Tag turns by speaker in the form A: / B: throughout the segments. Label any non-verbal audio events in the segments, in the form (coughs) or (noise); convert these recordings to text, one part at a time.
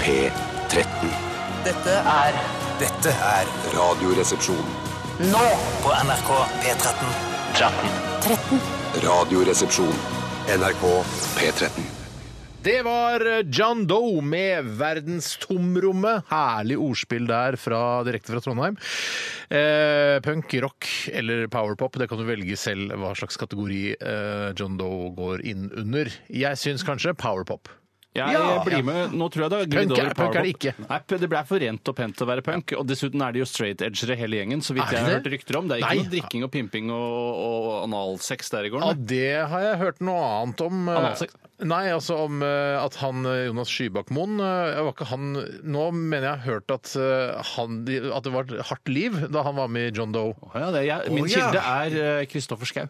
A: P13.
B: Dette er
C: Dette er
A: Radioresepsjon.
B: nå
C: på NRK P13.
B: 13.
A: Radioresepsjon. NRK P13.
D: Det var eh, John Doe med 'Verdenstomrommet'. Herlig ordspill der fra, direkte fra Trondheim. Eh, punk, rock eller powerpop, det kan du velge selv hva slags kategori eh, John Doe går inn under. Jeg syns kanskje powerpop.
E: Jeg
D: Ja!
E: blir med. Nå tror jeg det har glidd
D: Punk er-
E: over
D: punk er det
E: powerpop.
D: ikke.
E: Nei, p- det ble for rent og pent å være punk. Og dessuten er de jo straight edgere hele gjengen, så
D: Er
E: vidt
D: det
E: jeg har hørt
D: det?
E: rykter om. Det er
D: Nei.
E: ikke noe drikking og pimping og, og analsex der i går.
D: Ja,
E: nei.
D: det har jeg hørt noe annet om. eh,
E: Analsex?
D: Nei, altså om eh, at han eh, Jonas Skybakmoen eh, var ikke han, Nå mener jeg jeg har hørt at, eh, han, at det var et hardt liv da han var med i John Doe.
E: Å Ja, det er jeg, min
D: Å, ja.
E: kilde er eh, Kristoffer Schau.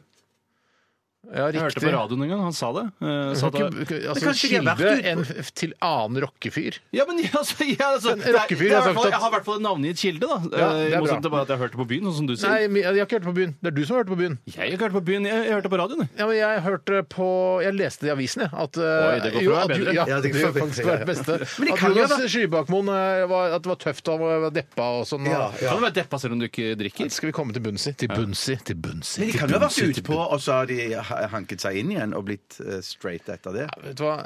D: Ja,
E: Jeg hørte på radioen en gang, han sa det. Eh, sa
D: Kan
E: at-
D: ikke- altså,
E: kanskje ikke jeg har vært
D: kilde
E: ute-
D: en f- til annen rockefyr.
E: Ja, men ja, altså, ja, altså, det er-
D: rockefyr
E: det er i hvert
D: har
E: fall-
D: sagt at-
E: Jeg har i hvert fall et navngitt kilde, da.
D: Ja,
E: Eh,
D: det er
E: I motsetning
D: bra.
E: til bare at jeg hørte på byen, sånn som du sier.
D: Nei, men jeg har ikke hørt på byen. Det er du som har hørt på byen.
E: Jeg har ikke hørt på byen, jeg, jeg hørte på radioen. jeg.
D: Ja, men jeg hørte på Jeg leste i avisen, jeg. At, eh,
E: Oi, det går
D: jo,
E: fra
D: at,
E: bedre.
D: Ja,
F: Ja,
D: det
F: det
D: er
F: går fra
D: faktisk
F: bedre.
D: det beste.
F: Men det
D: At
F: kan jo
D: Jonas Skybakmoen eh, var, at det var tøft og var deppa og sånn. og-
F: Ja, ja.
E: Kan du være deppa selv om du ikke drikker?
D: Det skal vi komme til bunns i. Til bunns i, til bunns i.
F: Men de
D: til
F: kan jo ha
D: bunns i,
F: vært
D: til
F: utpå, og så har de ha- hanket seg inn igjen og blitt eh, straight etter det.
D: bunns- Vet du hva?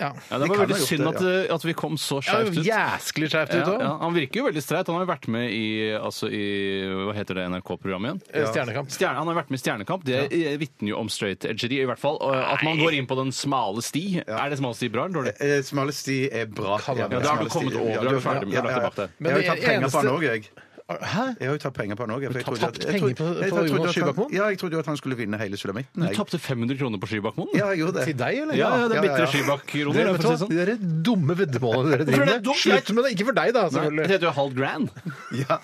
D: Ja.
E: Ja, det
F: Vi
E: var
F: kan
E: veldig
F: ha gjort
E: synd
F: det,
E: at, eh, at vi kom så
D: ja
E: skjevt ut.
D: jæsklig skjevt ut
E: Ja,
D: òg.
E: ja, han virker jo veldig streit. Han har jo vært med i, altså, i hva heter det NRK-programmet igjen?
D: Eh, Stjernekamp.
E: Stjerne, han har vært med i Stjernekamp. Det eh, vitner jo om straight edgeri, i hvert fall. Og eh, At man går inn på den smale sti. Er det smale sti bra eller dårlig?
F: Eh, Smale sti er bra.
D: Kan være. Ja,
F: men
D: da
E: har du
F: smale sti
E: kommet
F: er-
E: over,
F: ja,
E: da er du
F: ja,
E: ferdig med-
F: ja,
E: da er du
F: ja, ja.
E: tilbake der.
F: Jeg har jo
D: Men
F: tatt
D: det
F: penger på han
D: eneste-
F: òg, jeg.
D: Hæ?
F: Jeg har jo tatt penger på han òg.
D: Du har tapt penger på- på Jonas Skybakmoen?
F: Ja, jeg trodde jo at han skulle vinne hele
E: Du
F: sulamitten. jeg.
E: tapte 500 kroner på Skybakmoen.
F: Ja, jeg gjorde det.
D: Til deg, eller?
E: ja, ja, det er
F: ja, ja,
E: bitre
F: ja.
D: Dere,
E: Skybakk-kroner.
D: vet du hva? De der dumme veddemålene
E: Hvorfor er
D: dere driver
E: det
D: med.
E: dumt?
D: Slutt med det! Ikke for deg, da,
E: Det
D: selvfølgelig.
E: heter jo halv grand.
D: Ja,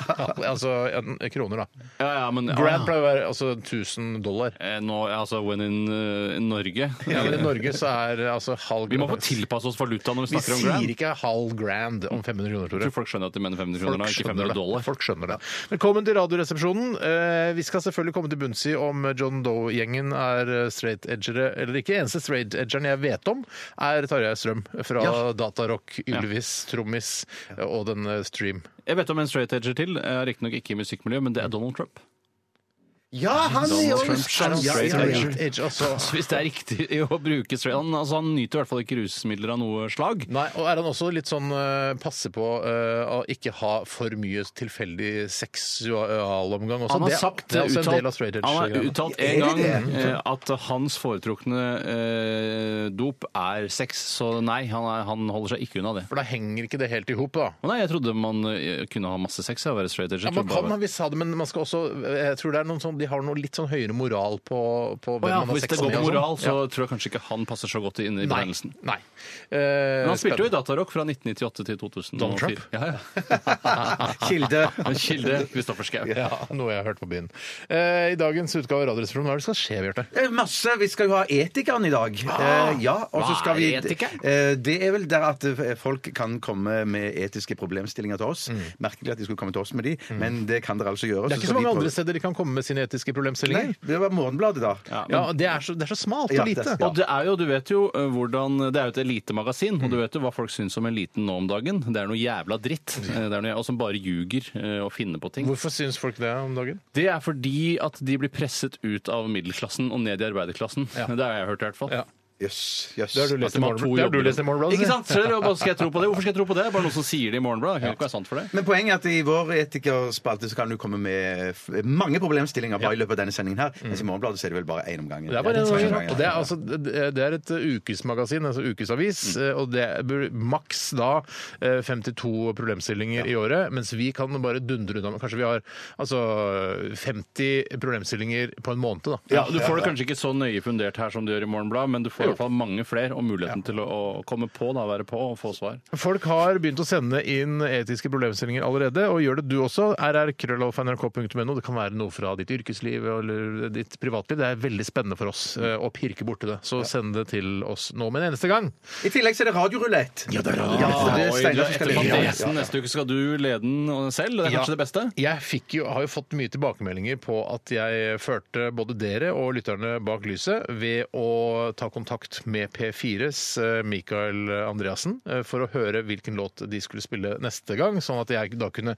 D: altså en, kroner, da.
E: Ja, ja, men
D: Grand
E: ah,
D: pleier å være altså 1000 dollar.
E: eh, nå, altså, when in eh, Norge
D: Ja, men I Norge så er altså halv
E: Vi må få tilpasse oss valuta når vi
D: Vi
E: snakker om grand.
D: sier ikke halv grand om 500 kroner,
E: Jeg
D: Tore.
E: tror folk skjønner at de mener 500
D: Folk
E: kroner, da, ikke
D: skjønner
E: 500
D: det.
E: dollar.
D: Folk skjønner det. Velkommen til Radioresepsjonen. Eh, Vi skal selvfølgelig komme til bunns i om John Doe-gjengen er straight edgere eller ikke. Eneste straight edgeren jeg vet om, er Tarjei Strøm fra Datarock, Ylvis, Trommis eh, og den eh, Stream.
E: Jeg vet om en straight edger til, eh, riktignok ikke i musikkmiljøet, men det er Donald Trump.
F: Ja, han er jo
E: Trump,
F: han- ja,
E: straight
F: ja, ja.
E: edge.
D: edge, altså.
E: Så (laughs) hvis det er riktig å bruke straight Han, altså, han nyter i hvert fall ikke rusmidler av noe slag.
D: Nei, og er han også litt sånn eh, passe på eh, å ikke ha for mye tilfeldig seksualomgang også?
E: Han har
D: Det er-
E: sagt,
D: det er også en
E: uttalt,
D: del av straight
E: han har
D: edge-greiene.
E: uttalt
F: Er
E: en
F: det
E: gang
F: det?
E: eh, at hans foretrukne eh, dop er sex, så nei, han, er, han holder seg ikke unna det.
D: For da henger ikke det helt i hop, da.
E: Å nei, jeg trodde man eh, kunne ha masse sex av å være straight edger.
D: Ja, man
E: Trodde bare-
D: kan ha visst ha det, men man skal også Jeg tror det er noen sånn, de har noe litt sånn høyere moral på, på
E: Å
D: hvem
E: ja,
D: man har
E: hvis det
D: sex
E: går
D: med.
E: på
D: og sånn.
E: moral, så
D: Ja.
E: tror jeg kanskje ikke han passer så godt inn i
D: Nei. Eh,
E: benevnelsen.
D: nei. Eh,
E: Men han spilte jo i Datarock fra 1998 til 2004.
D: Donald Trump?
E: Ja, ja.
F: (laughs) Kilde.
E: En (laughs) kilde Kristoffer Schau.
D: ja, noe jeg har hørt på byen. Eh, I dagens utgave av Radioresepsjonen, hva er det som skal skje, Bjarte?
F: Eh, Masse. Vi skal jo ha Etikeren i dag.
D: Ah,
F: Eh, ja, og så
E: hva
F: skal
E: er
F: vi,
E: Etikeren?
F: Eh, det er vel der at eh, folk kan komme med etiske problemstillinger til oss. Merkelig at de skulle komme til oss med de, men det kan dere altså
D: Mm.
F: gjøre.
D: Det er ikke så mange andre steder de kan komme med sine etiske problemstillinger.
F: Nei, det var Morgenbladet, da.
D: Ja, det er så, det er så smalt
F: Ja,
D: og
F: det er-
D: lite.
F: ja.
E: Og det er jo, du vet jo eh, hvordan Det er jo et elitemagasin, og du vet jo hva folk syns om eliten nå om dagen. Det er noe jævla dritt. Eh, Det er noe, og som bare ljuger eh, og finner på ting.
D: Hvorfor syns folk det om dagen?
E: Det er fordi at de blir presset ut av middelklassen og ned i arbeiderklassen. Det har jeg hørt, i hvert fall.
D: Ja.
F: Jøss, jøss.
D: Det har du lest
E: At de har to
D: i Morgenbladet. Det har du
E: jobber.
D: lest i Morgenbladet.
E: Ikke sant? Skjønner du? Hva Skal jeg tro på det? Hvorfor skal jeg tro på det? Det er Bare noen som sier det i Morgenbladet. Det kan jo ikke være sant for det.
F: Men poenget er at i vår etikerspalte så kan du komme med f- mange problemstillinger bare i løpet av denne sendingen her. Mens i Morgenbladet så er det vel bare én om gangen.
D: Mm. Det er bare
F: Ja,
D: en
F: en om
D: gang.
F: gangen.
D: Og det er, altså, det er et ukesmagasin, altså ukesavis,
E: Mm.
D: og det bør maks da eh, 52 problemstillinger i året, mens vi kan bare dundre unna. med- Kanskje vi har altså 50 problemstillinger på en måned, da.
E: Ja, Du får det kanskje ikke så nøye fundert her som du gjør i Morgenbladet, men du får i hvert fall mange flere og muligheten til å, å komme på, da, være på og få svar.
D: Folk har begynt å sende inn etiske problemstillinger allerede, og gjør det du også. rrkrøllalfa.nrk.no. Det kan være noe fra ditt yrkesliv eller ditt privatliv. Det er veldig spennende for oss eh, å pirke borti det. Så send det til oss nå med en eneste gang.
F: I tillegg så er det radiorulett. Ja, det er radiorulett. det er Steinar som skal
E: Etter
F: lede. Ja, ja,
E: Mathisen,
F: ja.
E: neste uke skal du lede den selv. Det er
D: Ja.
E: kanskje det beste?
D: Jeg fikk jo, har jo fått mye tilbakemeldinger på at jeg førte både dere og lytterne bak lyset ved å ta kontakt kontakt med P4s eh, Mikael Andreassen eh, for å høre hvilken låt de skulle spille neste gang, sånn at jeg da kunne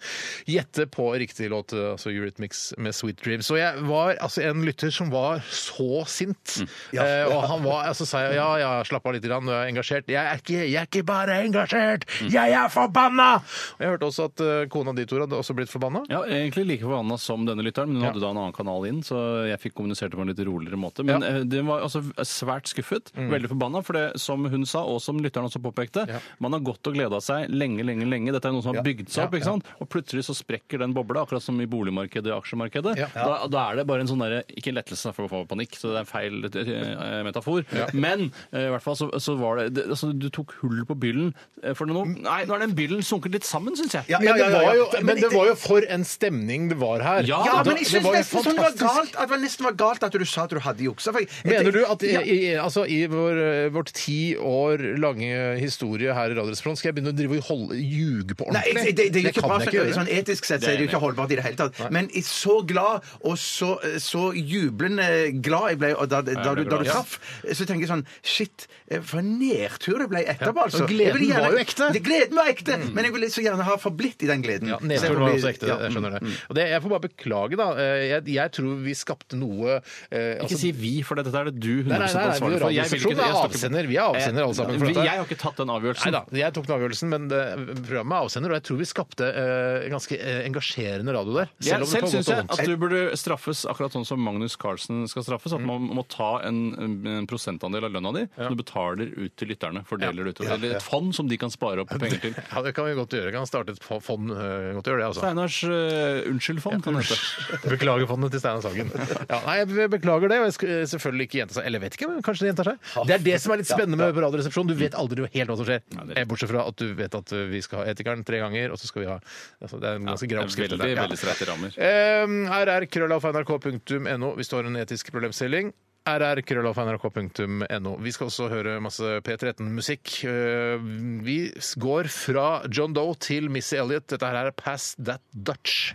D: gjette på riktig låt, eh, altså Eurythmics med Sweet Dreams. Og jeg var altså en lytter som var så sint, eh, og han var, altså sa jeg, ja, ja, slapp av litt, grann, jeg er engasjert. Jeg er ikke, jeg er ikke bare engasjert, jeg er forbanna! Og jeg hørte også at eh, kona di, Tor, hadde også blitt forbanna.
E: Ja, egentlig like forbanna som denne lytteren, men hun hadde da en annen kanal inn, så jeg fikk kommunisert det på en litt roligere måte. Men
D: Ja.
E: eh,
D: Mm.
E: den var altså svært skuffet, veldig forbanna, for det som hun sa, og som lytteren også påpekte,
D: Ja.
E: man har gått og gleda seg lenge, lenge, lenge. Dette er noe som har bygd seg opp, ikke sant? Og plutselig så sprekker den bobla, akkurat som i boligmarkedet og aksjemarkedet.
D: Ja.
E: Da, da er det bare en sånn derre Ikke lettelse for å få panikk, så det er en feil eh, metafor, men eh, i hvert fall så, så var det, det altså, Du tok hull på byllen, eh, for nå
D: Mm.
E: Nei, nå er den byllen sunket litt sammen, syns jeg.
D: Men, det var jo, men det
F: jeg-
D: var jo for en stemning det var her.
E: Ja,
F: Ja,
D: Det-
F: men jeg
D: det
F: syns
D: var jo
F: nesten sånn det var
D: fantastisk.
F: galt at det var nesten var galt at du sa at du hadde juksa. for jeg-
D: Mener du at i,
F: Ja.
D: i, altså, i vår, eh, vårt ti år lange historie her i Radioresepsjonen skal jeg begynne å drive og holde, ljuge på
F: Nei,
D: ordentlig?
F: det, det, det er jo ikke
D: kan
F: bra.
D: jeg
F: så-
D: ikke gjøre.
F: Sånn etisk sett så er det jo ikke holdbart i det hele tatt. Men jeg er så glad og så, så jublende glad jeg ble og da, da, du, da du
E: glad.
F: traff, så tenker jeg sånn Shit, for en nedtur det ble etterpå, altså.
D: og gleden
F: Jeg ville
D: var jo ekte.
F: Det, gleden var ekte, men jeg ville så gjerne ha forblitt i den gleden.
D: Ja,
F: Så jeg
D: Nedturen
F: får
D: var
F: bli-
D: også ekte.
F: ja,
D: Jeg
F: mm.
D: skjønner det. Og det. Jeg får bare beklage, da. Eh, Jeg, jeg tror vi skapte noe eh, altså-
E: Ikke si vi, for dette er det du 100
D: Nei, nei, nei, nei, vi
E: ansvarlig
D: er
E: for. Jeg vil ikke- jeg
D: radioresepsjonen er
E: snakker- Eh,
D: avsender. Vi er avsender alle sammen for
E: Jeg
D: dette.
E: har ikke tatt den avgjørelsen.
D: Nei da, jeg tok den avgjørelsen, men det, programmet er avsender, og jeg tror vi skapte eh, ganske eh, engasjerende radio der.
E: Jeg,
D: det sånn.
E: selv
D: på godt
E: syns jeg
D: og vondt.
E: at du burde straffes akkurat sånn som Magnus Carlsen skal straffes. At
D: Mm.
E: man må ta en, en prosentandel av lønna di som du betaler ut til lytterne. Fordeler det utover. Eller et fond som de kan spare opp penger til.
D: Ja, det kan vi godt gjøre. Kan starte et fo- fond. eh, Godt gjøre det, altså.
E: Steinars uh, unnskyldfond, kan det hete.
D: Beklager fondet til
E: (laughs)
D: Steinar Sagen. Ja, nei, jeg beklager det, og jeg skal eh, selvfølgelig ikke gjenta seg. Eller jeg vet ikke, men kanskje det gjentar seg. Det er det som er litt spennende med Radioresepsjonen. Du vet aldri helt hva som skjer.
E: det er
D: Eh, Bortsett fra at du vet at eh, vi skal ha Etikeren tre ganger, og så skal vi ha altså, Det er en ganske grei oppskrift.
E: Veldig,
D: dette. Ja.
E: veldig streite rammer.
D: Um, rr.krøllalfa.nrk.no hvis du har en etisk problemstilling. rr.krøllalfa.nrk.no. Vi skal også høre masse P13-musikk. Uh, Vi går fra John Doe til Missy Elliot. Dette her er Pass That Dutch.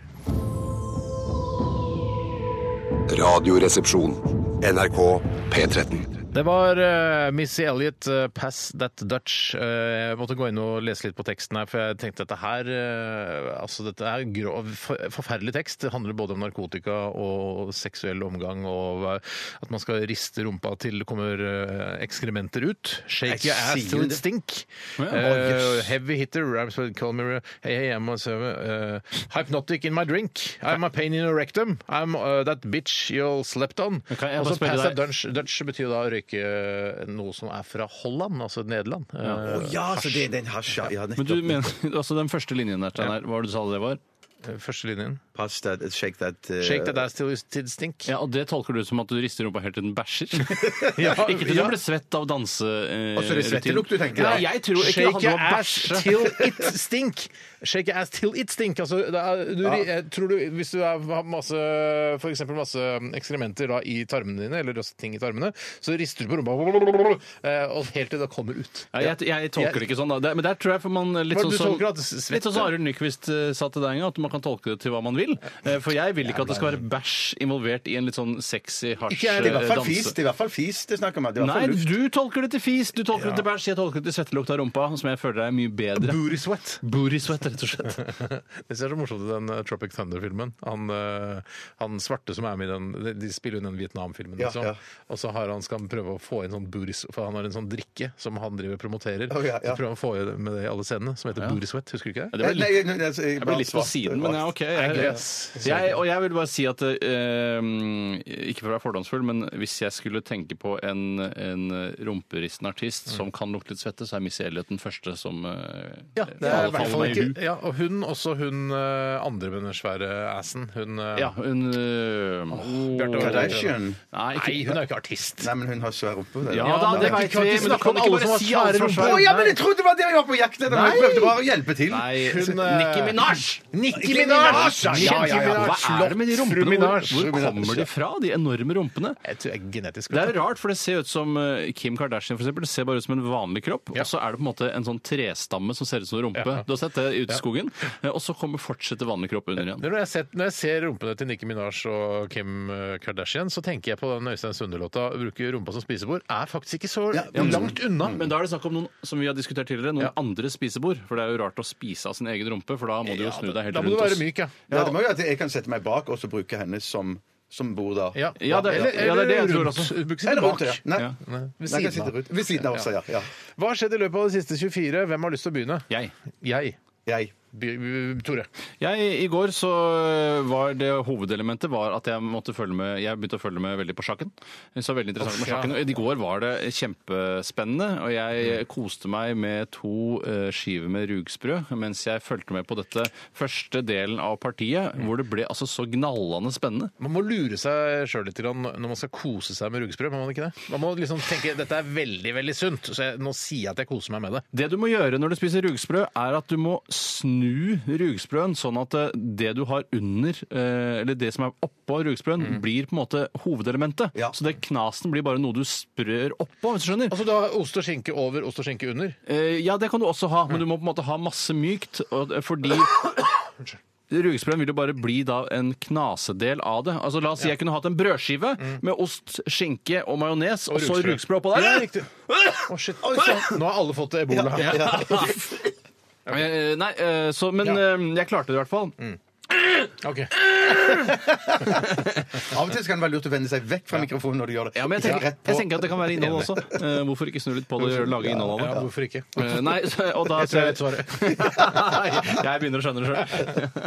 A: Radioresepsjon. NRK P13.
D: Det var eh, Missy Elliot, eh, 'Pass That Dutch'. Eh, jeg måtte gå inn og lese litt på teksten her, for jeg tenkte at dette her eh, Altså, dette er grov, for- forferdelig tekst. Det handler både om narkotika og seksuell omgang, og eh, at man skal riste rumpa til det kommer eh, ekskrementer ut. Shake your ass
F: sier
D: till it
F: det.
D: stink.
F: Å,
D: Eh,
F: jøss.
D: heavy hitter, Ramsford Colmere, hey, hey, I'm a server. eh, hypnotic in my drink. I'm a pain in your rectum. I'm eh, that bitch you all slept on.
E: Kan jeg bare
D: Og så
E: spørre
D: pass
E: deg-
D: that Dutch, Dutch betyr jo da å røyke eh, noe som er fra Holland, altså Nederland.
F: Å ja, så det er den hasja. Ja,
E: Men du
F: nettopp.
E: mener, altså Den første linjen der, Steinar, hva var det du sa det var?
D: Eh, Første linjen.
F: Pass that, shake that eh,
D: Shake that ass till it stink.
E: Ja, Og det tolker du som at du rister rumpa helt til den bæsjer?
D: Ja,
E: ikke til
D: ja.
E: du ble svett av danse... Eh,
F: Og så er det svettelukt du
E: rutin.
F: tenker, da.
E: Nei, jeg tror ikke det
D: Shake
E: handler
D: your
E: om å
D: ass
E: bæsje.
D: till it stink. Shake your ass till it stink. Altså, det er, du, jeg tror du, hvis du er- har masse, for eksempel masse ekskrementer da, i tarmene dine, eller også ting i tarmene, så rister du på rumpa, eh, og helt til det kommer ut.
E: Ja, jeg, jeg tolker det ikke sånn, da. Det, men der tror jeg for man litt
D: Men
E: sånn
D: du
E: som
D: tolker at svette-
E: Litt sånn som Arild Nyquist eh, sa til deg en gang, at man kan tolke det til hva man vil. Eh, For jeg vil ikke at det skal være bæsj involvert i en litt sånn sexy
D: Ikke jeg, det
F: Det er i hvert fall
E: hasj-danse.
F: fis. Det er i hvert fall fis det er snakk om. Det er i hvert
E: Nei,
F: fall luft.
E: du tolker det til fis, du tolker det til bæsj, jeg tolker det til svettelukt av rumpa, som jeg føler er mye bedre.
D: Booty sweat.
E: Booty sweat, rett og slett.
D: Det ser så morsomt ut i den eh, Tropic Thunder-filmen. Han, eh, han svarte som er med i den De, de spiller jo den Vietnam-filmen,
F: Ja,
D: liksom.
F: ja.
D: Og så har han, skal han prøve å få inn sånn buris, for han har en sånn drikke som han driver og promoterer.
F: Å, ja, ja.
D: Så prøver han å få inn med det i alle scenene, som heter Booty Sweat. Husker du ikke det?
E: Det ble litt
F: Nei, nei, nei, altså,
E: Jeg
F: bare
E: ble litt på
F: svart,
E: siden, men ja,
F: svart.
E: OK. Jeg,
D: Nei,
E: jeg,
D: greit.
E: og jeg vil bare si at eh, Ikke for å være fordomsfull, men hvis jeg skulle tenke på en, en rumperistende artist
D: Mm.
E: som kan lukte litt svette, så er Missy Elliot den første som eh,
D: Det er i
E: faller-
D: hvert fall
E: faller meg i hu.
D: ikke Ja, og hun, også hun eh, andre med den svære assen. Hun eh,
E: Ja, hun eh,
D: Bjarte Aarhus.
F: Kardashian.
E: Nei, ikke,
D: Nei, hun er jo ikke artist.
F: Nei, men hun har svær rumpe. det.
E: Ja, da,
D: men
E: det
D: vi
E: veit
D: kan
E: vi,
D: ikke
E: men du
D: snakke om
E: kan ikke
D: alle
E: bare
D: som har
E: si alt
D: svære
E: fra
F: Å
E: svært.
F: ja, men jeg trodde det var det jeg var på jakt etter! men Jeg prøvde bare å hjelpe til.
E: Nei,
D: Hun, eh,
E: Nicki Minaj!
D: Nicki
F: Minaj!
D: Minaj! ja, ja, ja.
E: Hva er det med de
D: Slott, fru
E: rumpene?
D: Minaj,
E: Hvor,
D: fru
E: hvor
D: Minaj.
E: kommer de fra, de enorme rumpene?
D: Jeg tror det er genetisk.
E: Det
D: vet
E: er
D: du.
E: rart, for det ser ut som eh, Kim Kardashian for eksempel, det ser bare ut som en vanlig kropp,
D: Ja.
E: og så er det på en måte en sånn trestamme som ser ut som en rumpe.
D: Ja.
E: Du har sett det ute i skogen, eh, og så kommer fortsetter vanlig kropp under igjen.
D: Når jeg, har sett, når jeg ser rumpene til Nicki Minaj og Kim eh, Kardashian, så tenker jeg på den Øystein Sunde-låta 'Bruke rumpa som spisebord'. Er faktisk ikke så langt unna.
E: Men Mm. da er det snakk om noen som vi har diskutert tidligere, noen andre spisebord. For det er jo rart å spise av sin egen rumpe, for da må du jo snu deg helt
D: da må du
E: rundt.
D: være
E: oss.
D: myk, ja.
F: Ja, det må jo at jeg kan sette meg bak og så bruke henne som, som bor da.
D: Ja,
E: Ja, det-
D: eller,
E: ja, det er det jeg
D: eller
E: tror
D: rundt.
E: også.
D: Du kan sitte
F: Eller rundt,
D: bak.
F: ja. Nei.
E: Ja.
F: Nei,
D: Ved
F: jeg kan
D: siden
F: sitte
D: av.
F: rundt. Ved siden av også, ja. ja.
D: Hva har skjedd i løpet av de siste 24? Hvem har lyst til å begynne?
E: Jeg.
D: Jeg.
F: Jeg.
D: By- by- Tore.
E: Jeg, I går så eh, var det hovedelementet var at jeg måtte følge med Jeg begynte å følge med veldig på sjakken. Så veldig interessant med
D: ja.
E: sjakken. Og I går var det kjempespennende, og jeg koste meg med to eh, skiver med rugsprø mens jeg fulgte med på dette første delen av partiet, hvor det ble altså så gnallende spennende.
D: Man må lure seg sjøl litt grann når man skal kose seg med rugsprø. Må man ikke det? Man må liksom tenke dette er veldig veldig sunt, så jeg, nå sier jeg at jeg koser meg med det.
E: Det du må gjøre når du spiser rugsprø, er at du må snu rugsprøen sånn at eh, det du har under, eh, eller det som er oppå rugsprøen,
D: Mm.
E: blir på en måte hovedelementet.
F: Ja.
E: Så det knasen blir bare noe du sprør oppå, hvis du skjønner.
D: Altså, du har ost og skinke over, ost og skinke under.
E: Eh, ja, det kan du også ha,
D: Mm.
E: men du må på en måte ha masse mykt, og, eh,
D: (coughs)
E: fordi Rugesprøen vil jo bare bli da en knasedel av det. Altså La oss si jeg kunne hatt en brødskive
D: Mm.
E: med ost, skinke og majones, og, så rugsprø oppå der.
D: Ja, riktig. Å, shit. Nå har alle fått ebola.
E: Eh, nei, eh, så, men
D: Ja.
E: eh, jeg klarte det i hvert fall.
D: (laughs) Ok.
F: Av og til kan det være lurt å vende seg vekk fra mikrofonen når du gjør det.
E: Ja, men jeg
F: Ikke
E: tenker,
F: rett på.
E: jeg tenker at det kan være innhold også. Eh, hvorfor ikke snu litt på det og lage innhold av det?
D: Ja, hvorfor ikke?
E: Eh, nei, så- og da
D: Jeg tror jeg vet svaret.
E: (laughs) Nei, jeg begynner å skjønne det sjøl.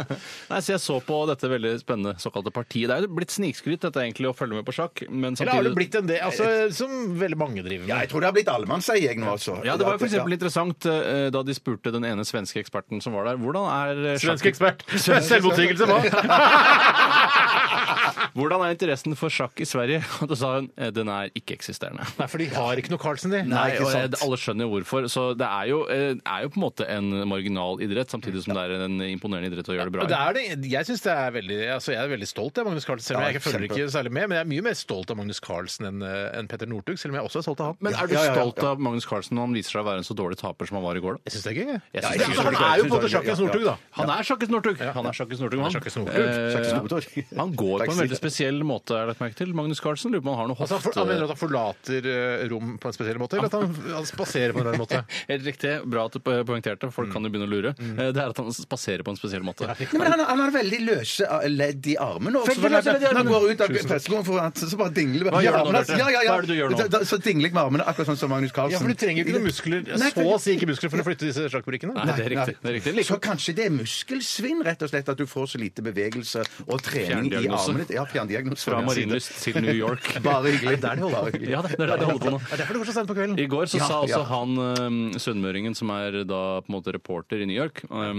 E: (laughs) Nei, så jeg så på dette veldig spennende såkalte partiet. Det er jo blitt snikskryt, dette egentlig, å følge med på sjakk, men
D: Eller har det
E: samtidig
D: blitt en del, altså, som veldig mange driver
F: Ja,
D: med?
F: jeg tror det har blitt allemannseie, jeg nå, altså.
E: ja, Det var jo for eksempel
F: Ja.
E: interessant eh, da de spurte den ene svenske eksperten som var der. Hvordan er eh,
D: (laughs) Svensk
E: sjakk-
D: ekspert. Selvmotsigelse, hva?
E: Hvordan er interessen for sjakk i Sverige? (laughs) Og da sa hun eh, den er ikke-eksisterende.
D: (laughs) Nei, for de har ikke noe Carlsen, de.
E: Nei,
F: ikke
E: og
F: sant.
E: eh, Alle skjønner jo hvorfor. Så det er jo, eh, er jo på en måte en marginal idrett, samtidig som det er en imponerende idrett å gjøre det bra
D: Og
E: i.
D: det er det. Jeg synes det er veldig altså Jeg er veldig stolt av Magnus Carlsen, selv om
F: Ja,
D: jeg ikke følger
F: kjempe.
D: ikke særlig med. Men jeg er mye mer stolt av Magnus Carlsen enn eh, enn Petter Northug, selv om jeg også er stolt av han.
E: Men er du
F: ja, ja, ja.
E: stolt av Magnus Carlsen når han viser seg å være en så dårlig taper som han var i går? da?
D: jeg syns det er gøy. jeg.
E: Jeg
D: Ja,
E: synes det er gøy.
D: altså, han er jo på en måte
F: Ja, ja,
D: sjakkens Northug, da.
E: Han er sjakkes Northug! Han er sjakkes Northug, han.
D: sjakkes Northug.
E: Eh,
F: Sjakkes
E: (laughs)
F: Northug.
E: Han går på en
F: Faktisk.
E: veldig spesiell måte, er det lagt merke til. Magnus Carlsen lurer på om han har noe
D: Altså, han, for, han mener
E: hofte...
D: at han forlater eh, rom på en spesiell måte, eller at
E: (laughs)
D: han, han spaserer på en eller annen måte?
E: Helt riktig. Bra at du po- poengterte, folk kan jo begynne å lure. Eh, Det er at han spaserer på en spesiell måte.
F: Nei, men han, han har veldig løse eh, ledd i armene. Også,
E: Veldig løse ledd i
F: Når han
E: armene.
F: går ut av pressekonferansen, får han- så bare dingler
E: Hva
F: Ja,
E: gjør du nå,
F: armene, altså.
E: Bjarte?
F: Ja, ja, ja.
E: Hva er det du gjør nå?
F: Da- da- Så dingler jeg med armene, akkurat sånn som Magnus Carlsen.
D: Ja, for du trenger ikke noen muskler.
F: Nei,
D: Så å si ikke muskler for å flytte disse sjakkbrikkene.
E: Nei, det er riktig. Det er riktig.
F: Så
E: Like.
F: kanskje det er muskelsvinn, rett og slett, at du får så lite bevegelse og trening i
E: Fjerndiagnose.
F: armene. Ja, fjerndiagnose.
E: Fra Marienlyst til New York.
F: (laughs) Bare hyggelig. Det er det
D: holder på.
E: Ja, det er det de holder på nå.
D: Det er derfor det går sånn så sent på kvelden.
E: I går så
F: Ja,
E: sa også
F: ja.
E: han eh, sunnmøringen, som er da på en måte reporter i New York eh,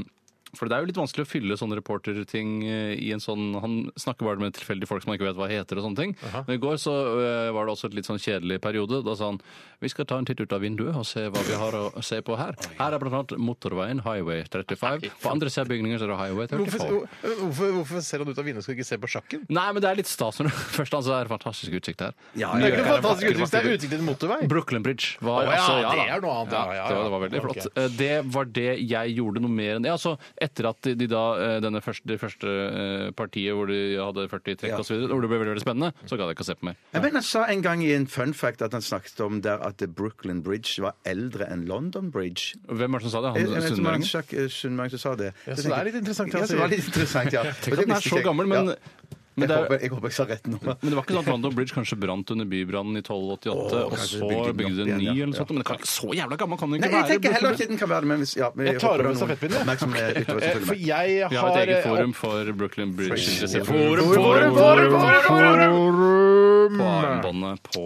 E: For det er jo litt vanskelig å fylle sånne reporterting eh, i en sånn Han snakker bare med tilfeldige folk som han ikke vet hva heter og sånne ting. Men i går så eh, var det også et litt sånn kjedelig periode. Da sa han vi skal ta en titt ut av vinduet og se hva vi har å se på her. Her er blant annet motorveien Highway 35. På andre siden av bygningen så er det Highway
D: Hvorfor,
E: 34.
D: hvorfor, hvorfor ser han ut av vinduet og skal ikke se på sjakken?
E: Nei, men det er litt stas når (laughs) du først altså, er det fantastisk utsikt her.
F: Ja,
D: Det er ikke noe
F: ja, ja.
D: fantastisk utsikt, det er utsikt til en motorvei.
E: Brooklyn Bridge var
D: Å, ja,
E: altså ja,
D: det
E: da.
D: er noe annet, ja, ja,
E: det, var,
D: ja.
E: det var veldig
D: Ok.
E: flott. Eh, Det var det jeg gjorde noe mer enn Ja, altså etter at de, de da, eh, denne første, det første eh, partiet hvor de hadde 40 trekk
F: Ja.
E: og så videre, hvor det ble veldig, veldig spennende, så gadd jeg ikke å se på mer.
F: Jeg mener, han sa en gang i en fun fact at han snakket om der at Brooklyn Bridge var eldre enn London Bridge.
E: Hvem var det som sa det? Han
F: Jeg, jeg vet ikke om
E: sunnmøringen?
F: Sjakk eh, Sundmøring som sa det.
D: Ja, så
F: Jeg tenker-
D: det er litt interessant, altså.
F: Ja, så det var litt interessant, ja.
E: Tenk at den er så gammel, men,
F: Ja.
E: men,
F: Jeg,
E: det
F: håper,
E: er,
F: jeg håper jeg sa rett nå.
E: men det var ikke sånn at London Bridge kanskje brant under bybrannen i 1288,
F: Åh,
E: og
F: kanskje
E: så
F: bygde den
E: bygde
F: opp
E: de en ny
F: igjen, ja.
E: eller noe sånt. Men det kan, ikke- så jævla gammel kan den
F: Nei,
E: ikke
F: jeg
E: være.
F: tenker heller ikke den kan være det, men hvis ja, men
D: Jeg tar
F: håper
D: over
F: det er noen
D: stafettpinnen, jeg.
F: oppmerksomme lyttere
D: Eh,
F: som
D: For
F: følger med.
D: jeg
E: Vi har
D: har
E: et eget
D: eh,
E: forum for Brooklyn Bridge.
D: Forum, forum, forum, forum, forum, forum, forum. Arm!
E: på armbåndet på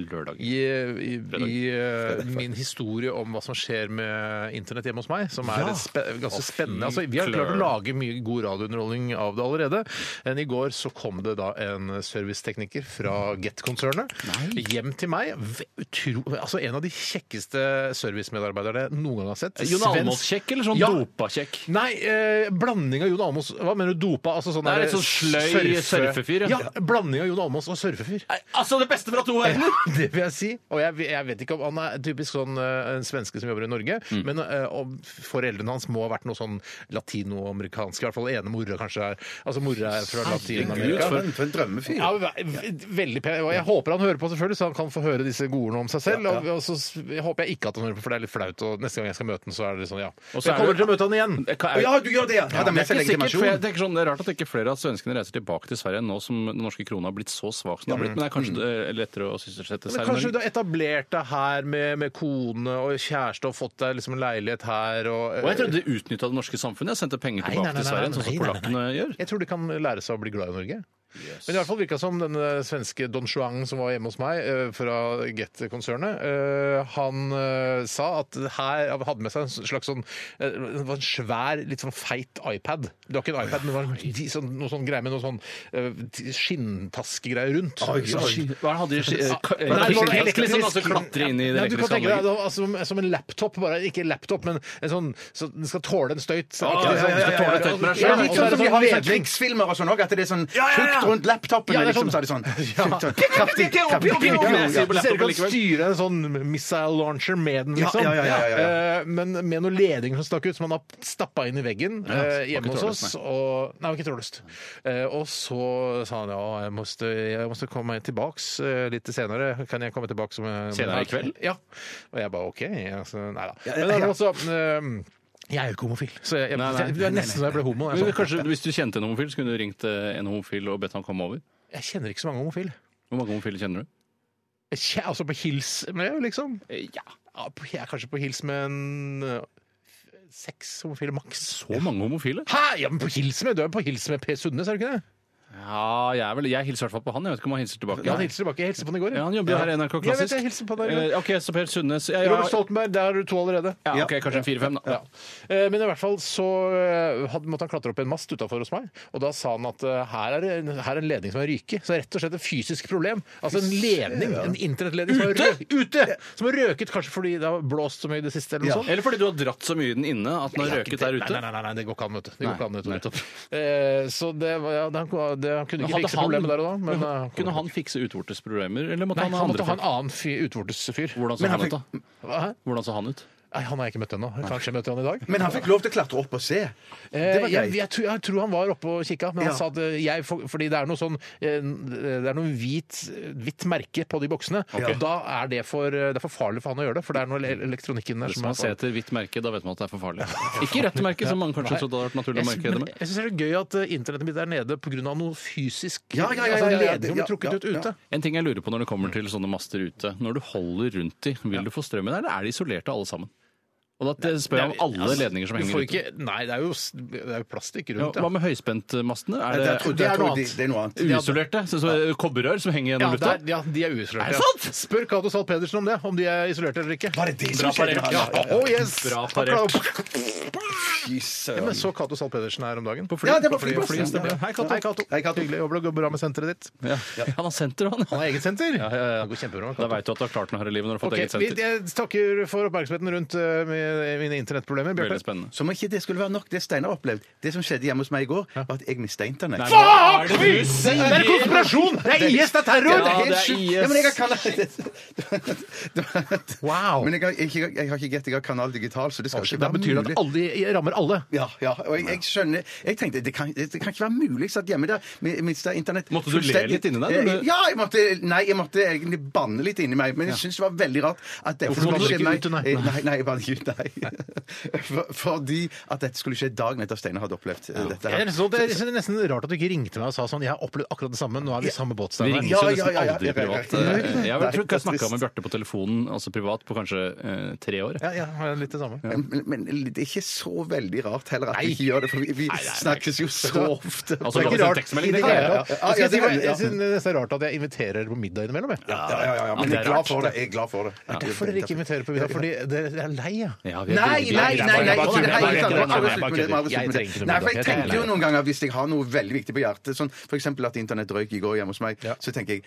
E: lørdag.
D: I, i, i eh, min historie om hva som skjer med internett hjemme hos meg, som er et spe ganske spennende altså, Vi har klart å lage mye god radiounderholdning av det allerede. Men i går så kom det da en servicetekniker fra Get-konsernet hjem til meg. V- Utro, altså en av de kjekkeste servicemedarbeiderne jeg noen gang har sett.
E: Jon
D: Svensk-
E: Almaas-kjekk eller sånn
D: Ja.
E: dopa-kjekk?
D: Nei, eh, blanding av Jon Almaas Hva mener du, dopa? Altså sånn
E: Nei,
D: der-
E: litt sånn sløy surfefyr,
D: Ja.
E: ja.
D: blanding av Jon Almaas og surfefyr.
E: Altså, det beste fra to verdener!
D: (laughs) Det vil jeg si. Og jeg, jeg vet ikke om han er typisk sånn eh, en svenske som jobber i Norge,
E: Mm.
D: men eh, om foreldrene hans må ha vært noe sånn latinoamerikansk. I hvert fall ene mora kanskje er Altså mora er fra
F: Gud,
D: Latin-Amerika.
F: for en, for en drømmefyr.
D: Ja, ve- ve- veldig pen. Og jeg håper han hører på, selvfølgelig, så han kan få høre disse godordene om seg selv. Og, og så s- jeg håper jeg ikke at han hører på, for det er litt flaut. Og neste gang jeg skal møte han, så er det sånn, ja.
E: Og så
D: Jeg
E: er
D: kommer
E: det-
D: til å møte han igjen!
E: Jeg kan-
F: Å, ja, du gjør det, ja! Hadde han
E: Det
F: med
E: er
F: seg
E: ikke sikkert, for jeg
F: legitimasjon?
E: tenker sånn, det er rart at ikke flere av svenskene reiser tilbake til Sverige nå som den norske krona har blitt så svak som den har blitt. Men det er kanskje eh, lettere å sysselsette
D: Mm.
E: seg
D: Men
E: i
D: kanskje du
E: Norge.
D: har etablert deg her med, med kone og kjæreste og fått deg liksom en leilighet her og
E: Og jeg trodde de utnytta det norske samfunnet. Sendte penger
D: Nei, nei,
E: tilbake
D: nei,
E: til
D: nei,
E: Sverige, sånn
D: nei,
E: som
D: nei,
E: polakkene gjør.
D: Jeg tror de kan lære seg å bli glad i Norge. Men i hvert fall virka som denne svenske Don Juan som var hjemme hos meg eh, fra Get-konsernet, eh, han eh, sa at her han hadde med seg en slags sånn eh, Det var en svær, litt sånn feit iPad. Det var ikke en iPad, men det var en, de- sånn, noe sånn greie med noe sånn eh, skinntaskegreier rundt. Sånn skinn-
E: Hva er det han hadde i
D: (laughs)
E: ski- eh, ka- eh,
D: Nei, det var
E: elektrisk-
D: elektrisk.
E: liksom, altså, klatre inn i det
D: Ja, du kan
E: elektriske
D: tenke deg
E: anlegget.
D: det var som, som en laptop, bare ikke laptop, men en sånn så den skal tåle en støyt. Så,
E: Ah, ja, ja, ja, ja, ja. Ja,
D: Sånn, skal tåle en støyt, men den er
F: Ja,
D: skjønn,
F: litt
D: og så er
F: sånn som
D: det
F: vi
D: sånn
F: har i sånne
D: vedling.
F: krigsfilmer og sånn òg, at det er sånn
D: ja, ja.
F: tjukt rundt laptopen.
D: Ja, det er
F: liksom,
D: sånn.
F: så er det sånn
D: Ja.
F: tjukt sånn, kraftig,
E: pio, pio,
F: kraftig,
E: pio, pio,
F: pio,
E: pio.
F: ja.
D: Du ser ikke han styre en sånn missile launcher med den,
F: Ja,
D: liksom.
F: ja, ja, ja, ja, ja.
D: Eh, Men med noen ledninger som stakk ut, som han har stappa inn i veggen eh, hjemme hos oss. Og, nei, det var ikke trådløst. Eh, Og så sa han ja, jeg måtte, jeg måtte komme tilbaks eh, litt senere. Kan jeg komme tilbake som eh,
E: Senere i kveld?
D: Ja. Og jeg bare OK. Altså, nei da.
F: ja,
D: Men det
F: ja.
D: er også eh, jeg er jo ikke homofil, så jeg, jeg,
E: Nei, nei.
D: det er nesten så jeg ble homo.
E: Men
D: Jeg, sånn,
E: kanskje Hvis du kjente en homofil, så kunne du ringt eh, en homofil og bedt han komme over?
D: jeg kjenner ikke så mange homofile.
E: Hvor mange homofile kjenner du?
D: Jeg kje- Altså på hils med, liksom.
E: Ja,
D: Ja, på- jeg er kanskje på hils med en ø, f- seks homofile maks.
E: Hvor mange homofile?
D: Hæ?! Ja, men på hils med, Du er på hils med Per Sundnes, er du ikke det?
E: Ja, jeg, er vel, jeg hilser i hvert fall på han. Jeg vet ikke om han hilser tilbake.
D: Ja, han hilser tilbake. Jeg hilste på han i går. jeg.
E: Ja, han jobber jo her i NRK
D: Jeg vet,
E: Klassisk.
D: jeg hilser på deg i går.
E: Eh, ok, så Per Sundnes ja, ja,
D: Robert Stoltenberg, der er du to allerede.
E: ja, ok, Kanskje en fire-fem, da.
D: Ja. Eh, Men i hvert fall så eh, hadde- måtte han klatre opp i en mast utafor hos meg. Og da sa han at eh, her er, det- her er en ledning som er ryke. Så det er rett og slett et fysisk problem. Altså en ledning, en internettledning som har rø- ute! Som har røket kanskje fordi det har blåst så mye i det siste, eller noe sånt.
E: Eller fordi du har dratt så mye i den inne at den har røket der ute.
D: Nei, nei, nei, nei, det går ikke an, vet du. Det går
E: Nei,
D: ikke an, vet du.
E: nei.
D: nettopp. Eh, så det, var- ja, det, han, det, han kunne ikke fikse problemet der og da. Men, eh,
E: kunne han fikse utvortesproblemer, eller måtte
D: Nei,
E: han ha
D: han måtte
E: andre
D: ha en
E: folk?
D: annen fyr, utvortesfyr.
E: Hvordan så
F: Men
E: han,
F: han
E: ut, da?
D: Hæ?
E: Hvordan så han ut?
D: Nei, han har jeg ikke møtt ennå. Kanskje jeg møter han i dag.
F: Men han fikk lov til å klatre opp og se. Det
D: Eh,
F: var
D: jeg,
F: greit.
D: jeg, tror, jeg tror han var oppe og kikka, men han
F: Ja.
D: sa at eh, jeg får- Fordi det er noe sånn eh, Det er noe hvit, hvitt merke på de boksene. Og da er det for eh, Det er for farlig for han å gjøre det, for det er noe ele- elektronikken der
E: Hvis
D: som
E: man ser
D: er
E: etter hvitt merke, da vet man at det er for
D: (laughs)
E: farlig. Ikke rødt merke, som mange kanskje
D: Nei.
E: trodde hadde vært naturlig å
D: Jeg,
E: merke det
D: men,
E: med.
D: jeg syns det er gøy at eh, internettet mitt er nede pga. noe fysisk
F: Ja, ja, ja,
D: altså,
F: ja, ja, ja,
D: ledninger
F: ja,
D: blir trukket
F: ja,
D: ut ute.
F: ja.
E: En ting jeg lurer på når det kommer til sånne master ute. Når du holder rundt de, vil du få strømmen, eller er de isolerte alle sammen? Og da spør jeg om alle ledninger som
D: altså,
E: henger
D: Du får
E: ute.
D: ikke, nei, det er jo, s- det er jo plastikk
E: Ja,
D: rundt.
E: hva med høyspentmastene? Er
F: Jeg tror-
E: det
D: det er noe
F: jeg tror de-
D: annet.
F: Det er noe annet.
E: uisolerte? Så, så, kobberrør som henger
D: Ja,
E: gjennom lufta?
D: der, ja, de er uisolerte.
E: Er det
D: ja.
E: sant?
D: Spør Cato Zahl Pedersen om det, om de er isolerte eller ikke.
F: Var det det
E: Bra
F: som skjedde?
E: parert.
F: Ja,
D: Ja,
F: ja, ja.
D: oh yes!
E: Bra
D: Applaus.
F: Fy
D: Ja,
F: søren.
D: men så Cato Zahl Pedersen her om dagen. På
F: Ja, det var
D: flyet.
F: flyplass.
D: På flyet, stemmer.
F: Ja, ja.
D: Hei, Cato.
F: Hei, Cato. Hei, Cato.
D: Hyggelig. Og det går bra med senteret ditt.
E: Ja. Han har senter, han.
D: Han har eget senter.
E: Ja, ja, ja.
D: Det går kjempebra. med
E: Da
D: Cato.
E: veit du at du har klart noe her i livet når du har fått
D: Ok,
E: eget
D: vi,
E: senter.
D: jeg takker for oppmerksomheten rundt eh, mi- mine internettproblemer.
E: Veldig
D: Bjarte.
E: spennende.
F: Som om ikke det skulle være nok, det Steinar har opplevd. Det som skjedde hjemme hos meg i går, var at jeg mista internett. (laughs)
D: Fuck! Det er konspirasjon! Det er IS, det er terror!
E: Ja,
F: helt
E: det er
F: sjukt.
E: IS.
F: Ja, men jeg har kanal... Det var-
D: Wow.
F: Men jeg har, ikke- jeg har ikke gett, jeg har kanal digital, så det skal ikke
D: Da
F: være
D: betyr det
F: mulig.
D: at alle jeg rammer alle.
F: Ja, ja, og jeg, jeg skjønner Jeg tenkte, det kan, det kan ikke være mulig. Jeg satt hjemme der, mi- mistet internett
E: Måtte du le
F: fullstendig.
E: litt inni deg, eller?
F: Eh, Ja, jeg måtte, nei, jeg måtte egentlig banne litt inni meg. Men jeg syns det var veldig rart at det
D: Hvorfor måtte du ikke ut, nei?
F: nei, nei, jeg bannet ikke ut, Nei. (laughs) For, fordi at dette skulle skje dagen etter Steinar hadde opplevd eh, dette.
D: Jeg er
F: her.
D: nesten- det er nesten rart at du ikke ringte meg og sa sånn Jeg har opplevd akkurat det samme. Nå er vi i samme båt,
E: Vi
D: Steinar.
E: ringer
F: Ja,
E: jo
F: ja,
E: nesten
F: ja, ja,
E: aldri
F: ja, ja, ja.
E: privat.
F: Nei,
E: Eh, Jeg
F: nei,
E: tror ikke jeg
F: det er
E: snakka med
F: trist.
E: Bjarte på telefonen altså privat på kanskje eh, tre år.
D: Ja, ja, har jeg litt det samme.
F: Men, men det er ikke så veldig rart heller at vi ikke gjør det, for vi, vi snakkes jo så ofte.
E: Altså, la oss
D: Det er ikke
E: en
D: rart.
E: tekstmelding,
D: i det
E: da.
D: hele
F: Ja,
D: tatt.
F: ja, ja.
D: Jeg skal
F: Ja,
D: si
F: det
D: hva-
F: er-
D: jeg synes det er nesten rart at jeg inviterer på middag innimellom. jeg.
F: Ja, ja, ja, ja, men
E: det er
F: jeg er glad
E: rart.
F: for det. Jeg er glad for det.
D: Hvorfor dere ikke inviterer på middag? Fordi dere er lei, ja.
E: Ja, vi er
F: Nei,
E: veldig-
F: nei, nei! nei,
E: Jeg bare
F: ikke i det
E: kødder,
F: hele
E: jeg
F: tatt.
E: bare kødder,
F: Må aldri
E: jeg bare
F: slutte med det, må aldri
D: Jeg
F: slutte med det.
D: trenger ikke noe
F: Nei,
D: middag,
F: for
D: jeg
F: jeg
D: er
F: tenker jo
D: lei.
F: noen ganger hvis jeg har noe veldig viktig på hjertet, sånn f.eks. at internett røyk i går hjemme hos meg, så tenker jeg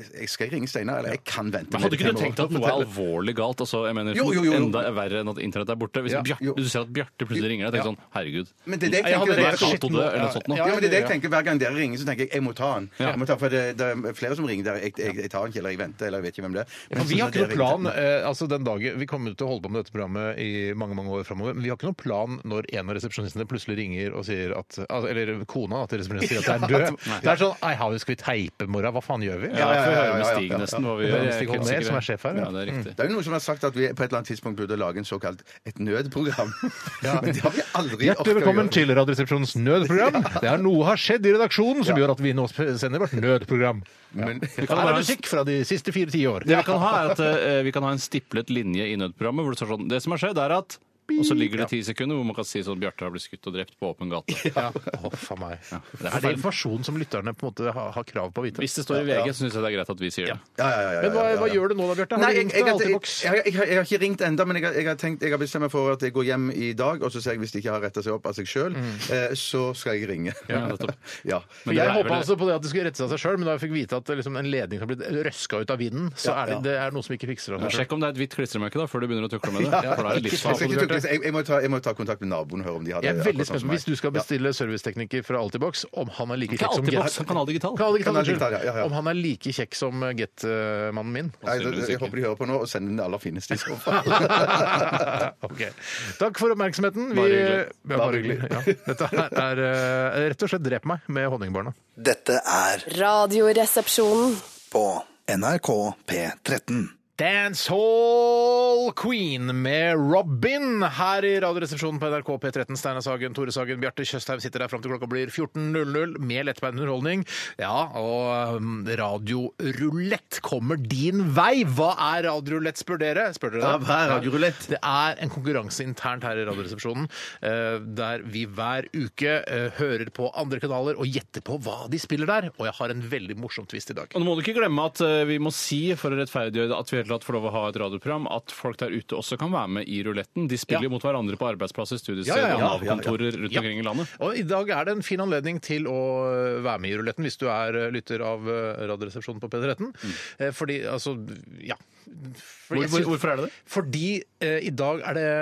F: jeg skal jeg ringe Steinar, eller jeg kan vente.
E: Men
F: med
E: hadde ikke
F: det
E: du
F: til jeg
E: tenkt at
F: må
E: noe er
F: fortelle.
E: alvorlig galt? Altså, jeg mener,
F: Jo, jo, jo.
E: Enda verre enn at internett er borte. Hvis
D: Ja,
E: Bjarte-
F: jo.
E: du ser at Bjarte plutselig ringer deg, tenker sånn Herregud.
F: Men det er det
E: jeg
F: jeg tenker,
E: hadde
F: det er
E: rett
F: shit
E: dato det, eller noe sånt nå.
D: Ja,
F: Ja, men det er det jeg
D: ja.
F: tenker Hver gang dere ringer, så tenker jeg jeg må ta den.
E: Ja.
F: Jeg må ta, den, for det, det er flere som ringer der. Jeg, jeg, jeg tar den ikke, eller jeg venter, eller jeg vet ikke hvem det er. Men
D: For vi
F: så
D: har
F: når
D: ikke noen
F: dere
D: plan
F: ringer-
D: eh, altså den dagen, Vi kommer til å holde på med dette programmet i mange mange år framover. Men vi har ikke noen plan når en av resepsjonistene plutselig ringer og sier at al- Eller kona til resepsjonisten sier at det er død. Det er sånn Ei, how skal vi teipe i morgen? Hva faen gjør vi?
E: Ja,
F: ja, ja,
E: Får
F: ja,
E: høre med
F: ja, ja,
E: Stig
F: ja.
E: nesten hva vi
D: Ja,
E: gjør. Jeg er
D: Stig
E: ikke helt
D: Holmér,
E: sikker.
D: som er sjef her, ja.
E: Ja, det er riktig.
F: Det er jo noen som har sagt at vi på et eller annet tidspunkt burde lage en såkalt et nødprogram. (laughs) Men det har vi aldri
D: Hjertelig
F: orket å
D: velkommen
F: gjøre.
D: til Radioresepsjonens (laughs) nødprogram. Det er noe har skjedd i redaksjonen som
F: Ja.
D: gjør at vi nå sp- sender vårt nødprogram.
F: Men,
E: Her
D: Her
E: er
D: er musikk fra de siste fire tiår.
E: Det vi kan ha, er at eh, vi kan ha en stiplet linje i nødprogrammet hvor det står sånn Det som har skjedd, er at Og så ligger det ti sekunder hvor man kan si sånn Bjarte har blitt skutt og drept på åpen gate.
D: Å, faen meg.
E: det er
D: Er det
E: feil.
D: informasjon som lytterne på en måte har, har krav på å vite?
E: Hvis det står i VG, så syns jeg det er greit at vi sier det.
F: ja, ja, ja, ja,
D: Men hva,
F: ja, ja,
D: hva
F: ja.
D: gjør du nå da, Bjarte? Har du
F: Nei, jeg,
D: ringt
F: jeg,
D: deg
F: jeg, jeg,
D: Altibox?
F: jeg, jeg, har ikke ringt enda, men jeg, har- jeg, har tenkt, jeg har bestemt meg for at jeg går hjem i dag, og så ser jeg hvis det ikke har retta seg opp av seg sjøl,
D: Mm.
F: eh, så skal jeg ringe.
E: Ja, nettopp.
F: (laughs) Ja.
E: Men det
D: jeg
E: er
D: håpa
E: vel-
D: altså på det at det skulle rette seg av seg sjøl, men da jeg fikk vite at liksom, en ledning har blitt røska ut av vinden, så
F: Ja,
D: er det,
F: ja.
D: det er noe som ikke fikser
E: Men
D: seg selv.
E: Sjekk om det er et hvitt klistremerke da, før du begynner å tukle med det. For da er det
D: ikke
F: Jeg, skal
E: livsfarlig.
F: ikke tukle, så jeg, jeg, må ta, jeg må ta kontakt med naboen og høre om de har det.
D: Jeg er
F: akkurat
D: veldig
F: sånn
D: spent
F: som
D: på hvis
F: meg.
D: du skal bestille servicetekniker fra Altibox, om han er like
E: Ikke
D: kjekk som
E: alltid
D: Get.
E: boks, han kan ha digital.
D: Kan han ikke ta
F: Kanal
D: det,
F: Digital, ja, ja, ja.
D: Om han er like kjekk som Get-mannen min.
F: Ja. Nei, jeg, jeg håper de hører på nå, og sender den det aller fineste i så fall.
D: (laughs) ok. Takk for oppmerksomheten. Vi,
E: Bare hyggelig.
D: Ja, bare hyggelig. Ja. Dette her er eh, rett og slett Drep meg med Honningbarna.
C: Dette er
G: Radioresepsjonen.
C: på NRK P13.
D: Dancehall Queen med Robin her i Radioresepsjonen på NRK P13. Steinar Sagen, Tore Sagen, Bjarte Tjøstheim sitter der fram til klokka blir 14.00 med lettbeint underholdning. Ja, og um, radiorulett kommer din vei! Hva er radiorulett, spør dere? Spør dere det?
F: Ja, hva er radiorulett?
D: Det er en konkurranse internt her i Radioresepsjonen eh, der vi hver uke eh, hører på andre kanaler og gjetter på hva de spiller der. Og jeg har en veldig morsom twist i dag.
E: Og nå må du ikke glemme at eh, vi må si, for å rettferdiggjøre at vi helt tatt får lov å ha et radioprogram, at folk der ute også kan være med i ruletten. De spiller
D: Ja.
E: mot hverandre på arbeidsplasser, studiesteder
D: Ja, ja, ja.
E: og Nav-kontorer rundt
D: Ja.
E: omkring i landet.
D: Og I dag er det en fin anledning til å eh, være med i ruletten hvis du er eh, lytter av eh, Radioresepsjonen på P13. Eh, Fordi, altså, ja. Fordi
E: Mm. Hvor-
D: jeg syns-
E: hvor- hvorfor er det det?
D: Fordi eh, i dag er det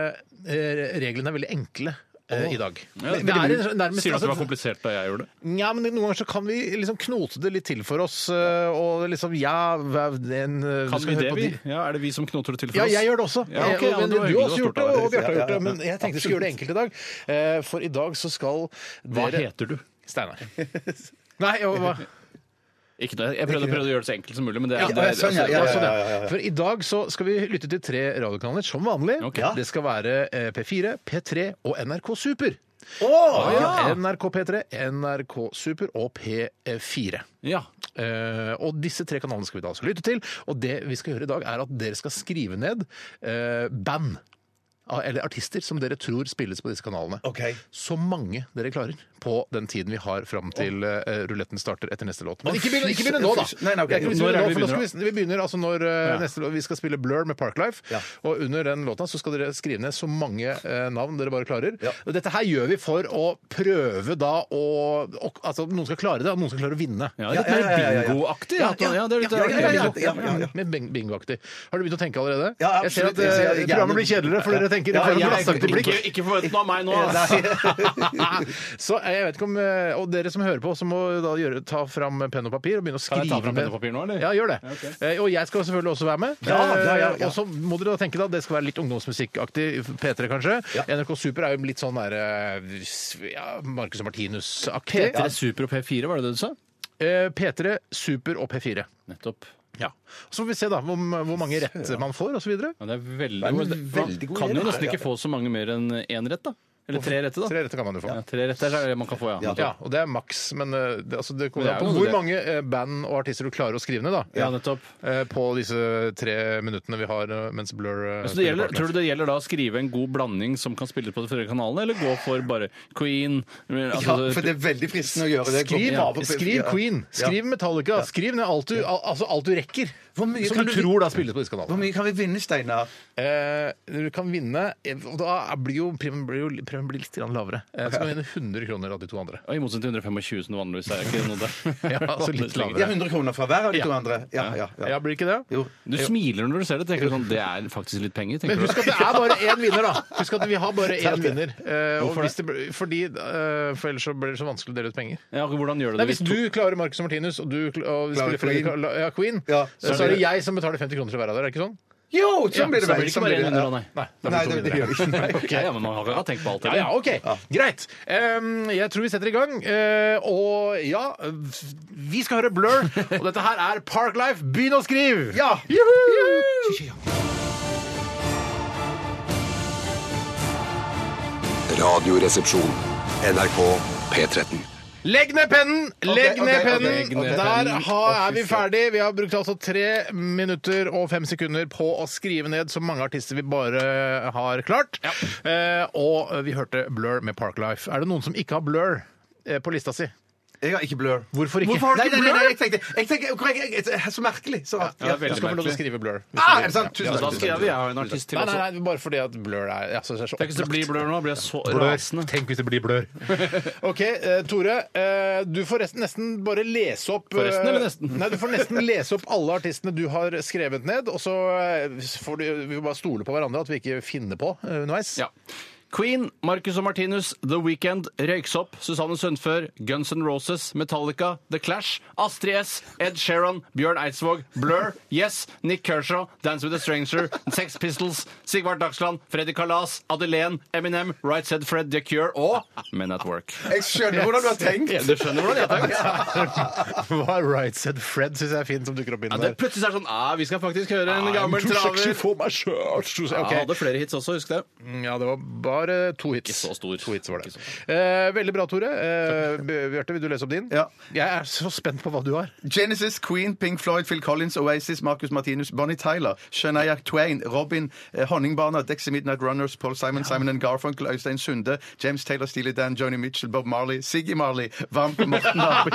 D: eh, Reglene er veldig enkle. eh, I dag. Men det er en- nærmest-
E: Sier du at det var
D: altså,
E: komplisert da jeg gjorde det?
D: ja, men Noen ganger så kan vi liksom knote det litt til for oss. eh, Og liksom Ja, hva- en, eh,
E: Kan
D: skal
E: vi det,
D: høre på
E: vi?
D: de-
E: Ja, er det vi som knoter det til for
D: Ja,
E: oss?
D: jeg gjør det også.
E: Ja, ok,
D: Eh,
E: ja,
D: men
E: det
D: du
E: var
D: har
E: hyggelig,
D: også
E: da
D: gjort det,
E: står det
D: og
E: der.
D: Bjarte har gjort det. Men jeg tenkte vi skulle gjøre det enkelt i dag. Eh, For i dag så skal
E: Hva
D: dere
E: heter du?
D: Steinar. (laughs) Nei, og hva?
E: Ikke det. Jeg prøvde, prøvde å gjøre det så enkelt som mulig, men det,
F: Ja,
E: det,
F: ja, sånn, ja, ja,
D: Ja,
E: altså,
D: sånn, ja. For i dag så skal vi lytte til tre radiokanaler, som vanlig.
E: Ok.
D: Det skal være eh, P4, P3 og NRK Super. Ja, NRK P3, NRK Super og P4.
E: ja.
D: Eh, og disse tre kanalene skal vi da altså lytte til. Og det vi skal gjøre i dag, er at dere skal skrive ned eh, band. ah, Eller artister som dere tror spilles på disse kanalene.
F: Ok.
D: Så mange dere klarer på den tiden vi har fram til eh, ruletten starter etter neste låt. Men ikke begynn ikke (laughs) begynn nå, da!
F: Nei, nei, ok.
D: Jeg kan ikke
E: Når
D: begynne
E: er
D: nå,
E: det vi
D: for nå skal vi, vi begynner altså når eh, neste låt, Vi skal spille Blur med Parklife. Og under den låta så skal dere skrive ned så mange eh, navn dere bare klarer. Og dette her gjør vi for å prøve da å å- Altså noen skal klare det, og noen skal klare å vinne.
E: Ja, det er litt mer bingoaktig. at- Ja, det er litt-
F: Ja, ja, ja, ja.
D: Med bing- bingoaktig. Har du begynt å tenke allerede?
F: Ja,
D: jeg ser
F: absolutt.
D: at eh,
F: Jeg ser gjerne-
D: programmet blir kjedeligere, for dere tenker ja,
E: Jeg-
D: ja, blikk.
E: Ikke, ikke forvent noe av meg nå! altså. ass.
D: (laughs) Så eh, jeg vet ikke om eh, Og dere som hører på, så må da gjøre, ta fram penn og papir og begynne å
E: Kan
D: skrive
E: jeg ta fram
D: ned-
E: penn og papir nå, eller?
D: Ja, gjør det. Eh, Og jeg skal selvfølgelig også være med.
F: Ja, ja, ja,
D: Eh,
F: ja.
D: Og så må dere da tenke da, det skal være litt ungdomsmusikkaktig. P3, kanskje. NRK Super er jo litt sånn derre ja, Marcus og Martinus-aktig.
E: P3 Super og P4, var det det du sa?
D: Eh, P3, Super og P4.
E: Nettopp.
D: Ja. Så får vi se da hvor, hvor mange rett man får, osv.
E: Ja, det er veldig,
F: Det er en
E: god-
F: veldig god
E: Man kan
F: idé,
E: jo
F: da.
E: nesten ikke få så mange mer enn én rett, da. Eller tre rette, da.
D: Tre retter kan man jo få.
E: Ja, tre retter er det man kan få, ja.
D: Ja, og det er maks, men eh, det, altså, det kommer
E: Men det
D: an
E: er
D: på
E: jo
D: hvor
E: det.
D: mange eh, band og artister du klarer å skrive ned, da.
E: Ja, nettopp.
D: Eh, På disse tre minuttene vi har eh, mens Blur eh,
E: Så Altså, det
D: spiller
E: gjelder,
D: Partners.
E: tror du det gjelder da å skrive en god blanding som kan spilles på de flere kanalene, eller gå for bare Queen
F: Ja,
E: altså,
F: for det er veldig fristende å gjøre det.
D: Skriv,
F: Ja.
D: skriv
F: Ja.
D: Queen, skriv Metallica, skriv ned alt du, al altså alt du rekker. som du tror da spilles på disse
F: Hvor
D: kanalene.
F: mye kan vi vinne, Steinar?
D: Eh, du kan vinne eh, Og da blir jo premien blir jo- premien blir litt grann lavere. Eh, så kan du vinne 100 kroner av de to andre.
E: I motsetning til 125 som det vanligvis er. Ikke noe der.
D: Ja, altså litt
F: Ja,
D: lavere.
F: 100 kroner fra hver av de to
D: Ja.
F: andre. Ja, ja, ja.
D: Ja, blir ikke det?
F: Jo.
E: Du smiler når du ser det. tenker du sånn, Det er faktisk litt penger.
D: Men
E: tenker
D: husk
E: du.
D: at det er bare én vinner, da! Husk at vi har bare én vinner. Eh, og hvis det, blir- fordi, eh, for ellers så blir det så vanskelig å dele ut penger.
E: Ja, hvordan gjør du
D: Nei,
E: det?
D: hvis
E: to-
D: du klarer Marcus og Martinus, og du kl- og
F: Klarer
D: spiller flere
F: Queen.
D: kla- ja, Queen,
F: Ja,
D: så, er det jeg som betaler 50 kroner til hver av dere, er det ikke sånn?
F: Jo, sånn
D: Ja,
F: blir
E: så blir
F: det vel.
E: det ikke
F: sånn
E: bare
F: blir
E: en
F: det.
E: vinner, da, nei.
D: Nei, da blir
F: Nei, det
D: to
F: blir
D: vinnere.
F: det ikke. Nei.
E: Ja, ja, men man har tenkt på alt
D: Ja,
E: det.
D: ja, OK. Greit. Em, jeg tror vi setter i gang. Eh, og ja, vi skal høre Blur. Og dette her er Parklife. Begynn å skrive!
F: Ja.
D: Juhu!
A: Radioresepsjon. NRK P13.
D: Legg ned pennen! Legg
F: ok,
D: ned
F: ok,
D: pennen!
F: legg ned
D: Der
F: pennen.
D: ha,
F: Å,
D: er
F: fy
D: vi
F: søren.
D: ferdig. Vi har brukt altså tre minutter og fem sekunder på å skrive ned så mange artister vi bare har klart. Eh, og vi hørte Blur med Parklife. Er det noen som ikke har Blur eh, på lista si?
F: Jeg har ikke blur.
D: Hvorfor ikke?
F: Nei, nei, nei, nei, jeg tenkte, jeg tenkte korrekt, jeg, jeg, Så merkelig. Så rart.
E: Ja, det er
D: Du
E: veldig
D: skal få lov til å
E: merkelig.
D: skrive Blur.
F: Ah, er det sant?
E: Ja,
F: Tusen
E: da
F: takk.
E: skrev jeg jo en artist til
D: Nei, nei,
E: også.
D: nei, det er bare fordi at blør er altså, det er så
E: Tenk hvis det blir
D: opplagt.
E: blør nå. Blir jeg så
D: Blør.
E: rasende.
D: Tenk hvis det blir blør. OK, eh, Tore. eh, du får resten, nesten bare lese opp
E: Får resten
D: eh,
E: eller nesten?
D: Nei, du får nesten lese opp alle artistene du har skrevet ned, og så eh, får du, vi får bare stole på hverandre at vi ikke finner på eh, underveis.
E: Ja. Queen, Marcus og Martinus, The Weekend, Røyksopp, Susanne Sundfør, Guns N' Roses, Metallica, The Clash, Astrid S, Ed Sheeran, Bjørn Eidsvåg, Blur, Yes, Nick Kershaw, Dance with a Stranger, Sex Pistols, Sigvart Dagsland, Freddy Kalas, Adelén, Eminem, Right Said Fred, The Cure og Men at Work.
F: Jeg skjønner hvordan du har tenkt.
E: Ja, du skjønner hvordan jeg tenker.
D: (laughs) Hva Right Said Fred syns jeg er fint som dukker opp inn
E: Ja, det
D: der.
E: plutselig er det sånn ah, Vi skal faktisk høre en gammel
D: I'm too sexy
E: traver.
D: for my shirt.
E: Ja,
D: Ok. Mm,
E: han hadde flere hits også, husk det.
D: Ja, det var bare to hits.
E: Ikke så stor.
D: To hits var det.
E: Ikke
D: Eh, veldig bra, Tore. Eh, Bj- Bjarte, vil du lese opp din?
F: Ja.
D: Jeg er så spent på hva du har.
F: Genesis, Queen, Pink Floyd, Phil Collins, Oasis, Marcus Martinus, Bonnie Tyler, Shania Twain, Robin, eh, Honningbarna, Dexy Midnight Runners, Paul Simon, Simon and Garfunkel, Øystein Sunde, James Taylor, Steely Dan, Joni Mitchell, Bob Marley, Siggy Marley, Vamp,
D: (laughs)
F: Morten Abel,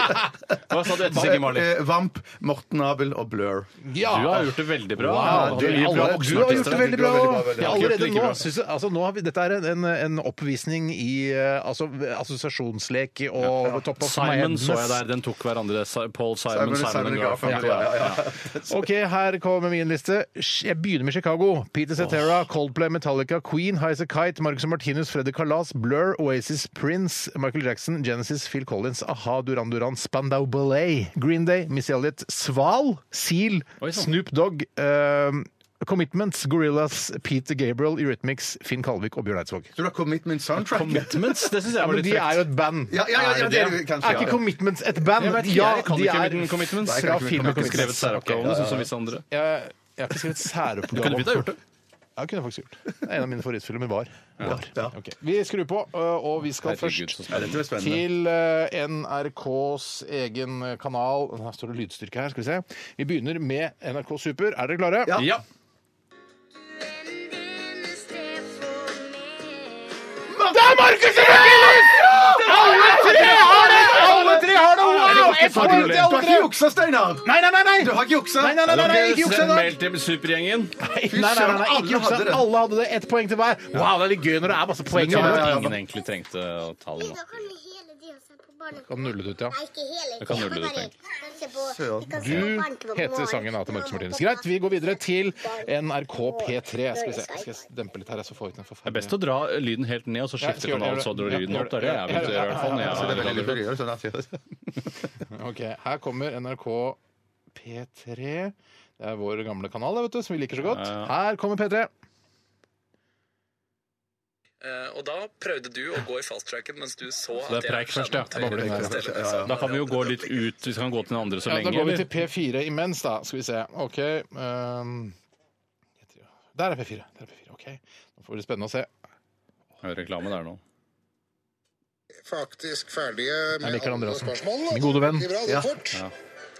E: Hva sa du etter Siggy Marley?
F: Eh, Vamp, Morten Abel og Blur.
E: Du har gjort det veldig bra.
D: Ja, du,
E: Hadde mye
D: alle,
E: bra
D: du har gjort
E: voksenartister.
D: det veldig bra.
F: Veldig bra, veldig bra.
D: Ja, allerede
E: Ikke
D: nå,
E: bra.
D: synes jeg, altså, nå har vi, Dette er en, en, en oppvisning i eh, altså, assosiasjonslek og topp av
E: Simon
D: Madness.
E: så jeg der. Den tok hverandre. Sa- Paul Simon, Simon, and Garfunkel.
F: ja, ja, ja.
D: Ok, her kommer min liste. Sh- Jeg begynner med Chicago. Peter Cetera, Coldplay, Metallica, Queen, Highas a Kite, Marcus og Martinus, Freddy Kalas, Blur, Oasis, Prince, Michael Jackson, Genesis, Phil Collins, A-ha, Duran Duran, Spandau Ballet, Green Day, Missy Elliott, Sval, Seal,
E: Oi, sånn. sann.
D: Snoop Dogg, ehm, Commitments, Gorillas, Peter Gabriel, Eurythmics, Finn Kalvik og Bjørn Eidsvåg.
F: Så du har Commitment Soundtrack?
E: Commitments, det syns
D: Ja,
E: jeg var
D: men
E: litt
D: de er
E: frekt.
D: jo et band.
F: Ja, ja, ja, ja, det er det kanskje,
D: Er
F: ja,
D: ikke
F: ja.
D: Commitments et band?
E: Jeg vet ikke,
D: Ja,
E: jeg kan
D: de
E: ikke
D: er
E: min Commitments.
F: Nei, jeg
D: fra
F: kan ikke min
D: filmen
E: Jeg har ikke skrevet særoppgavene, sånn som visse andre.
D: Jeg, jeg har ikke skrevet særoppgave.
E: Kunne vi da gjort det?
D: Ja, kunne jeg faktisk gjort. Det er En av mine favorittfilmer var. var.
F: Ja.
D: Ok. Vi skrur på, ø, og vi skal
E: Herregud, så
D: først
F: Ja, dette blir spennende.
D: til øh, ø, NRKs egen øh, kanal. Her står det lydstyrke her. skal Vi se. Vi begynner med NRK Super. Er dere klare?
F: Ja.
E: Ja.
D: Det er Markus Rønning! Alle tre har det! Alle tre har det! Wow! Ett
F: Har
D: poeng til
F: du, du har
D: alle
F: ikke
D: tre!
F: juksa, Steinar!
D: Nei, nei, nei! nei.
F: Du har ikke juksa?
D: Nei, nei, nei, nei, nei, ikke jukse i dag.
E: Meld til supergjengen.
D: Nei, nei, nei, nei,
F: Alle
D: ikke juksa.
F: hadde det.
D: Alle hadde det. Ett poeng til hver. Wow, det er litt gøy når det er masse poeng.
E: Ja,
D: i
E: men
D: det.
E: Ingen egentlig trengte å ta det nå.
H: Da kan hele de også på barnehagen.
D: Kan nulle det ut, ja.
H: Nei, ikke hele.
E: kan nulle det ut, tenk.
H: Du
D: Du heter sangen da til Marcus Martinus. Greit, vi går videre til NRK P3. Skal vi se, skal jeg dempe litt her, så får vi ikke den
E: Det er best
D: forferdelige
E: å dra lyden helt ned, og så skifte
D: Ja, jeg skal gjøre
E: kanalen,
D: det.
E: så drar du lyden
D: Ja,
E: opp. Det er det jeg begynte å gjøre, i hvert fall. når jeg
F: Så det er veldig
E: lager
F: lurt å
E: radio.
F: gjøre sånn at vi-
D: Ok, Her kommer NRK P3. Det er vår gamle kanal det, vet du, som vi liker så godt. Her kommer P3.
I: Eh, Og da prøvde du å gå i fasttracken mens du så
E: det er preik først, ja. Babling der. Da kan vi jo gå litt ut, hvis vi kan gå til den andre så
D: Ja, da
E: lenge.
D: går vi
E: eller?
D: til P4 imens, da. Skal vi se. OK. ehm, der er P4. Der er P4. OK. Nå får det spennende å se.
E: Det er Reklame der nå.
J: Faktisk ferdige med
D: Jeg liker den andre
J: alle
D: også.
J: spørsmålene.
D: Min gode venn.
J: Det gikk Bra, det
F: Ja.
J: er fort.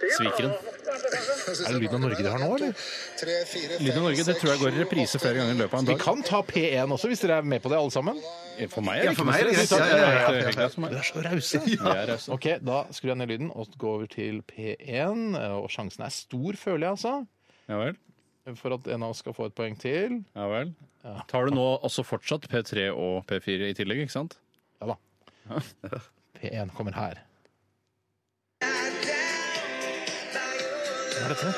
E: Svikeren.
J: Er
D: det lyden av Norge de har nå, eller?
J: Tre, fire,
E: Lyden av Norge det tror jeg går i reprise flere ganger i løpet av en
D: Vi
E: dag.
D: kan ta P1 også, hvis dere er med på det, alle sammen.
E: For meg er det
F: for
E: ikke
F: meg er
E: noe
F: det
E: stress.
F: greit. Ja, ja, ja, ja, ja.
E: Det er helt greit for meg.
D: er så rause.
E: Vi er rause.
D: OK, da skrur jeg ned lyden og går over til P1. eh, Og sjansen er stor, føler jeg, altså,
E: Ja vel.
D: for at en av oss skal få et poeng til.
E: Ja vel. Tar du nå også fortsatt P3 og P4 i tillegg, ikke sant?
D: Ja
F: (laughs)
D: da. P1 kommer her. Hva er dette?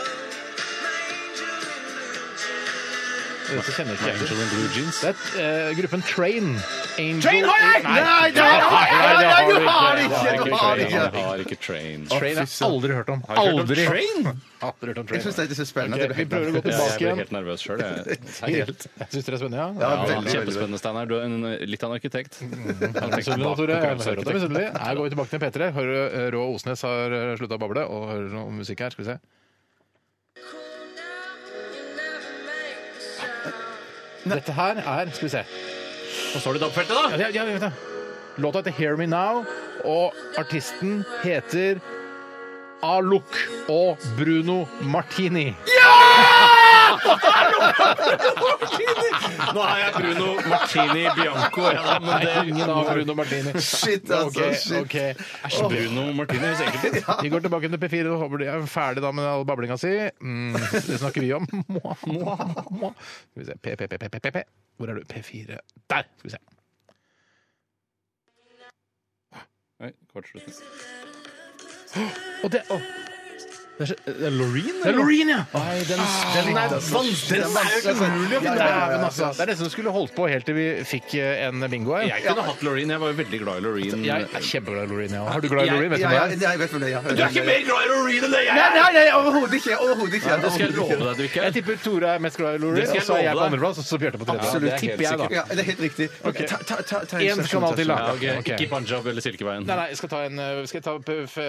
D: Dette kjenner ikke jeg.
E: Angel in blue jeans.
D: Det er eh, gruppen Train. Angel Nei,
F: Nei, det har jeg!
D: Nei, det har
F: Nei, du har
D: du
F: ikke!
D: ikke.
F: Du
E: Train,
F: har ikke!
E: jeg har ikke train.
D: Train har jeg aldri hørt om.
E: Har du hørt om
D: Aldri
E: Train?
D: Aldri hørt om
F: Jeg syns
D: Train.
F: dette er så spennende.
D: Ok, vi prøver å
E: Ja, jeg
D: gå tilbake
E: ble
D: igjen.
E: helt nervøs sjøl.
F: (laughs)
D: Jeg syns dere er spennende, ja?
E: Ja,
F: veldig, Mm. veldig.
E: Kjempespennende, Steinar. Du er en, litt av en arkitekt.
D: Misunnelig, da, Tore. Jeg hører at det er
E: Konkurransearkitekt.
D: misunnelig. Her går vi tilbake til P3. Hører eh, Rå Osnes har slutta å bable og hører noe musikk her. Skal vi se. Dette her er Skal vi se.
E: Og så har du dobbeltfeltet, da!
D: Ja, ja, ja, vent da. Låta heter Hear Me Now, og artisten heter Alok og Bruno Martini.
E: Nå er jeg Bruno Martini Bianco. Ja,
D: Nei, ingen av Bruno Martini.
F: Shit, altså.
D: Ok,
F: shit.
D: ok. Æsj,
E: men Bruno Martini høres enkelt (laughs) ut.
D: Vi går tilbake til P4 og håper de er ferdig da med all bablinga si. Mm, det snakker vi om. (laughs) Mwah, mwah, mwah. Skal vi se. P, P, P, P, P, P, P. Hvor er du? P4. Der! Skal vi se.
E: Oi, kortslutning.
D: Og det, å,
E: Det er- det er Loreen,
D: det er Loreen, ja! Ah,
E: Nei, den, den er vanskelig! Den er jo umulig å
D: Det
E: finne!
D: er nesten som skulle holdt på helt til vi fikk eh, en bingo her. Mm,
E: Jeg kunne hatt Loreen. Jeg var jo veldig glad i Loreen.
D: Jeg er kjempeglad i Loreen. Ja. Har du glad i Loreen? Vet du
F: Ja,
D: hva
F: ja,
D: det er?
F: jeg vet hvem det er.
E: Du er ikke mer glad i Loreen enn det jeg
F: Nei,
E: er!
F: nei, nei, overhodet ikke. Overhodet ikke.
E: Det skal jeg love deg at du ikke
D: Jeg
E: er.
D: tipper Tore er mest glad i Loreen,
E: Det skal
D: og
E: jeg
D: så er
E: love
D: jeg på
E: deg.
D: andreplass, og så Bjarte på tredje.
E: Absolutt.
D: Det er helt
E: tipper jeg, da.
D: sikkert.
F: Ja, det er helt riktig. Ok, ta, ta, ta, ta
D: En kanal til, da.
E: Ja, ok.
D: Ok.
E: Ikke Punjab eller Silkeveien.
D: Nei, nei, jeg skal ta en eh, Skal jeg ta P- F-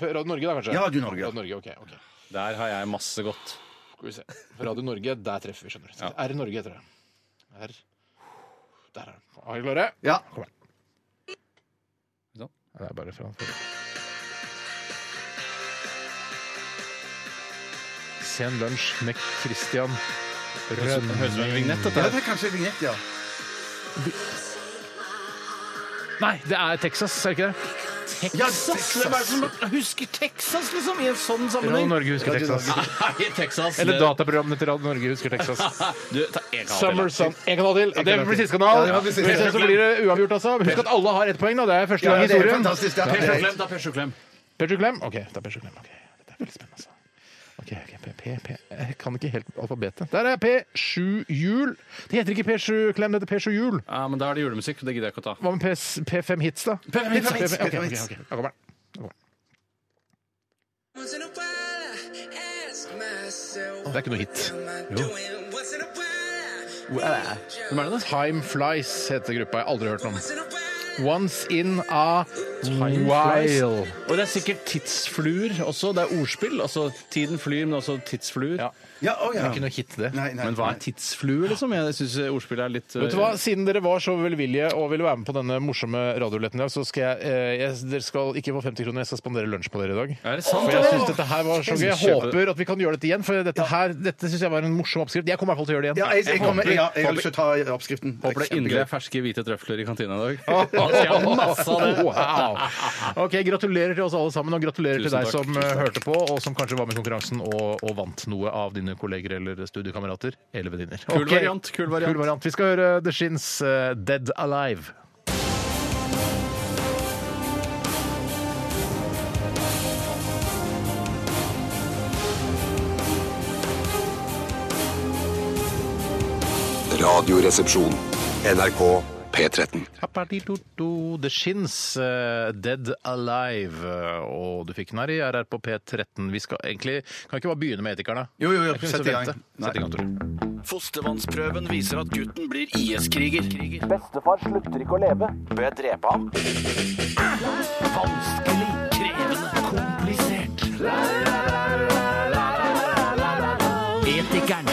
D: P- Radio Norge, da, kanskje?
F: Ja, Radio Norge.
D: Radio Norge, ok, ok.
E: Der har jeg masse godt.
D: Skal vi se. Radio Norge, der treffer vi, skjønner du.
E: Ja.
D: R Norge heter det. R. Der er den. Er dere klare?
F: Ja.
D: Ja, Det er bare framfor. Sen lunsj med Christian
E: Høres
D: Rønn.
E: ut som en vignett,
F: Ja,
E: dette.
F: det er kanskje en vignett, ja.
D: Nei, det er Texas, er det ikke det?
E: Texas! Hvem er det som husker Texas, liksom? I en sånn
D: Radio
E: sammenheng?
D: Norge husker Texas.
E: Nei, Texas.
D: Eller
E: det-
D: dataprogrammene til Radio Norge husker Texas. (laughs)
E: Du, ta en gang
D: Summer Sun. En kanal til. Det blir siste kanal.
F: Ja, det blir siste.
D: Hvis det så blir det uavgjort, altså. Husk at alle har ett poeng, da. Det er første
F: Ja,
D: gang i
F: det er
D: historien.
F: fantastisk. Ja,
E: til.
F: det er-
E: Klem, da, Persson Klem.
D: Petter Klem? OK, det er Petter Klem. Ok, Dette er veldig spennende, altså. Ok, ok, P, P, P. Jeg kan ikke helt alfabetet. Der er P7 Hjul. Det heter ikke P7 Klem, det heter P7 Hjul.
E: Ja, men da er det julemusikk. Det gidder jeg ikke å ta.
D: Hva med PS, P5 Hits, da?
E: P5 Hits,
D: P5 ok,
F: P5
D: ok,
F: Hits.
D: ok. Da kommer den. Da kommer den. Det er ikke noe
E: Hvem
D: hit.
E: er det, da?
D: Time Flies heter gruppa. Jeg har aldri hørt noe om. Once in a while.
E: Og det er sikkert tidsfluer også. Det er ordspill. Altså tiden flyr, men også tidsfluer.
D: Ja.
F: Ja, å, ja.
D: Det er ikke noe hit, det.
F: Nei, nei,
E: Men hva er
F: nei.
E: tidsfluer, liksom? Jeg syns ordspillet er litt
D: Vet du hva, Siden dere var så velvillige og ville være med på denne morsomme radioletten i dag, så skal jeg, eh, jeg Dere skal ikke få 50 kroner, jeg skal spandere lunsj på dere i dag.
E: eh, Er det sant?
D: For jeg synes dette her var så gøy. Jeg
E: Kjempe-
D: håper at vi kan gjøre dette igjen, for dette her, dette syns jeg var en morsom oppskrift. Jeg kommer i hvert fall til å gjøre det igjen.
F: Ja, jeg, jeg,
D: (laughs)
F: kommer, ja, jeg har lyst til å ta oppskriften.
E: Håper det
F: er
E: inderlig er ferske hvite trøfler i kantina i
D: Ah.
E: dag. Jeg har masse av det.
D: Wow. Ok, Gratulerer til oss alle sammen, og gratulerer
E: Tusen
D: til deg
E: takk.
D: som eh, hørte på, og som kanskje var med i konkurransen og, og vant noe av dine kolleger eller studiekamerater eller venninner.
E: Kul
D: Ok.
E: variant, kul variant.
D: Kul variant. Vi skal høre The Shins eh, Dead Alive.
A: Radioresepsjon. NRK P13.
D: Apatitoto, The Shins, eh, Dead Alive. eh, Og du fikk den her i RR på P13. Vi skal egentlig Kan vi ikke bare begynne med etikerne?
F: Jo, jo, jo.
D: Jeg kunne
F: Sett
D: så
F: i gang.
D: vente.
F: Nei.
D: Sett i gang, Tore.
E: Fostervannsprøven viser at gutten blir IS-kriger.
I: Bestefar slutter ikke å leve. Bør jeg drepe ham?
E: Vanskelig, krevende, komplisert. Etikeren.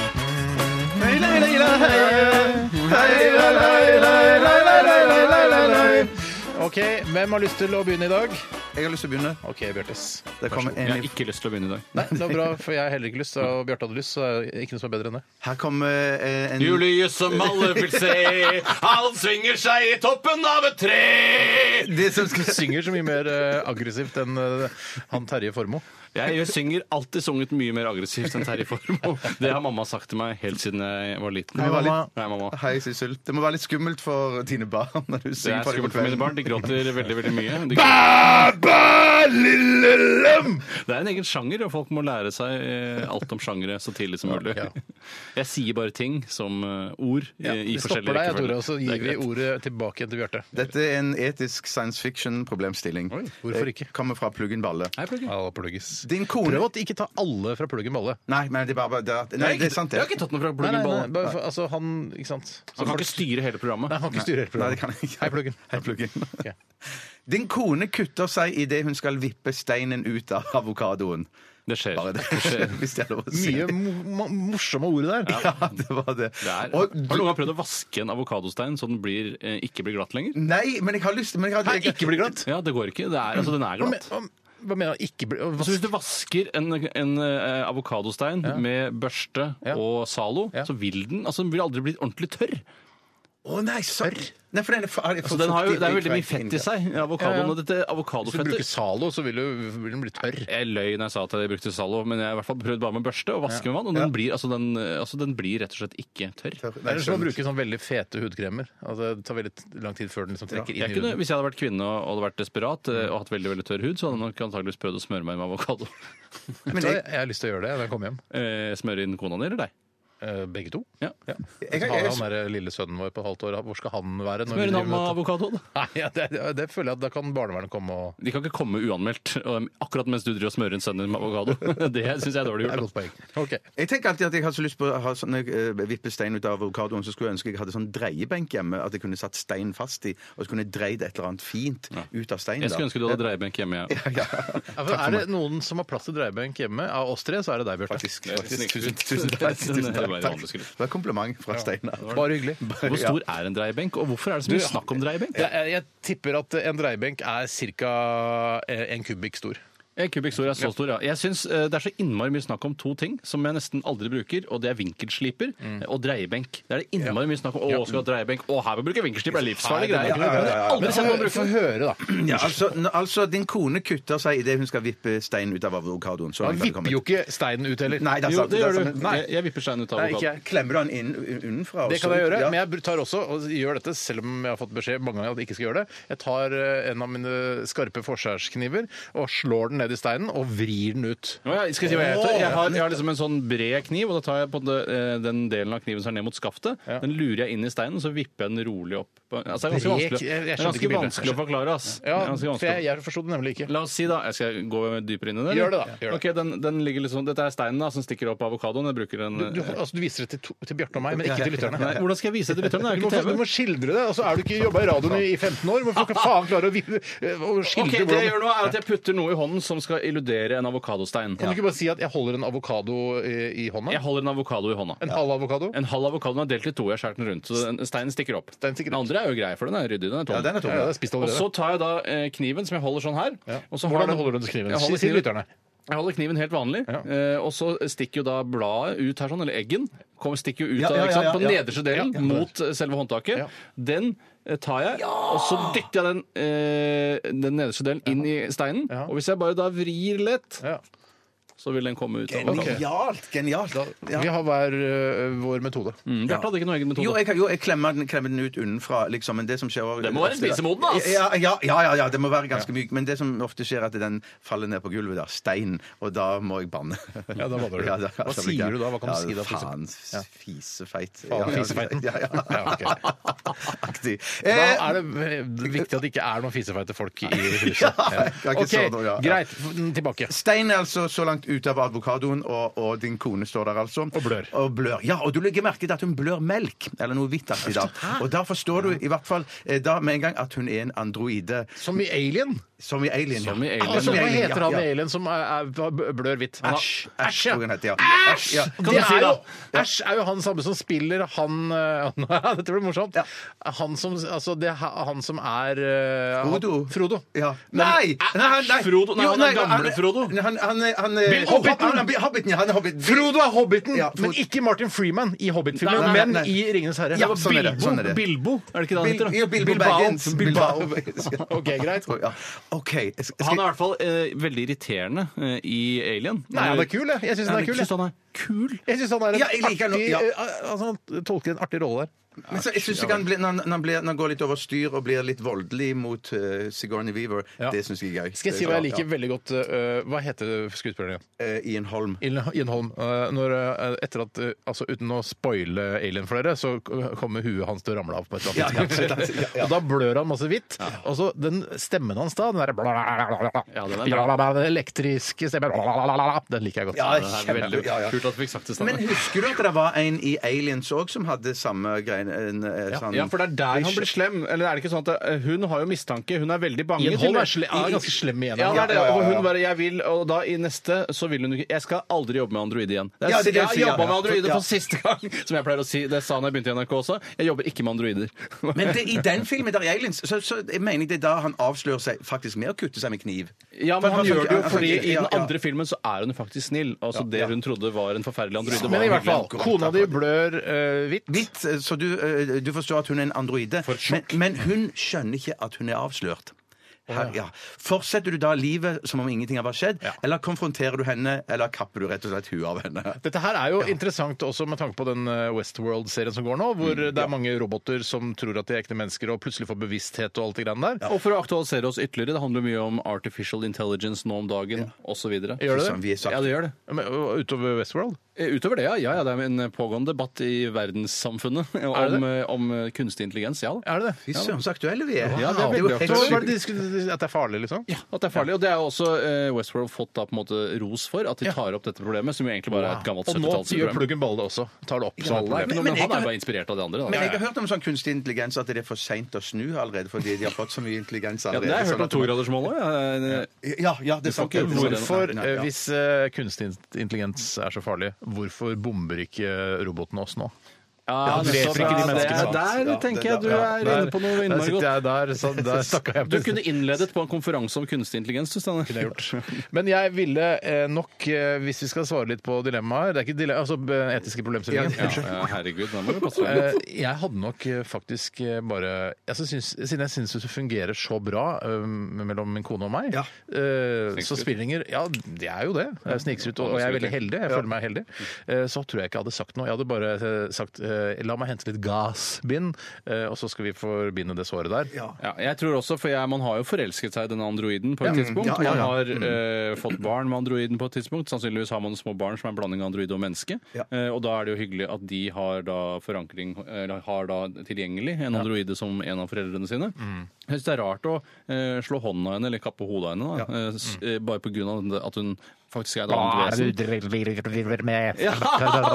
D: OK, hvem har lyst til å begynne i dag?
F: Jeg har lyst til å begynne.
D: OK, Bjørtes.
F: Det kommer
E: Jeg har
F: en,
E: ikke lyst til å begynne i dag.
D: Nei, det var bra, for jeg har heller ikke lyst, og Bjarte hadde lyst, så er det ikke noe som er bedre enn det.
F: her kommer eh, en
E: Julius som alle vil se, han svinger seg i toppen av et tre!
F: Det som skal
D: Synger så mye mer eh, aggressivt enn eh, han Terje Formoe.
E: Jeg, jeg synger alltid sunget mye mer aggressivt enn Terje Formoe. Det har mamma sagt til meg helt siden jeg var liten.
F: Hei, mamma.
E: Nei, mamma.
F: Hei, Sissel. Det må være litt skummelt for dine barn når du
E: Det
F: synger
E: er
F: for dem
E: skummelt
F: på
E: for mine
F: kvelden.
E: barn. De gråter
D: (laughs)
E: veldig veldig mye. De Det er en egen sjanger, og folk må lære seg eh, alt om sjangere så tidlig som mulig.
D: Ja.
E: (laughs) Jeg sier bare ting som eh, ord i, i
D: Vi
E: forskjellige
D: stopper deg, Tore, og så
E: Det er
D: gir vi
E: greit.
D: ordet tilbake igjen til Bjarte.
F: Dette er en etisk science fiction-problemstilling.
D: hvorfor ikke?
F: Det Kommer fra Pluggen Balle.
E: Hei, Pluggen.
D: Ja, plugges.
F: Din
D: Prøv
F: kone
D: å ikke ta alle fra pluggen balle.
F: Nei, men det er bare det, er-
E: Jeg
F: Nei,
E: har
F: det er
E: ikke-
F: sant,
E: Jeg
F: det.
E: har ikke tatt noe fra
D: Nei, nei,
E: Pluggen
D: nei,
E: Ballen.
D: bare for, altså han Ikke sant?
E: Han kan ikke styre hele programmet.
D: Nei, han kan ikke styre hele
F: Nei, det kan
D: programmet.
F: jeg ikke.
D: Hei, pluggen.
F: Hei, Pluggen.
E: (laughs)
D: Ok.
F: Din kone kutter seg idet hun skal vippe steinen ut av avokadoen.
E: Det skjer.
F: Bare det. (laughs) Hvis det er lov å si.
D: Mye mo- mo- morsomme ord der.
F: Ja, det var det.
E: Det er, har
F: Og
E: du noen gang prøvd å vaske en avokadostein så den blir, eh, ikke blir glatt lenger?
F: Nei, men jeg har lyst men jeg har, jeg,
D: Ikke bli glatt.
E: Ja, det går ikke. Det er, altså, den er
D: Hva
E: glatt.
D: men- hva mener du? Ikke bli å,
E: Så Altså, hvis
D: vask-
E: du vasker en, en eh, avokadostein med børste
D: Ja.
E: og Zalo,
D: Ja.
E: så vil den altså den vil aldri bli ordentlig tørr.
F: Å nei, sorry. Nei, for den er, for,
E: Altså, den har jo, det er jo veldig mye fett i seg. Avokadoen og dette
D: Hvis du bruker
E: avokadofettet.
D: Zalo, så vil, du, vil den bli tørr.
E: Jeg løy når jeg sa at jeg brukte Zalo, men jeg har i hvert fall prøvd bare med børste og vaske med vann. Og den blir, altså, den, eh, altså, den blir rett og slett ikke tørr.
D: Eller så må man bruke sånn veldig fete hudkremer. Altså, det tar veldig t- lang tid før den liksom trekker
E: Jeg
D: inn i
E: kunne,
D: huden. Mm.
E: hvis jeg hadde vært kvinne og, og hadde vært desperat eh, og hatt veldig veldig tørr hud, så hadde jeg nok antakeligvis prøvd å smøre meg med avokado. (laughs)
D: Så jeg, jeg har lyst til å gjøre det når jeg kommer hjem.
E: Eh, smøre inn kona di eller deg?
D: Eh, Begge to.
E: Ja.
D: Ja.
F: Jeg- jeg-
D: Så har han der eh, lille sønnen vår på et halvt år. Hvor skal han være? når vi
E: Smøre inn med
D: driver med dette?
E: avokado. da.
D: (laughs) Nei, ja, det, det- det føler jeg at da kan barnevernet komme og
E: De kan ikke komme uanmeldt og, akkurat mens du driver og smører inn sønnen din med avokado. (laughs) Det syns jeg er dårlig
D: Det er et
E: gjort.
D: godt poeng. Ok.
F: Jeg tenker alltid at jeg har så lyst på å ha sånn, når jeg, eh, vipper stein ut av avokadoen, så skulle jeg ønske jeg hadde sånn dreiebenk hjemme, at jeg kunne satt stein fast i, og så kunne jeg dreid et eller annet fint ut av steinen.
E: Jeg skulle ønske du hadde dreiebenk hjemme. Ja. (laughs)
F: (laughs)
D: Ja, for er det noen som har plass til dreiebenk hjemme av oss tre, så er det deg, Bjarte.
F: Faktisk,
E: Det er
F: faktisk.
E: snikskryt.
F: Tusen, tusen
E: Det er
F: takk.
E: en-
F: Tusen
E: det var
F: takk.
E: en
F: takk.
E: vanlig skryt.
F: Det var kompliment fra Steinar.
D: Bare hyggelig.
E: Hvor stor er en dreiebenk, og hvorfor er det så mye snakk om dreiebenk?
D: Jeg, jeg, jeg tipper at en dreiebenk er ca. en kubikk stor.
E: En kubikk Eh, stor er så stor, ja. Jeg synes eh, Det er så innmari mye snakk om to ting som jeg nesten aldri bruker, og det er vinkelsliper
D: Mm.
E: og dreiebenk. Det er det innmari mye snakk om. Å, skal du ha dreiebenk? Å, her må vi bruke vinkelsliper! Det er livsfarlige
D: Nei, det
E: greier.
D: er
E: Det har jeg aldri sett noen bruke. sånn-
D: Få høre, da.
F: Ja, altså, n- altså, din kone kutter seg idet hun skal vippe stein ut av avokadoen. Så
D: Han
F: langt har det
D: vipper jo
F: kommet.
D: ikke steinen ut heller.
F: Nei, det er
E: Jo,
F: sant.
E: det gjør
F: er
E: du.
F: sant. Nei.
E: Jeg, jeg vipper steinen ut av
D: Nei, ikke
E: avokado.
D: jeg.
F: Klemmer du den inn unnenfra?
D: Det
F: også?
D: kan jeg gjøre,
F: Ja.
D: men jeg tar også, og gjør dette selv om jeg har fått beskjed mange ganger at jeg ikke skal gjøre det. Jeg tar eh, en av mine skarpe forskjærskniver og slår den ned i steinen og vrir den ut.
E: Å ja, skal jeg si hva jeg heter? Jeg har, jeg har liksom en sånn bred kniv, og da tar jeg på det, eh, den delen av kniven som er ned mot skaftet.
D: Ja.
E: Den lurer jeg inn i steinen, så vipper jeg den rolig opp. Altså, det er ganske
D: Bred-
E: vanskelig,
D: jeg- jeg
E: det er
D: skjønte ikke
E: ganske
D: bildet.
E: vanskelig å forklare, ass. Det
D: Ja,
E: er ganske
D: for
E: vanskelig.
D: jeg, jeg forsto det nemlig ikke.
E: La oss si da, Jeg skal gå dypere inn i det. eller?
D: Gjør det da, gjør det.
E: Ok, den, den ligger litt sånn, Dette er steinen da, som stikker opp av avokadoen. Jeg bruker den...
D: Du, du, altså, du viser det til, to- til Bjarte og meg, men ikke til lytterne.
E: Nei, hvordan skal jeg vise det til lytterne? Det er
D: Du må,
E: jo
D: få- du
E: ikke TV.
D: må skildre det. Altså, er du ikke jobba i radioen i 15 år,
E: (laughs)
D: må du faen klare å, vi- å skildre
E: Ok, Det jeg
D: hvordan
E: gjør nå er at jeg putter noe i hånden som skal illudere en avokadostein.
D: Kan du ikke bare si at jeg holder en avokado i, i hånda?
E: Jeg holder en avokado i hånda.
D: En halv avokado?
E: En halv avokado er delt i to. Jeg skjærer den rundt. så den- Steinen stikker opp.
D: Steinen stikker
E: Den
D: opp.
E: andre er jo grei, for den er ryddig. Den er tom.
F: Ja, den er tom.
D: Ja, det er spist
E: og
D: allerede.
E: så tar jeg da eh, kniven som jeg holder sånn her.
D: Ja.
E: og så har
D: Hvordan
E: den-
D: holder du den kniven?
E: Jeg holder
D: Si- si til lytterne.
E: Jeg holder kniven helt vanlig,
D: Ja.
E: eh, og så stikker jo da bladet ut her sånn, eller eggen, kommer, stikker jo ut
F: Ja,
E: av,
F: ja,
E: ikke sant,
F: ja,
E: på
F: ja, ja.
E: nederste delen,
D: Ja.
E: mot eh, selve håndtaket.
D: Ja.
E: Den eh, tar jeg, og så dytter jeg den, eh, den nederste delen inn i steinen,
D: Ja.
E: og hvis jeg bare da vrir lett,
D: Ja.
E: så vil den komme ut av bladet.
F: Genialt! Genialt. Ja.
D: Vi har hver ø, vår metode.
E: Mm, Bjarte hadde ikke noen egen metode.
F: Jo, jeg, har- jo, jeg klemmer, den, klemmer den ut unnenfra, liksom. Men det som skjer
E: Det må være spisemoden, ass!
F: Ja, ja, ja, ja, ja, det må være ganske myk. Men det som ofte skjer, er at den faller ned på gulvet, da. Stein. Og da må jeg banne.
D: (laughs) Ja, da banner du.
F: da-
D: Hva
F: da blir
D: sier
F: jeg-
D: du da? Hva kan du
F: ja,
D: si da, for
F: Faen,
D: eksempel? Ja.
F: fisefeit.
D: Faen, fisefeiten.
F: Ja, ja.
D: Ja, ok.
F: (laughs) Aktig.
D: Da
F: Eh,
D: er det ø, viktig at det ikke er noen fisefeite folk i huset.
F: jeg har ikke
D: Ok,
F: sånn noe, Eh, (laughs) ja.
D: Greit, f- tilbake.
F: Stein er altså så langt ute av avokadoen, og, og din kone står der altså.
D: Og blør.
F: Og blør. Ja, og du legger merke til at hun blør melk, eller noe hvitt-aktig da. Og da forstår du i hvert fall eh, da med en gang at hun er en androide,
D: Som i Alien.
F: som i Alien.
E: Som i Alien.
F: Ja,
D: Altså,
F: som i
D: hva
F: Alien,
D: heter han
F: ja,
D: i
F: ja.
D: Alien som er, er blør hvitt?
F: Æsj. Æsj, tror jeg han heter, ja. Æsj!
D: Æsj!
F: Ja.
D: Det er jo, Æsj er jo han samme som spiller han eh, (laughs) Dette blir morsomt. Han som, altså, det er han som er eh,
F: Frodo.
D: Frodo.
F: Ja. Nei! Nei, nei.
E: Ah, Frodo. Nei,
F: Jo,
E: han er gamle Frodo.
F: Han, han, han, er- han, er-
D: Bill Hobbiten.
F: Han, er Bill Hobbiten, ja, han er Hobbiten.
D: Frodo er hobbiten,
F: Ja, Fro-
D: men ikke Martin Freeman i Hobbit-filmen,
E: Nei, nei,
F: nei.
D: men i Ringenes herre.
F: Ja,
D: Det var
F: sånn er det,
D: Bilbo.
F: sånn er det.
E: Bilbo, er det ikke det han
F: Bil-
E: heter? da?
F: ja, Bilbo
D: Bilbao.
F: Baggins.
D: Bilbao.
F: Bilbao.
E: (laughs)
D: OK, greit.
F: Ja. OK. jeg skal-
E: Han er i hvert fall eh, veldig irriterende eh, i Alien.
D: Nei, han er kul, jeg. Jeg syns han er kul.
E: Jeg
D: Jeg,
E: synes han er kul.
D: jeg syns han er en
F: Ja, jeg liker han
D: artig
F: også, ja.
D: eh, altså, Han tolker en artig rolle der.
F: Men så, jeg synes ikke han, blir, når, han, når, han blir, når han går litt over styr og blir litt voldelig mot eh, Sigourney Weaver,
D: Ja.
F: det syns jeg er gøy.
D: Skal jeg si hva jeg liker veldig godt eh, Hva heter skuespilleren igjen?
F: Ja. Eh, Ian Holm.
D: Ian- Ian Holm. eh, Når, eh, etter at, eh, altså, uten å spoile Alien for dere, så kommer huet hans til å ramle av på et eller
F: (laughs)
D: annet tidspunkt. (laughs) Og da blør han masse hvitt. Og så den stemmen hans da, den derre
E: Ja, den er
D: den elektriske stemmen Den liker jeg godt.
F: Ja,
E: Det er veldig
F: kjempe- ja, ja.
E: kult at vi fikk sagt det
F: Men
E: sammen.
F: husker du at det var en i Aliens òg som hadde samme greiene? en, eh, sånn-
E: Ja, for det er der han blir slem. Eller er det ikke sånn at eh, hun har jo mistanke, hun er veldig bange.
D: Ian Holm
E: til-
D: er sle- er ganske slem igjen.
E: Ja, det er det.
F: Ja, ja, ja, ja.
E: Og hun bare 'jeg vil', og da i neste så vil hun ikke 'Jeg skal aldri jobbe med androide igjen'. Det er,
F: Ja, det er det
E: jeg
F: hun
E: har
F: sier,
E: jobba
F: ja.
E: med androide
F: Ja.
E: for siste gang, (laughs) som jeg pleier å si. Det sa han da jeg begynte i NRK også. Jeg jobber ikke med androider. (laughs)
F: Men det, i den filmen der i Aliens, så, så jeg mener jeg det er da han avslører seg faktisk med å kutte seg med kniv.
E: Ja, men han gjør det jo fordi i
F: Ja,
E: den
F: ja.
E: andre filmen så er hun jo faktisk snill. Altså det hun trodde var en forferdelig androide.
D: Men
E: var
D: i hvert
E: hyggelig.
D: fall, kona di blør eh, hvitt.
F: Hvitt, eh, så du, eh, du forstår at hun er en androide. Men, men hun skjønner ikke at hun er avslørt. Her, ja. Fortsetter du da livet som om ingenting har skjedd, eller konfronterer du henne, eller kapper du rett og slett huet av henne?
D: Dette her er jo interessant også med tanke på den eh, Westworld-serien som går nå,
E: Mm.
D: hvor det er mange roboter som tror at de er ekte mennesker og plutselig får bevissthet og alt det greiene der.
E: Og for å aktualisere oss ytterligere, det handler mye om artificial intelligence nå om dagen, og osv.
D: Gjør det
F: Som vi er sagt.
E: Ja, det gjør det.
D: Men, ø, Utover Westworld?
E: Eh, Utover det, ja. ja, ja det er en pågående debatt i verdenssamfunnet
D: det
E: om, eh, om eh, kunstig intelligens. Ja, da.
D: Er det det?
F: Fy søren, så aktuelle vi er.
E: Ja, det er
F: jo
E: veldig
F: helt
E: aktuelt.
F: sykt.
D: At det er farlig, liksom?
E: Ja, at det er farlig. Og det er jo også eh, Westworld fått da på en måte ros for, at de tar opp dette problemet, som jo egentlig bare er et gammelt
D: Og nå gjør
E: 70-tallsproblem.
D: pluggen Balle også. Tar det opp som
E: Nei,
D: et problem.
E: Men, men
F: Men- men jeg
E: han
F: kan-
E: er bare inspirert av de andre. Da.
F: Men jeg har hørt om sånn kunstig intelligens at det er for seint å snu allerede, fordi de har fått så mye intelligens
E: ja,
F: allerede.
E: det har jeg
F: sånn
E: hørt om
F: at man-
E: togradersmålet. Ja.
F: Ja, ja, det er sant.
E: ikke gjort
F: Hvorfor-
D: Hvorfor,
F: Nei,
D: ø,
F: ja.
D: Hvis ø, kunstig intelligens er så farlig, hvorfor bomber ikke robotene oss nå?
E: Ja,
D: det
E: nettopp,
D: dreper ikke de
E: ja, det
D: menneskene,
E: er- Der
F: sant?
E: tenker
F: Ja,
E: jeg
F: det-
E: du
F: ja.
E: er inne på noe
D: der
E: innmari
D: sitter
E: godt.
D: jeg der,
E: (laughs)
D: så der stakk jeg
E: Du kunne innledet på en konferanse om kunstig intelligens, du, Steinar.
D: (laughs) Men jeg ville eh, nok, eh, hvis vi skal svare litt på dilemmaer Det er ikke dilemma, altså eh, etiske problemstillinger.
E: Ja, ja, herregud, da må du passe deg.
D: Eh, jeg hadde nok eh, faktisk eh, bare altså, syns, Siden jeg syns det fungerer så bra eh, mellom min kone og meg,
F: Ja.
D: eh, så
E: Sniksrutt.
D: spillinger Ja, det er jo det. Jeg er Sniksrutt, og, og jeg er veldig heldig. Jeg føler meg heldig. Eh, så tror jeg ikke jeg hadde sagt noe. Jeg hadde bare eh, sagt eh, la meg hente litt gassbind, eh, og så skal vi forbinde det såret der.
E: Ja, jeg tror også, for jeg, Man har jo forelsket seg i denne androiden på et tidspunkt.
F: Ja, Mm. ja, ja.
E: Man har eh, fått barn med androiden på et tidspunkt. Sannsynligvis har man små barn som er en blanding av android og menneske.
F: Ja.
E: Eh, og da er det jo hyggelig at de har da forankring, eller har da tilgjengelig en androide som en av foreldrene sine.
F: Mm.
E: Jeg syns det er rart å eh, slå hånda av henne, eller kappe hodet av henne, da, eh, s-
F: Mm.
E: eh, bare på grunn av at hun faktisk er et annet vesen.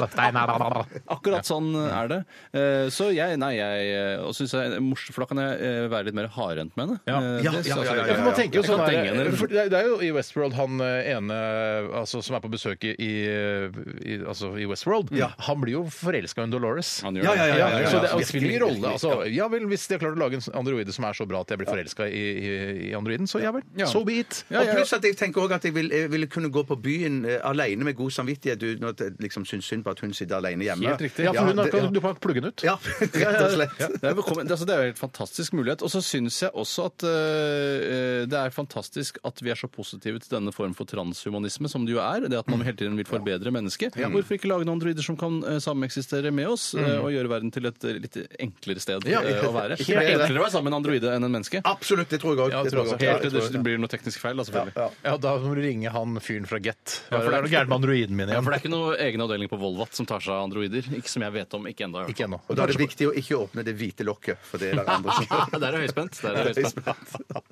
E: Akkurat sånn er det. Eh, Så jeg, nei, jeg eh, Og synes jeg er morsomt, for da kan jeg eh, være litt mer hardhendt med henne.
D: Ja.
E: Eh,
F: Ja,
E: det
F: ja,
E: synes jeg er
F: ja, ja,
E: gøy.
F: ja.
D: Ja, for man tenker jo
E: Jeg kan
D: sånn
E: tenge henne,
D: der,
E: eller-
D: for det, er- det er jo i Westworld han eh, ene altså, som er på besøk i, i, altså, i Westworld, han blir jo forelska i Dolores.
E: Han gjør
F: Ja,
E: det.
F: ja, ja, ja, ja, ja.
D: Så det, det
F: Virkelig,
D: spiller ingen rolle.
F: virkelig,
D: Altså, ja vel, hvis de har klart å lage en androide som er så bra at jeg blir forelska i, i, i androiden, så ja vel.
E: Ja.
D: So be it.
E: Ja, ja,
F: Og pluss at jeg tenker også at jeg vil- jeg ville kunne gå på byen eh, alene med god samvittighet uten at jeg liksom syns synd på at hun sitter alene hjemme.
E: Helt riktig.
D: Ja, for hun har,
F: det-
D: kan, du kan plugge den ut.
F: Ja, (laughs) rett og slett.
E: Det er, velkommen- det er- altså, det er jo en helt fantastisk mulighet. Og så syns jeg også at eh, eh, det er fantastisk at vi er så positive til denne form for transhumanisme som det jo er. Det at man hele tiden vil forbedre mennesket. Hvorfor ikke lage noen androider som kan eh, sameksistere med oss, eh, og gjøre verden til et eh, litt enklere sted eh, å være? Det er enklere å være sammen med en androide enn en enn mennesket.
F: Absolutt, det tror jeg òg.
D: Ja,
F: det
D: tror
F: tror
D: jeg
F: jeg
E: Helt
F: også.
E: til det blir noe teknisk feil, da, selvfølgelig.
F: Ja, ja.
D: Ja, da må du ringe han fyren fra Get.
E: Ja, for
D: det er noe gærent med androiden min
E: Ja,
D: igjen.
E: for det er ikke noe egen avdeling på Volvat som tar seg av androider. Ikke som jeg vet om. Ikke ennå. i hvert
D: Ikke
E: fall.
D: ennå.
F: Og da er det viktig å ikke åpne det hvite lokket, for det er det
E: (laughs)
F: andre som
E: Der er jeg høyspent. Der er jeg høyspent.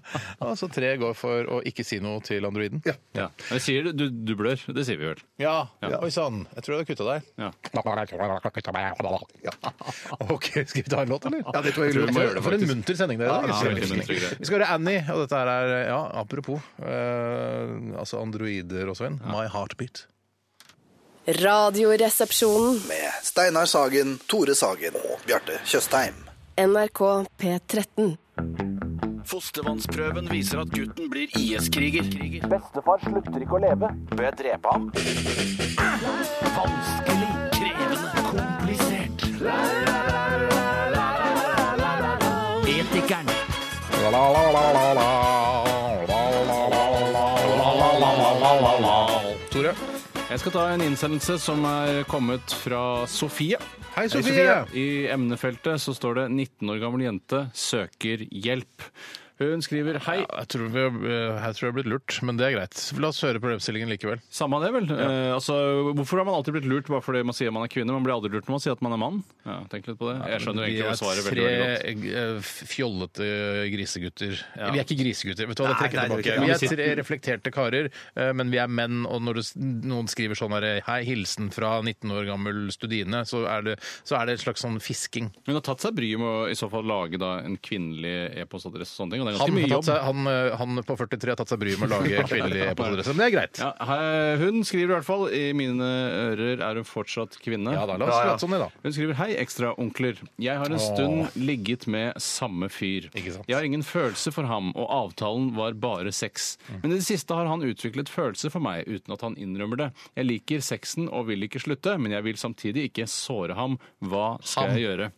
D: Altså, tre går for å ikke si noe til androiden.
F: Ja.
E: Ja. Jeg sier du, du blør. Det sier vi vel.
D: Ja, oi sann. Jeg tror jeg har kutta deg. (laughs)
E: Ja.
D: Ja. (laughs) OK, skal vi ta en låt, eller?
F: Ja, det tror jeg
E: Tror vi må
F: lurer
E: gjøre
F: på.
E: det,
D: For en
E: faktisk.
D: munter sending det er. i
E: Ja,
D: dag.
E: det er veldig munter, det.
D: vi skal høre Annie, og dette her er ja, apropos eh, altså androider og Sven. My Heartbeat.
G: Radioresepsjonen.
C: Med Steinar Sagen, Tore Sagen og Bjarte Tjøstheim.
G: NRK P13.
I: Fostervannsprøven viser at gutten blir IS-kriger. Bestefar slutter ikke å leve. Bør jeg drepe ham? Vanskelig, krevende, komplisert. Etikeren.
D: Tore.
E: Jeg skal ta en innsendelse som er kommet fra Sofie.
D: Hei, Sofie.
E: I emnefeltet så står det 19 år gammel jente søker hjelp. Hun skriver hei.
D: Ja, jeg, tror vi, eh, her tror jeg har blitt lurt, men det er greit. La oss høre problemstillingen likevel.
E: Samme det, vel. Eh, altså, hvorfor har man alltid blitt lurt bare fordi man sier man er kvinne? Man blir aldri lurt når man sier at man er mann. Ja, tenk litt på det. Jeg skjønner jo
D: Vi
E: egentlig
D: er
E: hva svaret er
D: tre
E: veldig, veldig godt.
D: eh, fjollete grisegutter. Vi er ikke grisegutter, vet du hva, det
F: Nei,
D: trekker jeg
F: nei, det er
D: tilbake.
F: ikke-
D: Vi er tre reflekterte karer, eh, men vi er menn, og når du, s- noen skriver sånn her, hei, hilsen fra 19 år gammel studine, så er det, så er det et slags sånn fisking.
E: Hun har tatt seg bryet med å i så fall lage da, en kvinnelig e-postadresse og sånne ting. Og det er
D: Han,
E: ganske
D: har
E: mye
D: tatt
E: jobb.
D: seg, han, eh, han på 43 har tatt seg bryet med
E: (laughs)
D: å lage kvinnelig e-postadresse, men det er greit.
E: Ja, he- hun skriver i hvert fall i mine ører er hun fortsatt kvinne.
D: Ja da, la oss sånn
F: Ja, ja.
D: late som det da.
E: Hun skriver Hei, ekstraonkler. Jeg har en stund ligget med samme fyr.
D: Ikke sant.
E: Jeg har ingen følelse for ham, og avtalen var bare sex.
D: Mm.
E: Men i det siste har han utviklet følelse for meg, uten at han innrømmer det. Jeg liker sexen og vil ikke slutte, men jeg vil samtidig ikke såre ham. Hva skal jeg gjøre?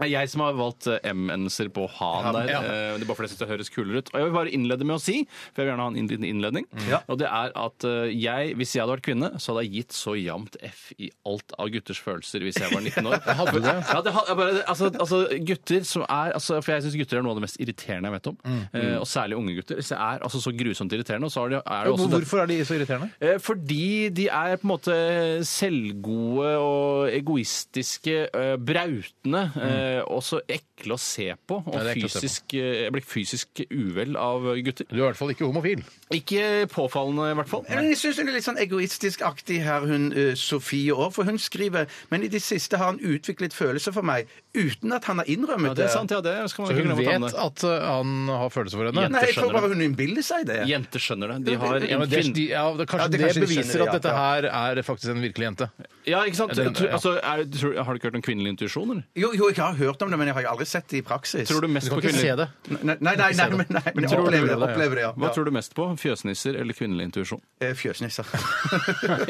E: Det er jeg som har valgt eh, M-endelser på han der.
D: ja.
E: Eh, Det er bare fordi jeg synes det høres kulere ut. Og jeg vil bare innlede med å si, for jeg vil gjerne ha en liten innledning,
D: Mm.
E: og det er at eh, jeg, hvis jeg hadde vært kvinne, så hadde jeg gitt så jevnt F i alt av gutters følelser hvis jeg var 19
D: (laughs)
E: år.
D: Hadde du det?
E: Ja, det har, jeg bare, altså, altså, gutter som er altså, For jeg syns gutter er noe av det mest irriterende jeg vet om.
D: Mm.
E: Eh, og særlig unge gutter. Så er altså så grusomt irriterende. Og så er det, er det også det-
D: Hvorfor er de så irriterende?
E: Eh, Fordi de er på en måte selvgode og egoistiske, eh, brautende, eh, og så ekle å se på. Og
D: Mm. Ja, det er ekle å se på.
E: fysisk, eh, jeg blir fysisk uvel av gutter.
D: Du er i hvert fall ikke homofil.
E: Ikke påfallende, i hvert fall.
F: Men jeg syns hun er litt sånn egoistisk-aktig her, hun eh, Sofie òg, for hun skriver Men i det siste har han utviklet følelser for meg uten at han har innrømmet
E: Ja, det er sant, ja, det skal man
D: Så
E: ikke
D: hun
E: glemme å ta med.
D: vet at eh, han har følelser for henne.
E: Jenter
F: Nei, jeg tror
E: skjønner
F: bare hun innbiller seg det.
E: Jenter skjønner det. De har
D: Ja,
E: en
D: men det,
E: kvinn-
D: de, ja, det, kanskje
F: Ja, det
D: det,
F: kanskje de
D: beviser
F: skjønner,
D: at
F: ja,
D: dette her er faktisk en virkelig jente.
E: Ja, ikke sant?
D: Ja, det-
E: Tror-
D: ja.
E: altså, er, tror, har du ikke hørt om kvinnelig intuisjon, eller?
F: Jo, jo, jeg har hørt om det, men jeg har aldri sett det i praksis.
E: Tror du mest
D: Du kan
E: på
D: ikke se
E: kvinnelig
D: det.
F: Nei, nei, nei, nei, men, nei, men jeg
D: Tror du
F: opplever det.
D: det, ja.
F: opplever det, ja.
E: Hva tror du mest på? Fjøsnisser eller kvinnelig
D: (laughs)
E: intuisjon?
F: Eh, Fjøsnisser.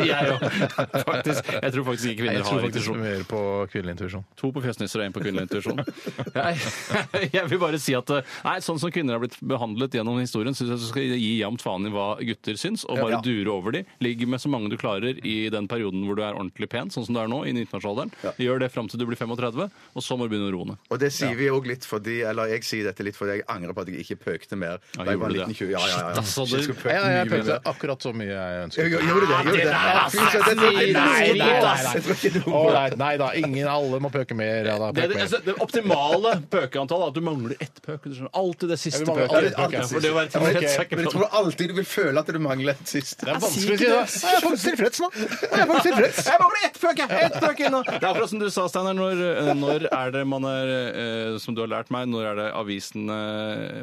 E: Jeg (laughs) òg. Faktisk. Jeg tror faktisk ikke kvinner
D: Nei, Jeg tror
E: har
D: faktisk
E: intuisjon.
D: mer på kvinnelig intuisjon.
E: To på fjøsnisser og én på kvinnelig (laughs) intuisjon. Jeg, jeg vil bare si at eh, nei, sånn som kvinner har blitt behandlet gjennom historien, syns jeg du skal gi jevnt faen i hva gutter syns, og bare
F: Ja.
E: dure over de. Ligg med så mange du klarer i den perioden hvor du er ordentlig pen, sånn som du er nå, i 19-årsalderen. Gjør det fram til du blir 35, og så må du begynne å roe ned.
F: Og det sier vi òg litt fordi Eller jeg sier dette litt fordi jeg angrer på at jeg ikke pøkte mer.
E: Ja,
F: da jeg
E: gjorde
F: var
E: du
F: en liten
E: det?
F: tjue. Ja, ja, ja.
E: Shit, altså,
F: Shit,
E: du-
F: skulle pøkt
D: Jeg, jeg
F: mye
D: pøkte
F: mer.
D: akkurat så mye jeg
F: Jo,
D: ønsket.
F: jo, Gjorde du det? Gjorde du det? Ja, fy søren, det tror
E: Nei,
F: jeg-
E: nei, nei.
F: Jeg tror ikke du-
D: Ålreit, nei da. Ingen alle må pøke mer. Ja, da,
E: Det,
D: pøk
E: det,
D: mer.
E: altså, det optimale (laughs) pøkeantallet er at du mangler ett pøk. Du skjønner alltid det siste
D: Ja, vi mangler
E: pøket.
D: alltid pøk, ja.
E: Ja, for det å være
F: Ok,
E: tilfreds er ikke
F: Men jeg
E: bra.
F: tror alltid du vil føle at du mangler et siste.
D: Det er vanskelig å si det. Nei, Jeg er faktisk tilfreds nå. Nei, Jeg er faktisk tilfreds.
E: Jeg mangler ett pøk! jeg! Ett pøk ennå! Det er akkurat som du sa, Steinar. Når, eh, når er det man er, eh, som du har lært meg, når er det avisene,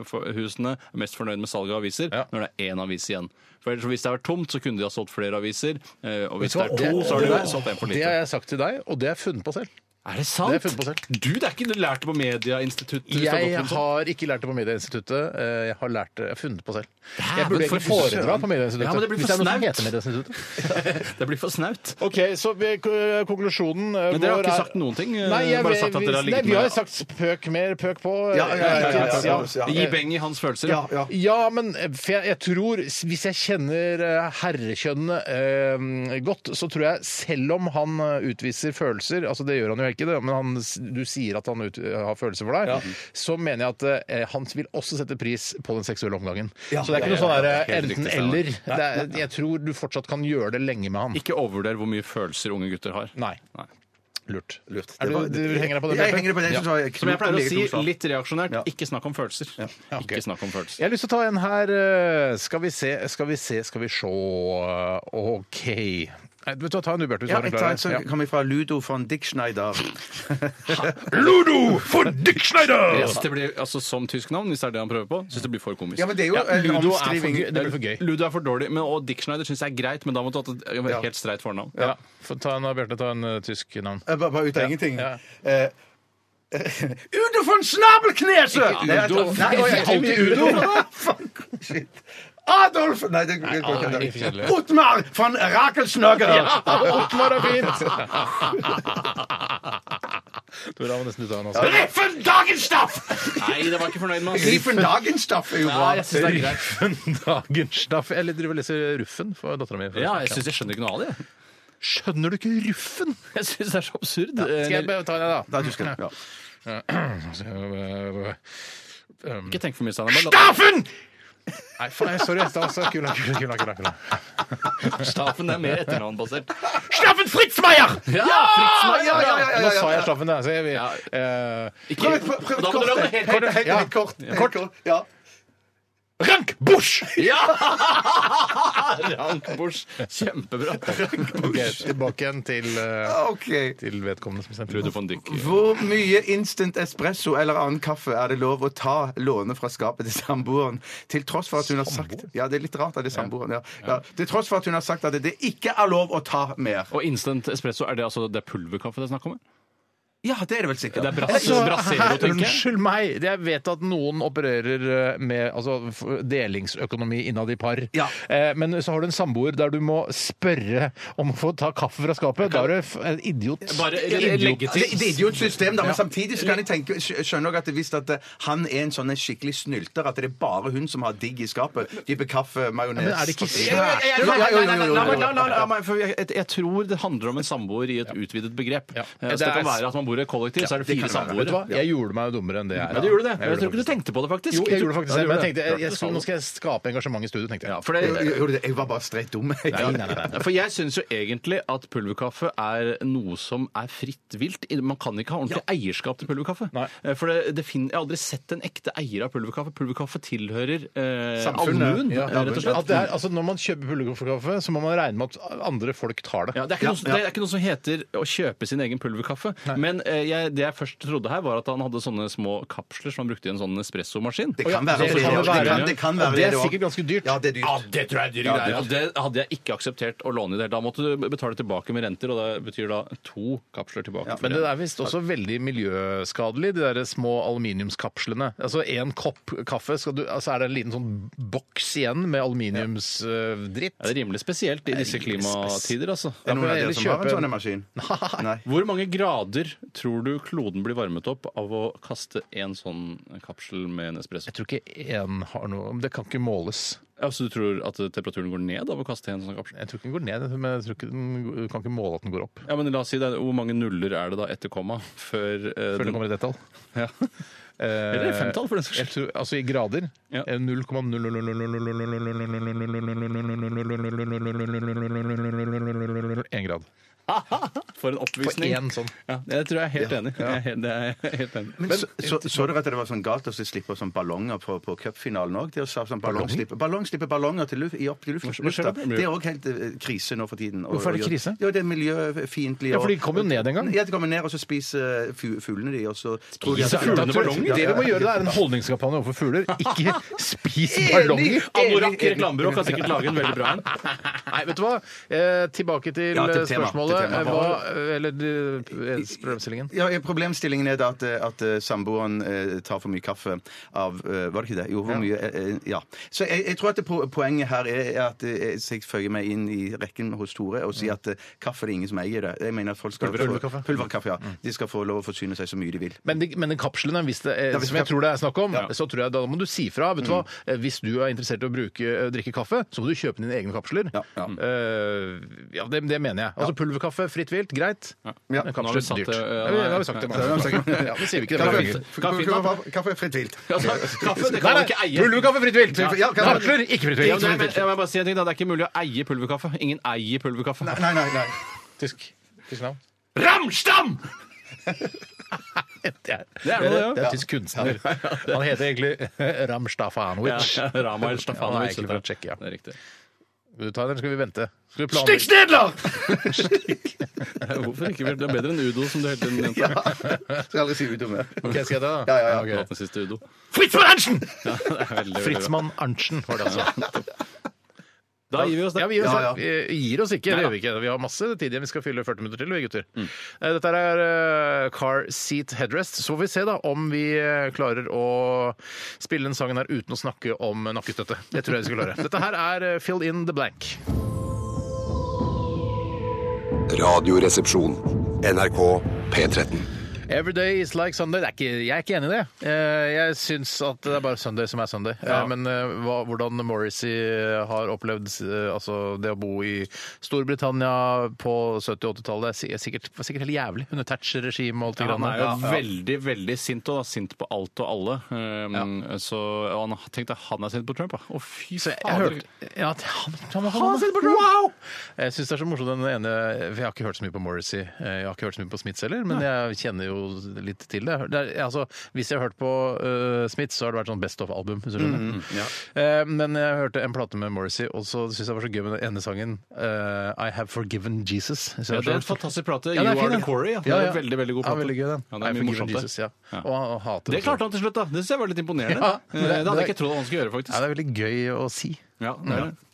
E: for- husene, er mest fornøyd med salget av aviser?
D: Ja.
E: Når det er én avis igjen. For ellers, Hvis det har vært tomt, så kunne de ha solgt flere aviser. eh, Og hvis det
D: Vet
E: er
D: du hva?
E: to, så har de
D: Det-
E: solgt én for
D: Det har
E: lite.
D: jeg sagt til deg, og det har jeg funnet på selv.
E: Er det sant?
D: det har jeg funnet på selv.
E: Du, det er ikke du lærte på Mediainstituttet? hvis du har gått
D: Jeg
E: rundt sånn.
D: har ikke lært det på Medieinstituttet. eh, Jeg har lært det, jeg har funnet på selv. Jeg
E: men
D: burde egentlig
E: for søren.
D: foredra på
E: Ja, men det
D: Medieinstituttet.
E: blir
D: Hvis
E: for
D: det er noe som
E: snaut.
D: heter Medieinstituttet.
E: Det blir for snaut.
D: Ok, så vi, k- konklusjonen eh,
E: Men dere har
D: vår
E: ikke
D: er-
E: sagt noen ting? eh,
D: Nei, jeg,
E: bare sagt at dere har
D: vi, nei,
E: ligget
D: vi har
E: med
D: jo sagt pøk mer, pøk på. eh,
F: Ja, ja, ja, ja, ja, ja, ja.
E: Gi beng i hans følelser.
F: Ja, ja.
D: Ja, men eh, for jeg, jeg tror Hvis jeg kjenner eh, herrekjønnet eh, godt, så tror jeg selv om han eh, utviser følelser Altså, det gjør han jo jeg ikke det, men han, du sier at han ut, har følelser for deg, så mener jeg at eh, han vil også sette pris på den seksuelle omgangen. så det er ikke noe sånn der, eh,
E: Helt riktig, Steinar.
D: enten-eller. Det er- Jeg tror du fortsatt kan gjøre det lenge med han.
E: Ikke overvurder hvor mye følelser unge gutter har.
D: Nei.
E: Nei.
D: Lurt.
F: Lurt.
D: Er du, du henger deg på det?
F: Jeg
D: Bjarte?
F: henger på den.
D: Ja.
F: synes jeg er
E: Som jeg
F: klokt
E: pleier
F: og
E: å
F: meget
E: si,
F: klokt svar.
E: litt reaksjonært,
F: Ja.
E: ikke snakk om følelser.
D: Ja, ok.
E: Ikke snakk om følelser.
D: Jeg har lyst til å ta en her. eh, Skal vi se, skal vi se, skal vi sjå OK. Nei, Vet du hva, ta en du, Bjarte. hvis du
F: Ja,
D: har en klar
F: jeg tar
D: en.
F: en som
D: Ja.
F: kommer fra Ludo von Dickschneider.
D: Ludo for Dick Schneider!
E: Jeg synes det blir, altså, som tysk navn, hvis det er det han prøver på, synes det blir for komisk.
F: Ja, men det er jo
D: Ja,
F: en
D: Ludo er for
F: omskriving.
D: gøy. Det blir for gøy.
E: Ludo er for dårlig, men, og Dick Schneider syns jeg er greit, men da måtte du hatt et helt streit
D: (laughs)
E: fornavn.
D: Ja. Få ta en av Bjarte. Ta en eh, tysk navn.
F: Eh, Bare, bare ut av ingenting.
D: ja.
F: Eh, (laughs) Udo von Snabelknese! Nei, jeg tror- Nei,
D: (laughs)
F: oi, jeg-
D: Alltid Udo.
F: Oh, Fuck, shit. Adolf nou, Nei, det det går
D: Nei, det er
F: ikke.
D: kjedelig.
F: Otmar von Rakelsnøger!
D: Otmar er (laughs) fint! Tora må nesten du altså. ta en også.
F: Riffen
D: (laughs)
F: Dagenstaff!
E: Nei, det var jeg ikke fornøyd med. ass.
F: Riffen Dagenstaff er jo
D: Nou,
E: Ja,
F: bra.
E: jeg synes det er greit.
D: Dagenstaff. Jeg driver og leser Ruffen for dattera mi.
E: Ja, jeg synes jeg skjønner ikke noe av det.
D: Skjønner du ikke Ruffen?
E: Jeg synes det er så absurd.
D: Skal jeg
E: Eh,
D: bare ta en, da?
F: Da er tyskeren. Ja.
D: (clears throat) eh,
E: Ikke tenk for mye, Steinar. bare la-
D: Staffen! Nei, faen, jeg- sorry. Staff, så Kula, kula, kula, kula, kula.
E: Staffen er mer etternavnbasert.
D: Staffen Fritzmeier!
E: Ja! Fritz Meier!
F: ja, ja, ja, ja,
D: Nå
F: ja.
D: sa jeg Staffen, da. Så jeg, vil-
E: Ja.
D: eh,
E: Ikke-
F: Prøv et prøv et
E: Da må
F: kort.
E: du lage det
F: Helt
E: helt
F: helt- helt kort. Helt kort. Ja.
D: Rank Busch!
E: (laughs) Rankbors.
D: (laughs)
E: Kjempebra.
D: Ok, tilbake igjen til, eh,
F: OK.
D: til vedkommende som sendte
E: Ludo von Dyck.
F: Hvor mye instant espresso eller annen kaffe er det lov å ta låne fra skapet til samboeren? Til tross for at hun har sagt Ja, det er litt rart at det er samboeren, ja. ja. Til tross for at hun har sagt at det ikke er lov å ta mer.
E: Og instant espresso, er det altså det er pulverkaffe det er snakk om?
F: Ja, det er det vel sikkert.
E: Det er bras- Brasero, tenker jeg.
D: Unnskyld meg! Jeg vet at noen opererer eh, med altså, f- delingsøkonomi innad i par.
F: Ja.
D: Eh, Men så har du en samboer der du må spørre om å få ta kaffe fra skapet. Da er du f- en idiot.
E: Bare
D: Idiot.
E: legge
F: Det, det er
E: til.
F: jo et system, da, men samtidig så kan jeg tenke, skj- skjønner jeg at hvis at eh, han er en sånn en skikkelig snylter, at det er bare hun som har digg i skapet, type kaffe, majones
D: Men er det ikke
F: Jo, jo, jo, jo, jo, jo,
E: La meg-
F: jo.
E: la- la- la meg- for Jeg jeg- jeg tror det handler om en samboer i et utvidet begrep.
D: Ja.
E: Eh, Så
D: Det
E: det kan
D: er-
E: være at man bor i et kollektiv, så er det
F: det
E: fire
F: kan være.
E: samboere.
D: Vet du hva? Jeg gjorde meg jo dummere enn det jeg er.
E: Ja, du gjorde det. Jeg tror
D: gjorde
E: ikke du tenkte på det, faktisk.
D: Jo, jeg gjorde det faktisk
E: Ja, du gjorde
D: det, men jeg tenkte,
E: det.
D: jeg, jeg, skulle- nå skal jeg skape engasjement i studio, tenkte jeg.
E: Ja, for det,
F: Jo, jo, Jeg var bare streit dum. jeg.
E: For jeg syns jo egentlig at pulverkaffe er noe som er fritt vilt. Man kan ikke ha ordentlig eierskap til pulverkaffe.
D: Nei.
E: Eh, For det, det fin- Jeg har aldri sett en ekte eier av pulverkaffe. Pulverkaffe tilhører eh,
F: Samfunnet.
E: allmuen,
F: Ja,
E: eh, rett og slett.
D: At det er, altså, når man kjøper pulverkaffe, så må man regne med at andre folk tar det.
E: Ja, det, er ikke noe, som- det er ikke noe som heter å kjøpe sin egen pulverkaffe. Men eh, jeg, det jeg først trodde her, var at han hadde sånne små kapsler som han brukte i en sånn espressomaskin.
F: Det kan
D: ja,
F: være
D: det
F: det.
D: kan
F: Det
D: det være.
F: kan- det kan være
D: Og det er
F: også.
D: sikkert ganske dyrt.
F: Ja, det er dyrt.
E: det tror jeg er dyre greier. altså. Og det hadde jeg ikke akseptert å låne i det hele tatt. Da måtte du betale tilbake med renter, og det betyr da to kapsler tilbake. for
D: Men det
E: en.
D: er visst også veldig miljøskadelig, de der små aluminiumskapslene. Altså én kopp kaffe, skal du, altså, er det en liten sånn boks igjen med aluminiumsdritt?
E: Ja, det er rimelig spesielt i disse klimatider, altså.
F: Er det noen
D: Da
F: av
D: kan jeg
F: dere
D: heller
F: som har en
D: kjøpe
F: sånn en maskin?
D: (laughs)
F: Nei.
E: Hvor mange grader tror du kloden blir varmet opp av å kaste en sånn kapsel med en espresso?
D: Jeg tror ikke én har noe Det kan ikke måles.
E: Altså, du tror at temperaturen går ned av å kaste en sånn kapsel?
D: Jeg tror ikke den går ned, men jeg tror ikke den, du kan ikke måle at den går opp.
E: Ja, men la oss si det. Hvor mange nuller er det da etter komma før eh,
D: Før det
E: den-
D: kommer i detalj. Eh,
E: Ja. Eller femtall, for den saks
D: Jeg
E: skyld.
D: tror, altså i grader
E: Ja.
D: eh, 0,000 Én grad.
E: (laughs) For en
D: For
E: oppvisning.
D: én sånn.
E: Ja, det tror jeg er helt enig. Jeg er helt- det er jeg helt enig.
F: Men, så, så, så dere at det var sånn galt å slippe sånn ballonger på, på cupfinalen òg? Sånn ballong, slippe, ballong slipper ballonger til luft, i opp til luft,
E: Hva skjer da?
F: lufta. Det er òg helt eh, krise nå for tiden. Og-
D: Hvorfor er det
F: og-
D: krise?
F: Ja, det er
D: Ja,
F: miljøfiendtlig. og-
D: for de kommer jo ned en gang.
F: Ja, de kommer ned, og så spiser fu- fuglene de, og så tror de at-
E: Spiser fuglene
F: Ja,
E: ballonger?
F: ja,
D: Det vi
F: ja.
D: må gjøre, det er en holdningskampanje overfor fugler. Ikke spis ballonger!
E: Anorakk Ah, reklamebyrå kan sikkert lage en veldig bra en.
D: Nei, vet du hva? Eh, tilbake til
F: Ja, til
D: eh,
F: tema, til
D: spørsmålet.
F: tema.
D: Eh, Hva, eller du- eh, problemstillingen.
F: Ja, ja, Problemstillingen er da at, eh, at eh, samboeren eh, tar for mye kaffe av eh, Var det ikke det? Jo, hvor mye eh, eh, Ja. Så jeg, jeg tror at det po poenget her er er at eh, jeg- så jeg føyer meg inn i rekken hos Tore og sier at eh, kaffe det er ingen som eier det. Jeg mener at folk skal
D: Pulverkaffe.
F: Få, pulverkaffe, ja. De skal få lov å forsyne seg så mye de vil.
D: Men, de, men den kapslene, hvis det, eh,
F: Ja, hvis
D: som jeg
F: kap-
D: tror det er snakk om,
F: Ja.
D: så tror jeg da må du si fra. Vet du hva? Eh, Hvis du er interessert i å bruke, eh, drikke kaffe, så må du kjøpe dine egne kapsler.
F: Ja, ja.
D: Eh, ja det, det mener jeg. Altså Pulverkaffe kaffe, fritt vilt, greit.
F: Ja.
D: Men
E: Nå har
D: kaffe
E: vi
D: er
E: satt
D: dyrt.
E: det, ja,
D: Ja, vi- vi har jo sagt det.
F: Ja, det har vi (laughs) sagt.
D: Ja, vi sier vi ikke det. flere ganger.
F: Kaffe, kaffe fritt vilt.
E: (laughs) Altså, kaffe det
D: Nei,
E: kan man
D: nei,
E: ikke eie.
D: Pulverkaffe, fritt vilt!
F: Ja, kaffe-
D: Natler, ikke fritt
E: Ja,
D: vilt.
E: men, jeg, må bare si en ting da, Det er ikke mulig å eie pulverkaffe. Ingen eier pulverkaffe.
F: Nei, nei, nei. nei.
D: Tysk. Tysk navn.
E: Ramstam!
D: (laughs) Det er,
E: Det er noe, det, ja.
D: det er tysk kunstner. Han heter egentlig Ramstafanovic.
E: Ja, Ramael
D: Ja, han er
E: Stafanovic.
D: egentlig fra Tsjekkia.
E: Det er riktig.
D: Skal du ta den, eller skal vi vente? Skal vi planlegge?
F: Stikk Snedler!
E: Hvorfor ikke? Det er bedre enn Udo, som du hele tiden nevnte.
F: Skal aldri si utom det.
D: Ok, skal jeg ta den?
F: Ja, ja, ja.
D: Ok.
E: Den siste Udo.
D: Fritz von Arntzen!
E: Ja, det er veldig, veldig bra.
D: Fritzmann Arntzen var det altså.
E: Da gir vi oss det.
D: Ja, vi gir oss,
F: Ja, ja.
D: Vi gir oss ikke. Det gjør vi ikke. Vi har masse tid igjen. Vi skal fylle 40 minutter til, vi gutter. Eh, Dette er eh, Car Seat Headrest. Så får vi se da om vi eh, klarer å spille den sangen her uten å snakke om nakkestøtte. Det tror jeg vi skal klare. Dette her er eh, Fill in the blank.
A: Radioresepsjon. NRK P13.
D: Every day is like Sunday. Det er ikke, jeg er ikke enig i det. Eh, Jeg syns at det er bare Sunday som er Sunday. Eh, Men eh, hva, hvordan Morrissey har opplevd eh, altså, det å bo i Storbritannia på 70- og 80-tallet, det er sikkert, var sikkert helt jævlig under Thatcher-regimet og alt det
E: Ja, han
D: grann.
E: er jo veldig veldig sint og da. sint på alt og alle. Um, Så og han tenkte han er sint på Trump. da. Å, fy
D: Så jeg, jeg
E: fader.
D: hørte ja, at han, han, han, Wow! Jeg syns det er så morsomt den ene for Jeg har ikke hørt så mye på Morrissey. eh, Jeg har ikke hørt så mye på Smiths heller, men jeg kjenner jo litt til det. det er, altså, hvis jeg har hørt på uh, Smiths, så har det vært sånn Best of-album. hvis du skjønner.
E: Mm,
D: Eh, men jeg hørte en plate med Morrissey, og så syns jeg det var så gøy med den ene sangen eh, I Have Forgiven Jesus. Jeg synes
E: Ja,
D: var
E: det er en
D: så-
E: fantastisk plate.
D: Ja, den
E: you
D: er fin,
E: Are The
D: den.
E: Quarry. Ja. Det
D: Ja,
E: er
D: ja.
E: en veldig, veldig god
D: Ja,
E: plate.
D: veldig gøy, den.
E: Ja, det er
D: I
E: mye
D: Forgiven
E: morsomt, det.
D: Jesus, ja.
E: Ja.
D: Og han hater
E: Det klarte han til slutt, da. Det synes jeg var litt imponerende.
D: Ja,
E: Eh,
D: men det-
E: det hadde
D: det-
E: jeg ikke trodd han skulle gjøre,
D: Ja,
E: faktisk.
D: det er veldig gøy å si.
E: Ja, det er det.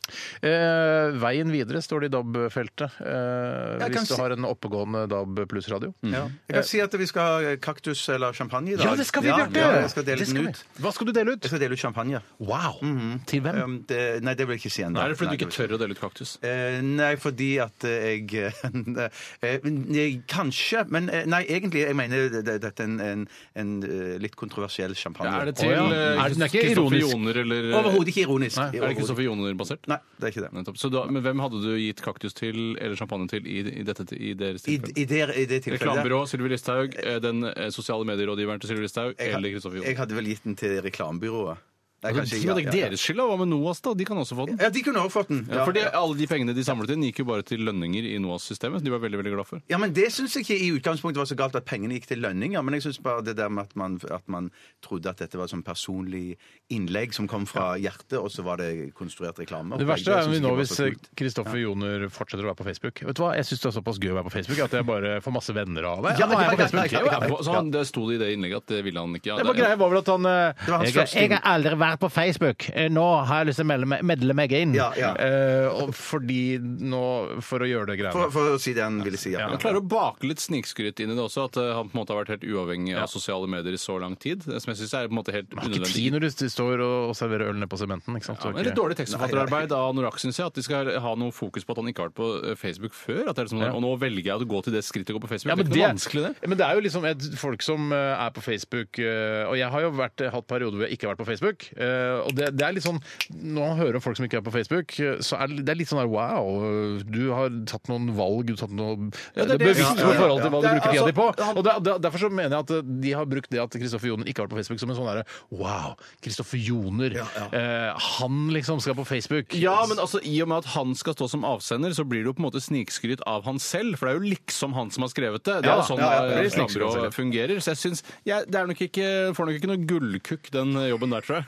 D: Eh, veien videre står det i DAB-feltet. Eh,
F: Jeg kan
D: hvis du
F: si-
D: har en oppegående DAB pluss-radio.
F: Ja. Jeg kan si at vi skal ha kaktus eller champagne i dag. Ja, ja, jeg skal dele
D: Det
F: den
D: skal
F: ut.
D: vi. Hva skal du dele
F: Jeg
D: ut?
F: skal dele ut champagne.
D: Wow! Til hvem?
F: Um, det, nei, det vil jeg ikke si ennå.
E: Nei, det er fordi
F: Nei,
E: du ikke
F: det vil-
E: tør å dele ut kaktus.
F: Eh, nei, fordi at eh, (laughs) jeg eh, nei, Kanskje, men eh, nei, egentlig, jeg mener det- det- dette er en, en, en eh, litt kontroversiell champagne.
E: Er det
D: Å,
E: til
D: ja.
E: eh,
D: Er den ikke
E: Kristoffer
D: ironisk?
E: Joner eller
F: Overhodet ikke ironisk.
E: Er det Kristoffer Joner-basert?
F: Nei, det er ikke det.
E: Nettopp. Så da, men hvem hadde du gitt kaktus til eller champagne til i, i, dette, i deres
F: I,
E: tilfelle?
F: i, det, i det tilfellet
E: Reklamebyrå Sylvi Listhaug, eh, den eh, sosiale medierådgiveren til Sylvi Listhaug
F: jeg,
E: eller Kristoffer
F: jeg
E: Joner.
F: hadde vel gitt den til reklamebyrået. Nei,
E: Men det er
F: kanskje-
E: ikke deres skyld, da. Hva med NOAS, da? De kan også få den.
F: Ja, de kunne også fått den.
E: Ja, for det, Alle de pengene de samlet inn, gikk jo bare til lønninger i NOAS-systemet. som De var veldig veldig glad for.
F: Ja, men Det syns jeg ikke i utgangspunktet var så galt at pengene gikk til lønninger. Men jeg syns bare det der med at man, at man trodde at dette var sånn personlig innlegg som kom fra hjertet, og så var det konstruert reklame.
D: Det verste er jo
F: synes jeg
D: nå
F: var
D: hvis eh,
F: så kult.
D: Kristoffer Joner fortsetter å være på Facebook. Vet du hva, Jeg syns det er såpass gøy å være på Facebook at jeg bare får masse venner av det.
F: Ja,
D: Nå er jeg på
F: ja,
D: Facebook.
F: ja, ja, ja.
E: Så han, det sto det i det innlegget at det ville han ikke. Ja,
D: Det var
E: det-
D: greia var vel at han eh,
F: var hans
D: jeg,
F: første
D: jeg har aldri vært på Facebook. Eh, Nå har jeg lyst til å melde meg, medle meg inn.
F: Ja, ja.
D: Eh, og fordi nå For å gjøre det greiene.
F: For, for å si det han ville si. Ja.
E: Han klarer å bake litt snikskryt inn i det også, at eh, han på en måte har vært helt uavhengig
D: Ja.
E: av sosiale medier i så lang tid. eh, Som jeg syns er på en måte helt
D: Man har ikke tid
E: unødvendig.
D: når du står og og serverer øl nede på sementen. ikke sant?
E: Ja,
D: Så
E: men
D: ikke-
E: litt dårlig tekstforfatterarbeid av Norak, syns jeg. At de skal ha noe fokus på at han ikke har vært på eh, Facebook før. At det er liksom,
D: Ja.
E: Og nå velger jeg å gå til det skrittet å gå på Facebook.
D: Ja, men
E: det er ikke noe vanskelig, det.
D: Men det er jo liksom et, folk som eh, er på Facebook eh, Og jeg har jo vært, hatt perioder hvor jeg ikke har vært på Facebook. eh, og det, det er litt sånn Når man hører om folk som ikke er på Facebook, eh, så er det- det er litt sånn der wow, du har tatt noen valg, du har tatt noe
E: Ja, det er
D: det er
E: det-
D: bevisst
E: ja, ja, ja.
D: forhold til hva du
E: Det er-
D: bruker tida
E: altså,
D: di på. Og det, det, derfor så mener jeg at eh, de har brukt det at Kristoffer Joner ikke har vært på Facebook, som en sånn derre wow, Kristoffer Joner, eh, han liksom skal på Facebook.
E: Ja, men altså, i og med at han skal stå som avsender, så blir det jo på en måte snikskryt av han selv. For det er jo liksom han som har skrevet det. Det er
D: Ja,
E: jo sånn
D: ja, ja,
E: eh,
D: det blir snikskryt av
E: reklambyrået
D: han selv.
E: fungerer. Så jeg syns jeg det er nok ikke, Får nok ikke noe gullkukk, den eh, jobben der, tror jeg.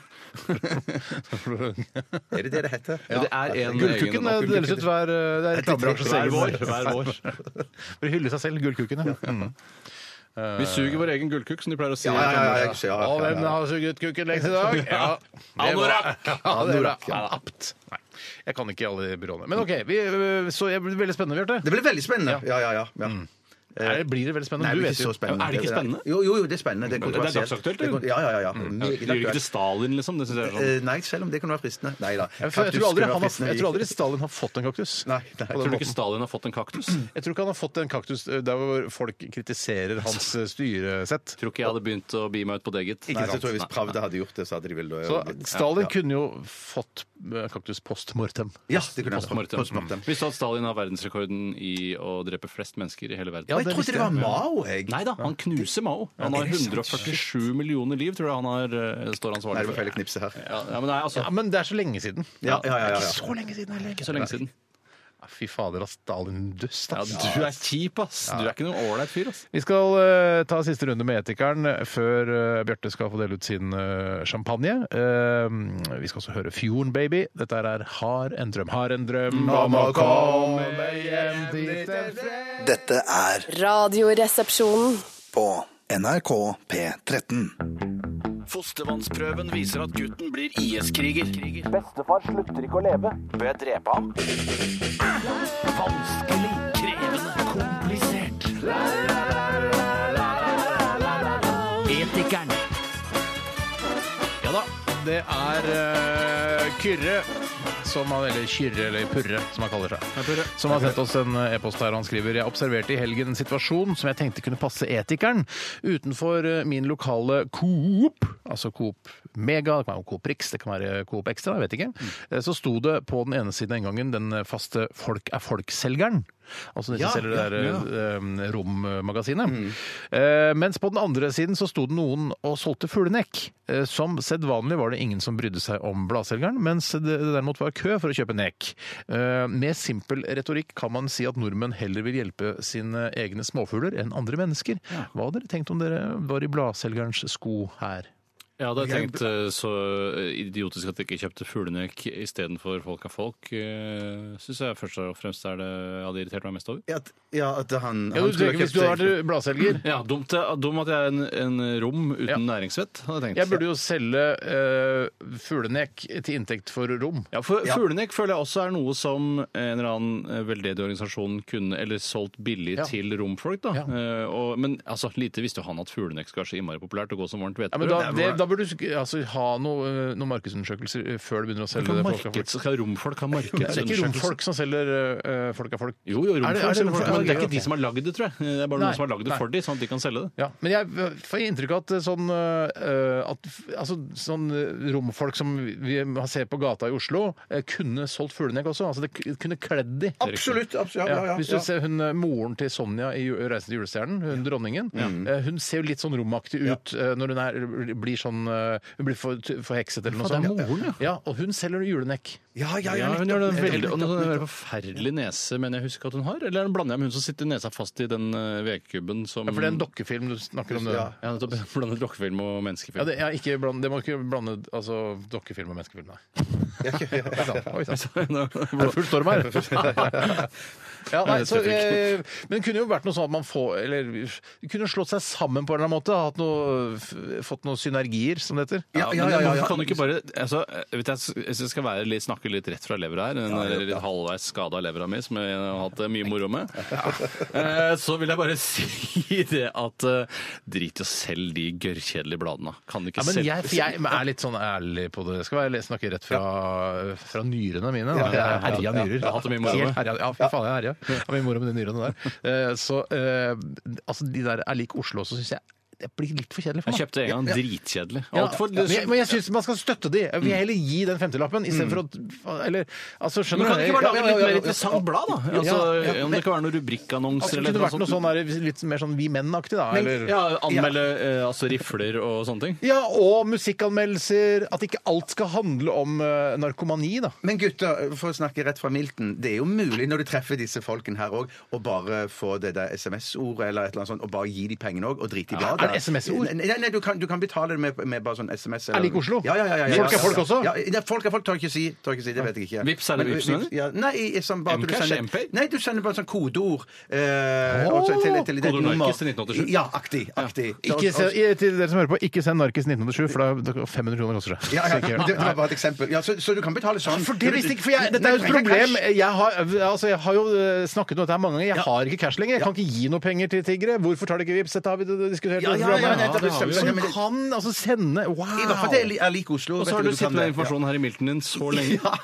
F: Er det det det heter?
E: Det er en
D: Gullkukken eh,
E: egen
D: deles ut hver, eh, det er reklamebransjens
E: Hver
D: egen-
E: vår. Hver vår.
D: For å hylle seg selv, gullkukken. Ja. Mm.
E: (laughs) Vi suger vår egen gullkukk, som de pleier å si.
F: Ja, ja, ja, jeg- ja,
D: Og
F: ja,
D: hvem
F: ja.
D: har suget kukken lengst i dag? Ja. det var-
E: Anorakk!
D: Ja, det var
F: Anorakk, ja.
D: apt. Nei, jeg kan ikke alle de byråene. Men OK, vi, eh, så jeg blir veldig spennende, Bjarte.
F: Det ble veldig spennende. Ja, ja, ja. ja.
D: Er- Blir det veldig spennende?
F: Nei,
D: Du
F: det er
D: vet
F: ikke
D: jo.
F: så spennende.
E: Er det ikke spennende?
F: Jo, jo, jo, det er spennende. Det er
E: Men det er
F: kontroversielt.
E: dagsaktuelt,
F: Det er kon-
E: eller?
F: Ja, ja, ja. ja.
E: Det gir
F: Meget
E: jo ikke til
F: aktuelt.
E: Stalin, liksom. Det synes jeg er sånn.
F: Eh, Nei, selv om det kunne være fristende. Nei da.
D: Jeg, tror- jeg, tror aldri, han
F: Kaktus kunne være
D: har,
F: fristende.
D: jeg tror aldri Stalin har fått en kaktus.
F: Nei, nei.
D: På den
E: Tror du ikke
D: måten.
E: Stalin har fått en kaktus?
D: Jeg tror ikke han har fått en kaktus eh, der hvor folk kritiserer hans eh, styresett.
E: Tror ikke jeg hadde begynt å bi meg ut på det, gitt.
F: Nei, så tror jeg Hvis Pravda hadde gjort det, så hadde de vel
D: Så Stalin kunne jo fått eh, kaktus post mortem.
F: Ja, det kunne jeg
E: Postmortem.
F: postmortem.
E: Visste du at Stalin har verdensrekorden i å drepe flest mennesker i hele verden?
F: Og jeg trodde det var Mao, jeg.
E: Nei da, han knuser Mao. Han har 147 millioner liv, tror jeg han har, eh, står
F: Nei, det
E: ansvarlig
F: var feil
E: for.
F: å knipse her.
E: Ja, ja, men nei, altså,
D: Ja, men det er så lenge siden.
F: Ja, ja, ja, ja, ja.
D: Så lenge siden, heller.
E: ikke så lenge siden.
D: Ja, Fy fader, ass. Stalin dust,
E: Ja,
D: ass.
E: du er kjip, ass. Du er ikke noen ålreit fyr, ass.
D: Vi skal eh, ta siste runde med Etikeren før eh, Bjarte skal få dele ut sin eh, champagne. Eh, vi skal også høre Fjorden Baby. Dette her er Har en drøm. Har en drøm om å komme hjem dit en fred
C: Dette er
G: Radioresepsjonen.
C: på NRK P13.
I: Fostervannsprøven viser at gutten blir IS-kriger.
B: Bestefar slutter ikke å leve. Bør jeg drepe ham?
I: Vanskelig, krevende, komplisert. Etikeren.
D: Ja da, det er eh, Kyrre. Som han, eller Kyrre, eller Purre, som han kaller seg. Som har sendt oss en eh, e-post her. Han skriver Jeg observerte i helgen en situasjon som jeg tenkte kunne passe etikeren. Utenfor eh, min lokale Coop, altså Coop Mega, det kan være Coop Rix, det kan være Coop Extra, jeg vet ikke. Eh, Så sto det på den ene siden av inngangen den faste Folk er folk-selgeren. Altså de som
F: Ja,
D: selger det
F: ja,
D: der
F: ja.
D: eh, rommagasinet. Eh, mens på den andre siden så sto det noen og solgte fuglenekk. Eh, som sedvanlig var det ingen som brydde seg om bladselgeren, mens det derimot var kø for å kjøpe nek. Eh, med simpel retorikk kan man si at nordmenn heller vil hjelpe sine egne småfugler enn andre mennesker. Hva hadde dere tenkt om dere var i bladselgerens sko her?
E: Jeg hadde tenkt eh, så idiotisk at jeg ikke kjøpte fuglenek istedenfor Folk er folk. Syns jeg først og fremst er det jeg hadde irritert meg mest over.
F: Ja, at- Ja, at han,
D: Ja,
F: han
D: du tenker, hvis du har vært bladselger
E: Ja, dumt, det- dum at jeg er en, en rom uten næringsvett, hadde jeg tenkt.
D: jeg burde jo selge eh, fuglenek til inntekt for rom.
E: Ja, for Fuglenek føler jeg også er noe som en eller annen eh, veldedig organisasjon kunne eller solgt billig
D: Ja.
E: til romfolk. da.
D: Ja.
E: Eh, og, men altså, lite visste jo han at fuglenek skal være så innmari populært og gå som varmt
D: Ja,
E: hvetebrød.
D: men da, det, da burde du sk- altså, ha noe, eh, noen markedsundersøkelser eh, før du begynner å selge det. folk av folk.
E: markeds, skal romfolk ha
D: (laughs) Det er ikke
E: markedsundersøkelse?
D: romfolk som selger eh, folk av folk.
E: Jo, jo, romfolk,
D: Er det- er
E: selger
D: det
E: folk,
D: romfolk?
E: men det er
D: Ja,
E: ikke de som har lagd det, tror jeg. Det er bare
D: Nei,
E: noen som har lagd det
D: nei.
E: for de, sånn at de kan selge det.
D: Ja, men jeg eh, får inntrykk av at eh, sånn, eh, at, f- altså, sånn eh, romfolk som vi har ser på gata i Oslo, eh, kunne solgt fuglenegg også. Altså, det k- kunne kledd de.
F: Absolutt. absolutt ja, ja, ja,
D: Hvis du ser hun, eh, moren til Sonja i ju- Reisen til julestjernen, hun dronningen,
E: Mm.
D: eh, hun ser jo litt sånn romaktig ut eh, når hun er, blir sånn eh, Hun blir for, forhekset eller noe
E: Faen,
D: sånt.
E: det er moren, ja.
D: ja, og hun selger julenekk.
F: ja,
E: Ja,
F: ja, ja,
E: hun
F: nettopp,
E: gjør det
F: nettopp,
E: veldig, og
F: nettopp,
E: den
F: nettopp.
E: der forferdelig nese, mener jeg husker at hun har. Eller blander jeg med hun som sitter nesa fast i den eh, vedkubben som
D: Ja, for det er en dokkefilm du snakker om. Det.
F: Ja.
D: Ja.
E: Ja, nettopp. (laughs) Blander dokkefilm og menneskefilm.
D: det, ja, ikke bland, det må ikke blande altså, dokkefilm og menneskefilm, nei. Oi
E: (laughs)
D: sann, Oi sann. Det er full storm her! (laughs) Ja, nei, så, eh, men det kunne jo vært noe sånn at man får Eller det kunne slått seg sammen på en eller annen måte. Hatt noe, f- fått noen synergier, som det heter.
E: Ja, ja, ja, Kan du ikke bare altså, vet jeg, Hvis jeg skal være, litt- snakke litt rett fra levra her, den der litt halvveis skada levra mi som jeg har hatt det mye moro
D: (laughs)
E: med, eh, så vil jeg bare (laughs) si det at eh, drit i å selge de gørrkjedelige bladene. Kan du ikke
D: Ja, men
E: selge
D: jeg, for jeg er litt sånn ærlig på det. Skal være, snakke rett fra, fra nyrene mine. Da. Jeg er herja nyrer.
E: Jeg har hatt det mye moro med.
D: Helt herja. Ja, fy faen, jeg er herja. Jeg har mye moro med de nyrene der. Eh, Så eh, altså, de der er lik Oslo, så syns jeg det blir litt for kjedelig
E: Jeg
D: for meg.
E: kjøpte en gang dritkjedelig.
D: Ja,
E: Alt for, Mm.
D: men jeg, men jeg syns man skal støtte de. Jeg vil heller gi den femtilappen istedenfor å Eller altså,
E: men
D: skjønner
E: kan du ikke bare lage
D: Ja, ja,
E: litt
D: ja,
E: mer
D: ja.
E: interessant blad, da?
D: Ja,
E: Altså,
D: ja,
E: om det kan være noen rubrikkannonser
D: Altså,
E: eller
D: kunne det
E: noe
D: vært noe
E: sånt.
D: sånn der, litt mer sånn Vi Menn-aktig, da? Eller?
E: Ja, anmelde eh, altså rifler og sånne ting.
D: Ja, og musikkanmeldelser. At ikke alt skal handle om eh, narkomani, da.
F: Men gutter, for å snakke rett fra milten, det er jo mulig når du treffer disse folkene her òg, å bare få det der SMS-ordet eller et eller annet sånt, og bare gi de pengene òg, og drite i bladet.
D: er det SMS-ord?
F: Nei, nei du, kan, du kan betale det med, med bare sånn SMS. eller-
D: Er det ikke Oslo?
F: Ja, ja, ja, ja, ja,
D: Folk er
F: ja,
D: folk
F: ja.
D: også?
F: Ja, nei, folk er folk, tør jeg ikke si. Tør jeg ikke si, Det vet jeg ikke.
E: Vips, er det
F: Men,
E: Vipsen, eller?
F: Ja, nei, i- som bare at du
E: Mcash,
F: sender-
E: MP?
F: Nei, du sender bare sånn kodeord. Eh, og så til, til det
E: Kodeord
F: nummer.
E: Narkis til 1987.
F: Ja, aktig. aktig.
D: Ikke se, i- til dere som hører på, ikke send Narkis 1987, for da- da 500 kroner koster det.
F: ja,
D: Så
F: ja,
D: ikke
F: det,
D: gjør det.
F: det var bare et eksempel. Ja, så, så du kan betale sånn.
D: For det visste ikke, for jeg, Dette er jo et
F: Du trenger
D: problem.
F: cash.
D: Jeg har, altså, jeg har jo eh, snakket om dette her mange ganger. Jeg har ikke cash lenger. Jeg kan ikke gi noe penger til tiggere. Hvorfor tar de ikke vips? Dette har vi diskutert.
F: Ja,
D: dette
F: ja, ja,
D: programmet.
F: nettopp,
D: det har vi jo.
F: stemmer,
D: Som
F: men-
D: kan altså sende Wow!
F: I hvert fall til Jeg liker Oslo.
E: Og så
F: vet
E: har du
F: du, du
E: sittet
F: kan
E: med
F: det.
E: den informasjonen her i milten din så (laughs) lenge.
F: Ja.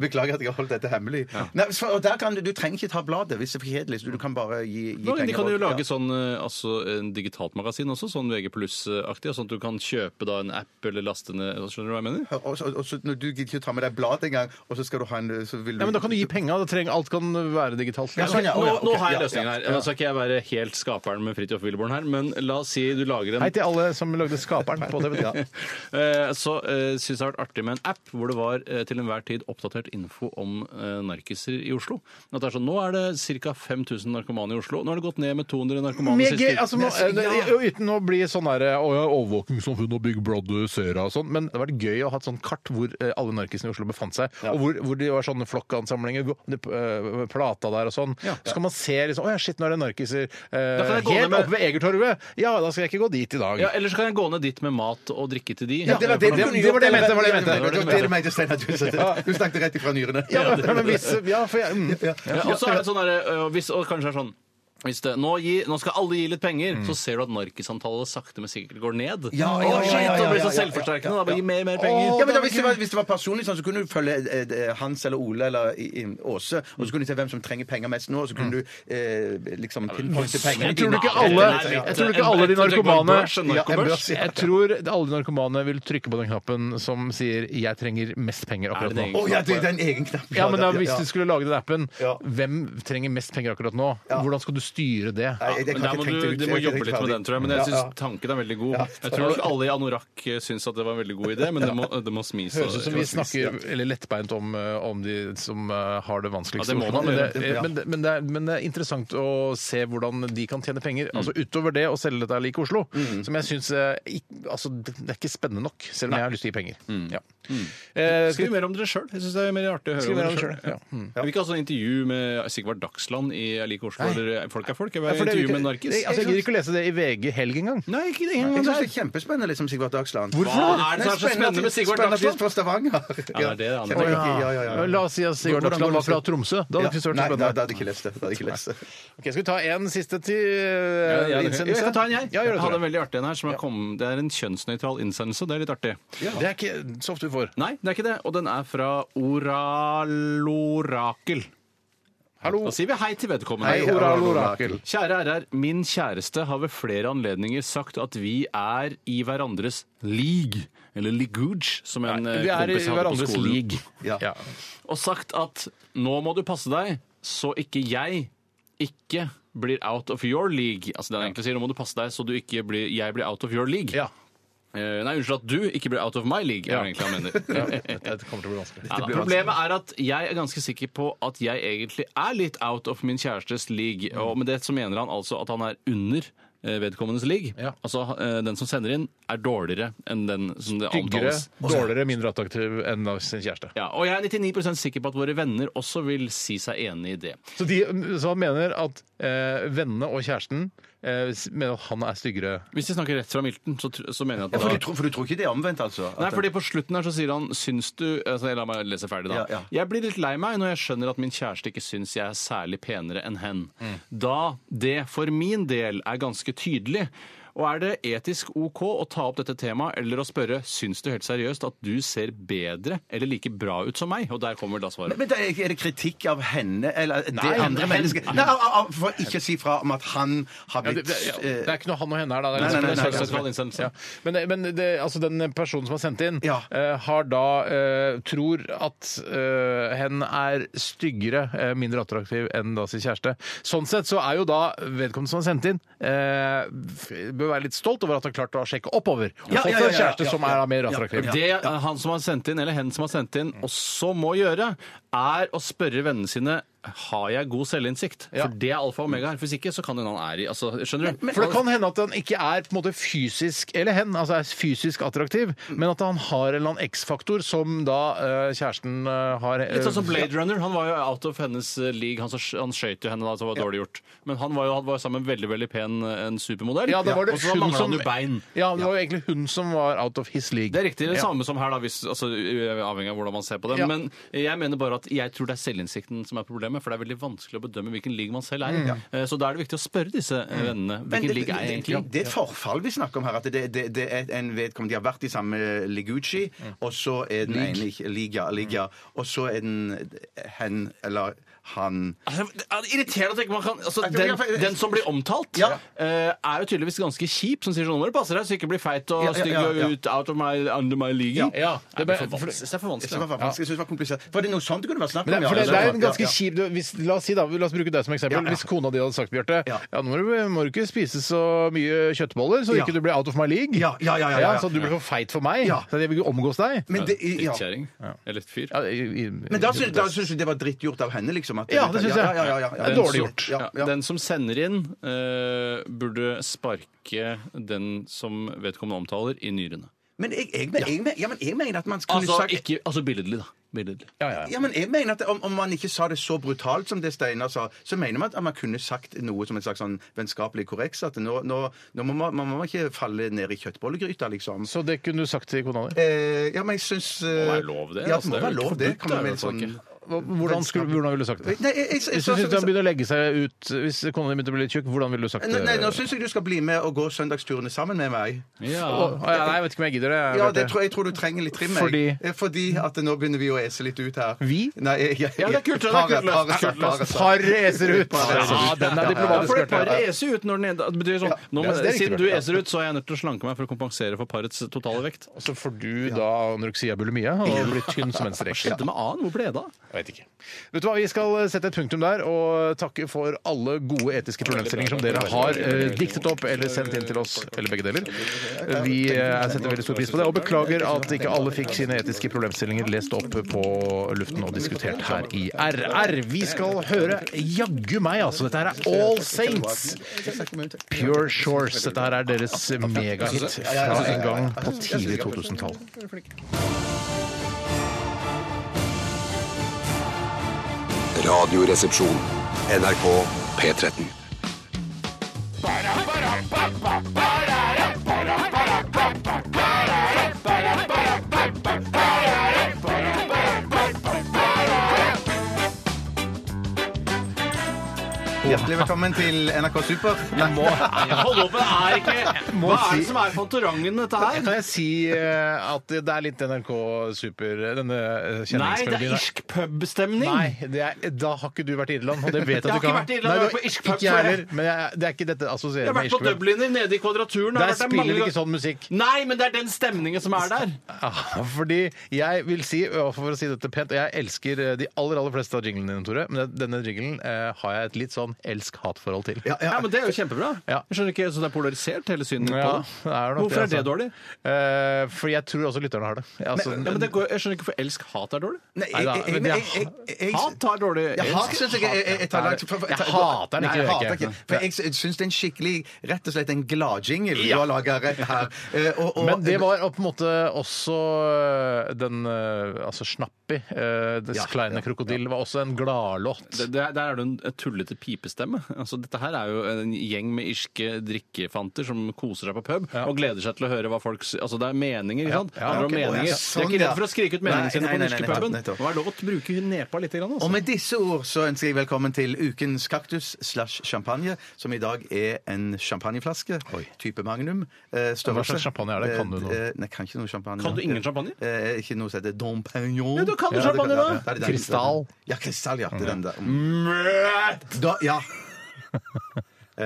F: Beklager at jeg har holdt dette hemmelig. Nei, så- og der kan du, du trenger ikke ta bladet hvis det er for kjedelig. så Du kan bare gi, gi
E: Nå,
F: penger.
E: de kan jo
F: og-
E: lage
F: ja.
E: sånn eh, altså, en digitalt magasin også, sånn VG pluss-aktig, sånn at du kan kjøpe da en app eller laste ned Skjønner du hva jeg mener?
F: og, og, og, så Når du gidder ikke å ta med deg bladet engang, og så skal du ha en så vil du...
D: Ja, men da kan du gi penga. da trenger- Alt kan være digitalt.
F: Ja, sånn, ja.
E: Nå,
F: ok,
E: nå har jeg
F: ja,
E: løsningen
F: ja,
E: her. Nå skal ikke jeg være helt skaperen med Fridtjof Wilborn her, men la oss si du lager en
D: Hei til alle som lagde Skaperen (laughs) på DVD.
E: (laughs) Eh, Så uh, syns jeg det har vært artig med en app hvor det var eh, til enhver tid oppdatert info om eh, narkiser i Oslo. At det er sånn, Nå er det ca. 5000 narkomane i Oslo. Nå har det gått ned med 200 narkomane
D: Med G,
E: siste
D: altså, må, eh, og uten å bli sånn der, eh, «Å, ja, overvåkingssamfunn og Big Brother ser og sånn, men det hadde vært gøy å ha et sånt kart hvor eh, alle narkisene i Oslo befant seg, og hvor, hvor de var sånne flokkansamlinger, gå- de, eh, plata der og sånn. Så kan man se liksom, å ja, shit, nå er det narkiser eh,
E: Da kan jeg gå ned
D: helt
E: med-
D: oppe ved Egertorvet. Ja, da skal jeg ikke gå dit i dag.
E: Ja, Eller så kan jeg gå ned dit med mat og drikke til de.
D: det var
E: For
D: det-
E: da-
D: det- var jeg mente, det var det jeg mente.
F: Det var det du mente, Steinar. Du sa det. Du snakket rett ifra nyrene.
D: Ja, men hvis, ja, for jeg, mm.
E: Ja, og så er det sånn der, øh, hvis, og kanskje er sånn hvis det, nå, gi, nå skal alle gi litt penger, så ser du at narkisantallet sakte, men sikkert går ned.
F: Ja, ja,
E: Å, shit,
F: ja, ja,
E: Da blir
F: ja,
E: det så
F: ja, ja,
E: selvforsterkende.
F: ja,
E: Da bare gi
F: ja.
E: mer mer penger.
F: Ja, men da, hvis, det var, hvis det var personlig sånn, så kunne du følge eh, eh, Hans eller Ole eller eh, i, i, Åse, og så kunne du se hvem som trenger penger mest nå,
E: Mm.
F: og så kunne du eh, liksom tilpointe pengene
D: Jeg tror
F: dine.
D: ikke alle, jeg tror ikke alle de narkomane
F: Ja, en børs, ja.
D: Jeg tror alle de narkomane vil trykke på den knappen som sier 'jeg trenger mest penger
E: Er
D: akkurat
E: det en
D: nå'.
E: egen-
F: Å ja, det det er en egen knapp.
D: Ja, men da, Hvis
F: ja.
D: du skulle lage den appen,
F: Ja.
D: hvem trenger mest penger akkurat nå? Hvordan skal du styre det?
F: Nei, jeg- jeg
E: Men
F: kan
E: der
F: ikke
E: må
F: tenke
E: du, du
F: ut- jeg
E: må
F: er ikke
E: jobbe
F: helt
E: litt med
F: ferdig.
E: den, tror jeg. Men jeg
F: Ja,
E: syns
F: ja.
E: tanken er veldig god. Jeg tror nok alle i anorakk eh, syns at det var en veldig god idé, men det må, det må smis.
D: Høres ut som vi
E: og-
D: snakker eller lettbeint om, eh, om de som eh, har det
E: Ja,
D: vanskeligst.
E: det må
D: i Oslo,
E: man
D: men,
E: gjøre.
D: det, eh, men, det, men, det er, men det er interessant å se hvordan de kan tjene penger.
E: Mm.
D: Altså Utover det å selge dette like Oslo, som jeg syns altså, det det er ikke spennende nok, selv om jeg har lyst til å gi penger.
E: Mm.
D: Ja. Eh, skal
E: Skriv mer om dere sjøl. Jeg syns det er mer artig å høre
D: Skriv
E: om
D: mer om
E: dere
D: dere
E: sjøl.
D: selv, ja.
E: Vi kan ha sånn intervju med Sigvard Dagsland i Jeg liker Oslo, eller Folk er folk. Jeg vil
D: Ja,
E: ha
D: for det er jo
E: intervju
D: ikke-
E: med en narkis.
D: Nei, altså, jeg gidder ikke å lese det i VG helg engang.
E: Nei, ikke det
F: Jeg
E: engang.
F: synes det er kjempespennende, liksom, Sigvard Dagsland.
E: Hva er det som er så
F: Nei,
E: spennende med Sigvard
F: spennende
E: Dagsland?
F: artist fra Stavanger.
E: Ja, det er det han
F: Kjenner jeg ikke. Ja, ja, ja.
D: La oss si at Sigurd
F: Hvordan går
D: Dagsland var
F: det
D: fra
F: med-
D: Tromsø. Da
F: Ja.
D: hadde det ikke vært så
F: Nei, da da
D: spennende.
F: hadde jeg ikke lest det. Da hadde jeg ikke lest det.
D: Ok, skal vi ta en siste til
E: Ja,
D: uh,
E: jeg, jeg,
D: innsendelse?
E: skal ta en, jeg.
D: Ja, gjør
E: jeg hadde en
D: det, tror jeg.
E: veldig artig en her. Som er kommet, det er en kjønnsnøytral innsendelse. Det er litt artig.
D: Det er ikke så ofte vi får.
E: Nei, det er ikke det. Og den er fra Oralorakel.
D: Hallo.
E: Da sier vi hei til vedkommende.
D: Hei, Oral Orakel.
E: Kjære RR, min kjæreste har ved flere anledninger sagt at vi er i hverandres league. Eller ligooge, som en eh,
D: Vi er i
E: kompis jeg hadde på
D: hverandres
E: skolen.
D: league.
F: Ja.
D: Ja.
E: Og sagt at nå må du passe deg, så ikke jeg ikke blir out of your league. Altså det han egentlig sier, nå må du passe deg så du ikke blir, jeg blir out of your league.
D: Ja.
E: Eh, nei, unnskyld at du ikke blir out of my league, er
D: Ja.
E: det egentlig han
D: (laughs)
E: mener.
D: Dette kommer til å bli vanskelig.
E: Ja, da. Problemet er at jeg er ganske sikker på at jeg egentlig er litt out of min kjærestes league.
D: Mm.
E: Og med det så mener han altså at han er under eh, vedkommendes league.
D: Ja.
E: Altså eh, den som sender inn, er dårligere enn den som det
D: Styggere,
E: omtales.
D: dårligere, mindre attraktiv enn av sin kjæreste.
E: Ja, og jeg er 99 sikker på at våre venner også vil si seg enig i det.
D: Så, de, så han mener at eh, vennene og kjæresten eh, s- mener at han er styggere
E: Hvis de snakker rett fra milten, så, tr- så mener jeg at
F: Ja, for,
E: da-
F: du tror, for du tror ikke det er omvendt, altså? At-
E: Nei, fordi På slutten her så sier han Syns du altså, La meg lese ferdig, da.
F: Ja, ja.
E: Jeg blir litt lei meg når jeg skjønner at min kjæreste ikke syns jeg er særlig penere enn hen.
F: Mm.
E: Da det for min del er ganske tydelig. Og er det etisk OK å ta opp dette temaet eller å spørre syns du helt seriøst at du ser bedre eller like bra ut som meg? Og der kommer da svaret.
F: Men da er er det kritikk av henne eller det
E: Nei,
F: andre
E: hen-
F: mennesket? Nei, av- av- For ikke å si fra om at han har
D: Ja, det,
F: blitt
D: det, ja.
F: eh,
D: det er ikke noe han og henne her, da. Det er
F: Nei, nei, altså, nei, nei,
E: nei,
D: liksom-
E: nei, nei.
D: Ja. Men, men det, altså, den personen som har sendt inn,
F: Ja.
D: eh, har da eh, tror at eh, hen er styggere, eh, mindre attraktiv enn da sin kjæreste. Sånn sett så er jo da vedkommende som har sendt inn, eh, f- bør være litt stolt over at han har klart å sjekke oppover. Og
F: Ja,
D: fått
F: ja, ja,
D: en
F: ja,
D: kjæreste
F: ja,
D: som
F: ja.
D: er da mer attraktiv.
E: Det eh, han som har sendt inn, eller hen som har sendt
D: Mm.
E: inn, også må gjøre, er å spørre vennene sine har jeg god selvinnsikt.
D: Ja.
E: For det er alfa og omega her. Hvis ikke, så kan hende han er i altså, Skjønner du?
D: For det kan hende at han ikke er på en måte fysisk eller hen, altså er fysisk attraktiv, men at han har en eller annen X-faktor som da eh, kjæresten eh, har eh,
E: Litt sånn som Blade Runner. Han var jo out of hennes eh, league. Han, som- han skøyt jo henne da, så det var dårlig gjort. Men han var jo han var jo sammen med en veldig veldig pen eh, en supermodell.
D: Ja, da var det
E: Og så
D: hun
E: mangla
D: som-
E: han jo bein.
D: Ja, det var jo egentlig hun som var out of his league.
E: Det er riktig. Det
D: Ja.
E: samme som her, da, hvis, altså, u- avhengig av hvordan man ser på det.
D: Ja.
E: Men jeg mener bare at jeg tror det er selvinnsikten som er problemet. med, for det er veldig vanskelig å bedømme hvilken league man selv er i. Eh, Så da er det viktig å spørre disse eh, vennene hvilken
F: det,
E: league er jeg
F: det,
E: egentlig
F: det, det er et forfall vi snakker om her. At det, det, det er en vedkommende De har vært i samme Liguchi, og så er den ene ikke- Liga, Liga, og så er den hen eller han
E: Altså, det er Irriterende at ikke man kan altså,
F: Nei,
E: den,
F: men jeg-
E: den som blir omtalt,
F: Ja.
E: eh, er jo tydeligvis ganske kjip, som sier sånn Nå må du passe deg så ikke blir feit og
F: Ja, ja,
E: stygg
F: ja, ja.
E: og ut out of my, under my league.
D: Ja, det
E: det,
D: ble-
E: er for vanskelig. det er for
F: Jeg synes det
E: vanskelig.
F: var vanskelig, jeg synes det var komplisert. Var det noe sånt det kunne vært snakk om?
D: Men det,
F: ja,
D: for det, det er en
F: ja,
D: ganske
F: ja.
D: kjip hvis, La oss si da, la oss bruke deg som eksempel.
F: Ja, ja.
D: Hvis kona di hadde sagt, Bjarte, ja.
F: Ja.
D: nå må du, må du ikke spise så mye kjøttboller, så
F: Ja.
D: ikke du blir out of my league.
F: Ja, ja, ja, ja, ja.
D: så du blir for feit for meg.
F: Ja.
D: Så jeg vil ikke omgås deg.
F: Men det, ja.
E: Drittkjerring. Eller fyr.
D: Ja, i- i-
F: Men da syns, da syns jeg det var drittgjort av henne, liksom. At
D: Ja, det syns jeg.
F: Ja, ja, ja, ja, ja.
D: Det er dårlig gjort.
F: Ja, ja.
E: Den som sender inn, eh, burde sparke den som vedkommende omtaler, i nyrene.
F: Men jeg, jeg, men- jeg, men- ja, men jeg mener at man kunne
E: Altså,
F: sagt
E: ikke, altså billedlig, da. Billedlig.
D: ja, ja, ja.
F: ja, men jeg mener at om, om man ikke sa det så brutalt som det Steinar sa, så mener man at man kunne sagt noe som en slags sånn vennskapelig korreks. At nå, nå, nå må man, man må ikke falle ned i kjøttbollegryta, liksom.
D: Så det kunne du sagt til kona di.
F: Eh, ja, men jeg syns
E: Det må være lov, det.
F: Eh, Ja,
E: altså,
F: det må
E: er jo
F: være
E: et
F: lov, det.
E: produkt,
F: Kan man
E: er
F: vel
E: jo
F: sånn
E: folk ikke.
D: Hvordan, skulle, hvordan ville du sagt det?
F: Nei, jeg, jeg, jeg,
D: Hvis du
F: så-
D: syns han begynner å legge seg ut Hvis kona di begynte å bli litt tjukk, hvordan ville du sagt det?
F: Nei, nei, nå syns jeg du skal bli med og gå søndagsturene sammen med meg.
E: Ja.
D: Å, å, ja, nei, jeg vet ikke om jeg gidder det.
F: Ja,
D: Bjarte.
F: det tror, jeg tror du trenger litt trim. jeg.
D: Fordi?
F: Eh, Fordi at nå begynner vi å ese litt ut her.
D: Vi?
F: Nei, jeg, jeg,
E: Ja, det er kult, det er
F: Paret,
E: kult løst.
F: paret,
E: Kult løst.
F: paret, paret.
D: Par eser ut!
F: Par eser
D: Ja,
F: ut.
D: den
E: Ja,
D: er
E: for
D: diplomatisk.
E: det
D: Bjarte.
E: paret eser jo ut når den ene det betyr sånn, nå,
D: Ja,
E: må-
D: det er riktig,
E: Siden du
D: Bjarte.
E: eser ut, så er jeg nødt til å slanke meg for å kompensere for parets totale vekt.
D: Og så får du da anoreksia bulimia og blir tynn som en strek.
E: Skjedde med annen? Hvor ble det av?
D: Jeg vet ikke. Vet du hva, Vi skal sette et punktum der og takke for alle gode etiske problemstillinger som dere har eh, diktet opp eller sendt inn til oss, eller begge deler. Vi eh, setter veldig stor pris på det, og beklager at ikke alle fikk sine etiske problemstillinger lest opp på luften og diskutert her i RR. Vi skal høre jaggu meg, altså. Dette her er All Saints. Pure Shores. Dette her er deres megahit fra en gang på tidlig 2000-tall.
A: Radioresepsjon. NRK P13.
F: Hjertelig velkommen til NRK Super. Nei,
E: Hold opp, det er ikke Hva er
D: si-
E: det som er Fantorangen, dette her?
D: Kan jeg si eh, at det er litt NRK Super, denne eh,
E: Nei, det er
D: kjenningsmelodien?
E: irsk pub-stemning.
D: Nei, det er, da har ikke du vært i Irland, og det vet jeg
E: (laughs) Jeg
D: at du
E: har ikke
D: ikke
E: vært i Irland, jeg har vært på irsk pub
D: Ikke jeg
E: før.
D: heller, men jeg, det er ikke dette
E: Jeg
D: assosierer
E: har
D: med
E: vært på
D: irsk pub.
E: Dubliner, nede i Kvadraturen. jeg har
D: Der
E: vært der
D: spiller
E: mange
D: de ikke
E: ganger.
D: sånn musikk.
E: Nei, men det er den stemningen som er der.
D: Ah, Fordi jeg vil si, og for å si dette pent, jeg elsker eh, de aller aller fleste av jinglene dine, Tore, men denne jinglen eh, har jeg et litt sånn elsk-hat-forhold til.
E: Ja, men Det er jo kjempebra.
D: Ja.
E: Jeg skjønner ikke, Så det er polarisert, hele synet på
D: Ja,
E: det?
D: det er nok
E: Hvorfor er det
D: altså.
E: dårlig?
D: Eh, fordi jeg tror også lytterne har det. Altså,
E: Ja, men det går, jeg skjønner ikke hvorfor elsk-hat er dårlig.
F: nei,
D: Nei,
F: jeg,
D: da,
F: jeg,
D: men
F: jeg,
D: jeg-
F: jeg, jeg, jeg,
E: Hat tar dårlig
F: jeg
E: elsk.
F: hat syns jeg jeg, jeg, jeg tar langt for- for-
D: Jeg
F: tar-
D: hater den ikke,
F: Nei, jeg
D: gjør jeg
F: hater
D: ikke.
F: ikke. For jeg sy- syns det er en skikkelig Rett og slett en gladjingle du har laga rett her. Eh, og- og-
D: Men det var på en måte også øh, den øh, altså Snappi, øh, Dets kleine krokodille, var også en gladlåt.
E: Det, det, er- der er det en en tullete pipestemme. Altså, dette her er jo en gjeng med irske drikkefanter som koser seg på pub og gleder seg til å høre hva folk s- Altså, det er meninger, ikke sant?
D: ja,
E: Handler om
F: ok. Å, ja,
E: meninger.
F: sånn,
E: de er ikke
F: ja.
E: redd for å skrike ut
F: Nei,
E: meningene sine
F: nei,
E: på den
F: nei,
E: irske
F: nei,
E: puben.
F: nettopp.
E: Det er lov å bruke nepa litt. Grann,
F: Og
E: altså.
F: med disse ord så ønsker jeg velkommen til ukens kaktus slash champagne, som i dag er en champagneflaske, type magnum. eh, størrelse.
D: Hva slags champagne er det? Kan du noe?
F: Eh, Nei, kan ikke noe champagne.
E: Kan du ingen champagne?
F: Eh, ikke noe som heter Dom Pignon.
E: Ja, da kan du champagne, da.
D: Kristall.
F: Ja, kristall, ja. Det er den der.
D: Mm.
F: Da, ja. (laughs) Eh,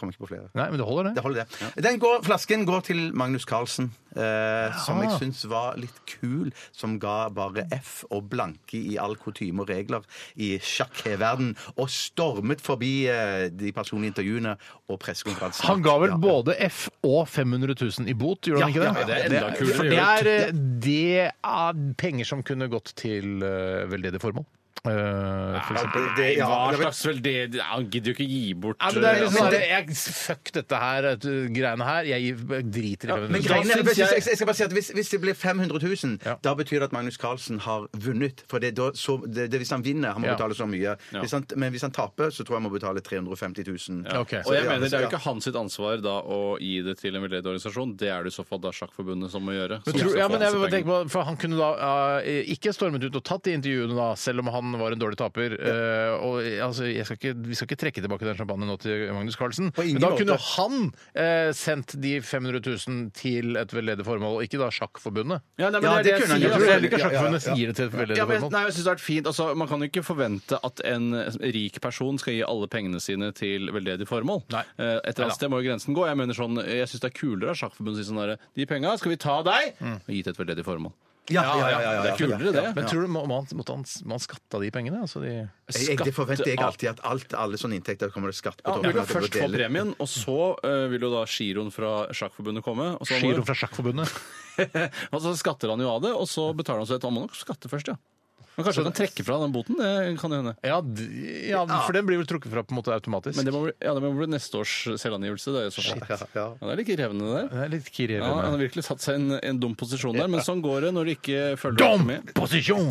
F: Kommer ikke på flere.
D: Nei, men det holder,
F: Det
D: det.
F: holder det. Den går, flasken går til Magnus Carlsen, eh, som jeg syns var litt kul, som ga bare F og blanke i all kutyme og regler i sjakkverden, og stormet forbi eh, de personlige intervjuene og pressekonferansen.
D: Han ga vel
F: Ja.
D: både F og 500 000 i bot, gjorde han
F: Ja,
D: ikke det?
F: ja, ja, det er
E: enda kulere,
D: for
E: gjør
D: Det er, eh, det er penger som kunne gått til øh, veldedig formål. Eh, for eksempel.
F: det- det- ja,
E: Hva
F: det-
E: slags vel det det- Han gidder jo ikke gi bort
D: Ja, men det er
E: eh,
D: liksom sånn, jeg, Fuck dette her, eh, greiene her. Jeg gir- driter i 500
E: men
D: 000.
E: greia-
F: Nei, nei,
E: syns jeg-
F: jeg, jeg skal bare si at hvis, hvis det blir 500 000,
D: Ja.
F: da betyr det at Magnus Carlsen har vunnet. For det, er da, så, det, det, hvis han vinner, han må
D: Ja.
F: betale så mye. Hvis han, men hvis han taper, så tror jeg han må betale 350 000.
E: Ja.
D: Ok.
E: Og jeg
F: Så, ja,
E: mener Det
F: så,
E: er
F: ja.
E: jo ikke hans sitt ansvar da å gi det til en veldedig organisasjon. Det er det i så fall da sjakkforbundet som må gjøre.
D: Men
E: som
D: tror,
E: skal
D: ja,
E: få
D: men jeg
E: disse
D: vil bare
E: pengene.
D: tenke på, for Han kunne da eh, ikke stormet ut og tatt de intervjuene, da, selv om han han var en dårlig taper. Eh, og eh, altså, jeg skal ikke, vi skal ikke trekke tilbake den champagnen nå til Magnus Carlsen,
F: På ingen
D: men da
F: måte.
D: kunne han eh, sendt de 500 000 til et veldedig formål, og ikke da Sjakkforbundet.
E: Ja, nei, men
F: Ja,
E: det er det
F: det
E: jeg
F: kunne
E: sier.
D: Jeg
E: for
D: tror
F: han gjort.
E: jeg
D: heller
E: liker
D: ikke
F: ja, ja,
D: Sjakkforbundet sier det til et veldedig
E: Ja, men,
D: formål.
E: nei, jeg synes det har vært fint. Altså, man kan jo ikke forvente at en rik person skal gi alle pengene sine til veldedig formål.
D: Nei.
E: Eh, Et eller
D: Neida.
E: annet sted må jo grensen gå. Jeg mener sånn, jeg syns det er kulere av Sjakkforbundet å si sånn derre De penga skal vi ta av deg og gi til et veldedig formål.
F: Ja, ja, ja, Mm. ja, ja.
E: Det er kulere, det.
D: Men tror du må, må han, måtte han, må han skatte av de pengene? Altså de...
F: Jeg, jeg, det forventer jeg
E: Skatt av-
F: alltid. At alt, alle sånne inntekter kommer det skatt på
E: Ja, du
F: toppen.
E: vil jo
F: at det blir
E: først få
F: delt.
E: premien, og så eh, vil jo da giroen fra Sjakkforbundet komme. Og så, må jo-
D: Giro fra Sjakkforbundet.
E: (laughs) og så skatter han jo av det, og så betaler han seg et Han må nok skatte først, ja. Men kanskje han kan trekke fra den boten? Det kan jo hende.
D: Ja, d- ja, for den blir vel trukket fra på en måte automatisk.
E: Men det må bli, ja, det må bli neste års selvangivelse. Det er, i så fall.
F: Ja, ja.
E: Ja, det er litt krevende, det der.
D: Det er litt
E: Ja, han har
D: kirrende.
E: virkelig tatt seg en, en dum posisjon der, men sånn går det når du ikke følger med.
D: posisjon!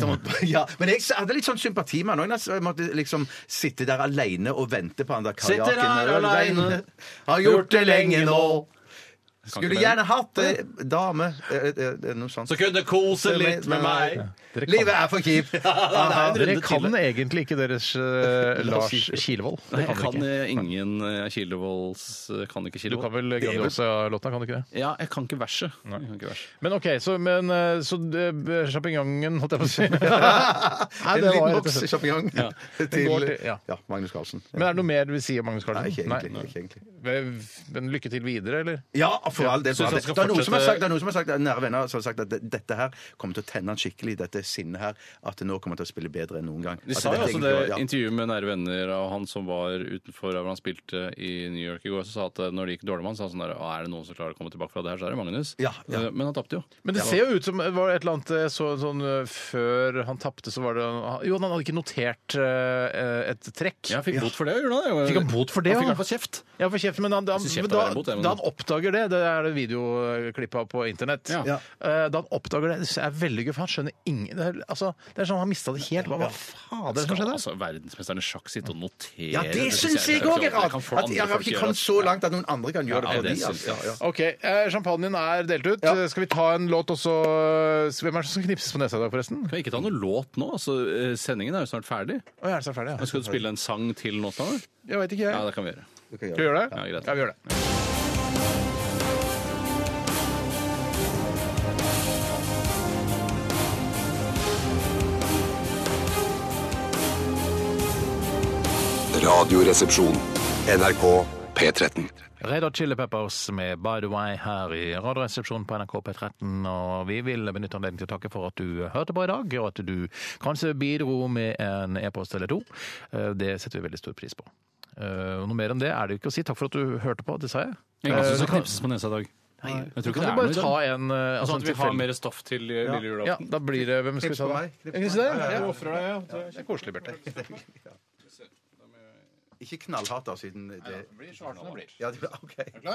F: Ja, men jeg hadde litt sånn sympati med han òg. Jeg måtte liksom sitte der aleine og vente på han der kajaken.
E: Sitter her alene.
F: Har gjort det lenge nå. Skulle
E: ikke
F: gjerne hatt eh, dame eh, eh, eh, Noe sånt.
E: Så kunne kose litt med meg.
D: Dere kan-
F: Livet er for (laughs) kjipt. Aha.
D: (laughs) Dere kan egentlig ikke deres eh, Lars Kilevold.
E: Nei,
D: Det
E: jeg
D: kan
E: kan
D: dere ikke.
E: eh, ingen eh, Kilevolds eh, Kan ikke
D: Du kan
E: Kilevold.
D: vel Grandiosa-låta, kan du ikke det?
E: Ja, jeg kan ikke verset. Jeg kan ikke verset.
D: Men OK, så, men, eh, så eh, champignon holdt jeg (laughs) på å si. Nei,
F: En
D: det var
F: liten
D: rett og
F: boks
D: slett.
F: sjampinjong
E: Ja.
D: Går
F: (laughs) til
D: til- ja.
F: ja, Magnus Carlsen.
D: Men er det noe mer du vil si om Magnus Carlsen?
F: Nei, ikke egentlig. Ikke egentlig.
D: Vel, Men lykke til videre, eller?
F: Ja, for all del. For
E: Synes han
F: all del.
E: skal
F: Det er noen som har
E: fortsette-
F: sagt, det er noen som har sagt det er nære venner som har altså sagt at det- dette her kommer til å tenne han skikkelig, dette sinnet her, at det nå kommer til å spille bedre enn noen gang.
E: De
F: At
E: sa jo
F: dette
E: også det
F: egentlig var- ja.
E: intervjuet med nære venner av han som var utenfor der hvor han spilte i New York i går, så sa at eh, når det gikk dårlig med han, sa han sånn der «Å, Er det noen som klarer å komme tilbake fra det her, så er det Magnus.
F: Ja, ja.
E: Eh, Men han tapte jo.
D: Men det ser jo ut som det var et eller annet eh, så, sånn eh, Før han tapte, så var det Jo, han hadde ikke notert eh, et trekk.
E: Ja, fikk bot for det, gjorde han det?
D: Fikk han bot for det,
E: Han fikk i
D: ja?
E: hvert fall kjeft.
D: Ja, for kjeft, men han, han,
E: Jeg synes
D: men
E: kjeft
D: da,
E: er verre mot det, men-
D: da han oppdager det Det er det videoklippet av på internett.
E: Ja. Ja.
D: Eh, Da han oppdager det, så er det veldig gøy, for han skjønner ingen Det er, altså, det er sånn han mista det helt. Hva, hva faen er det som
E: Skal
D: skjedde?
E: altså verdensmesteren i sjakk sitte og notere
F: Ja, det
E: synes
F: syns jeg òg er rart!
E: Kan folk-
F: At jeg har
E: folk
F: ikke
E: gjøre
F: kommet
E: det.
F: så langt at noen andre kan gjøre det
E: Ja,
F: for
E: det
F: de.
E: syns
F: altså.
E: jeg.
F: Ja, ja.
D: OK, eh, champagnen er delt ut.
F: Ja.
D: Skal vi ta en låt også? Hvem er det som knipses på nesa i dag, forresten?
E: Kan vi ikke ta noen låt nå? Altså, eh, sendingen er jo snart ferdig.
D: Å, jeg er så ferdig,
E: Men
D: ja.
E: Skal du spille en sang til låta? da?
D: Jeg veit ikke, jeg.
E: Ja, det kan vi gjøre.
D: Skal vi gjøre det?
E: Ja, greit.
D: vi gjør det.
A: Radioresepsjon. NRK P13.
D: Red Hot Chili Peppers med By The Way her i Radioresepsjonen på NRK P13. Og vi vil benytte anledningen til å takke for at du hørte på i dag, og at du kanskje bidro med en e-post eller to. Eh, Det setter vi veldig stor pris på. Eh, og Noe mer enn det er det jo ikke å si. Takk for at du hørte på, det sa jeg.
E: En gang
D: Eh,
E: som
D: du kan-
E: knipses på nesa i dag. Jeg tror
D: Kan
E: ikke det
D: du
E: er
D: bare
E: noe i
D: ta
E: dag.
D: en eh,
E: Sånn
D: altså,
E: at vi har
D: tilfeldig-
E: mer stoff til eh, lille
D: Ja,
E: julaften.
D: da blir det Hvem skal vi ta? da?
F: på meg, knips
D: Er det
F: på
D: ikke det?
F: meg. Ja, ja, ja.
D: Ja, Det er koselig, Bjarte.
F: Ikke knallhardt, da, siden det Ja,
E: (laughs)
F: det- OK.
E: Har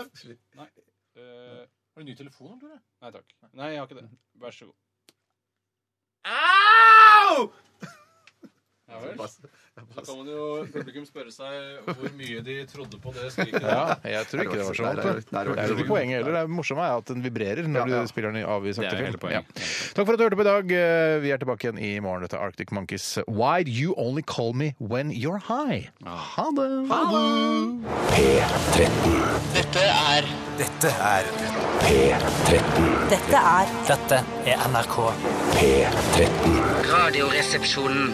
E: du ny telefon, Tore? Eh, Nei takk. Nei, jeg har ikke det. Vær så god.
F: Au!
E: Ja (laughs) vel. Så kan man jo publikum spørre seg hvor mye de trodde på det skriket.
D: Ja, jeg tror ikke det var så
F: Nei,
D: vondt.
F: det var-
D: da.
F: nei, det var
D: Det er jo
F: ikke
D: ikke poenget heller. Det morsomme er at den vibrerer når
F: Ja, ja.
D: du spiller den av i sakte
E: Det er jo
D: film.
E: hele poenget.
D: Ja. Takk for at du hørte på i dag. Vi er tilbake igjen i morgen. Dette er Arctic Monkeys Why Do You Only Call Me When You're High. Ha det!
K: Dette er Dette er NRK.
A: P13.
K: Radioresepsjonen.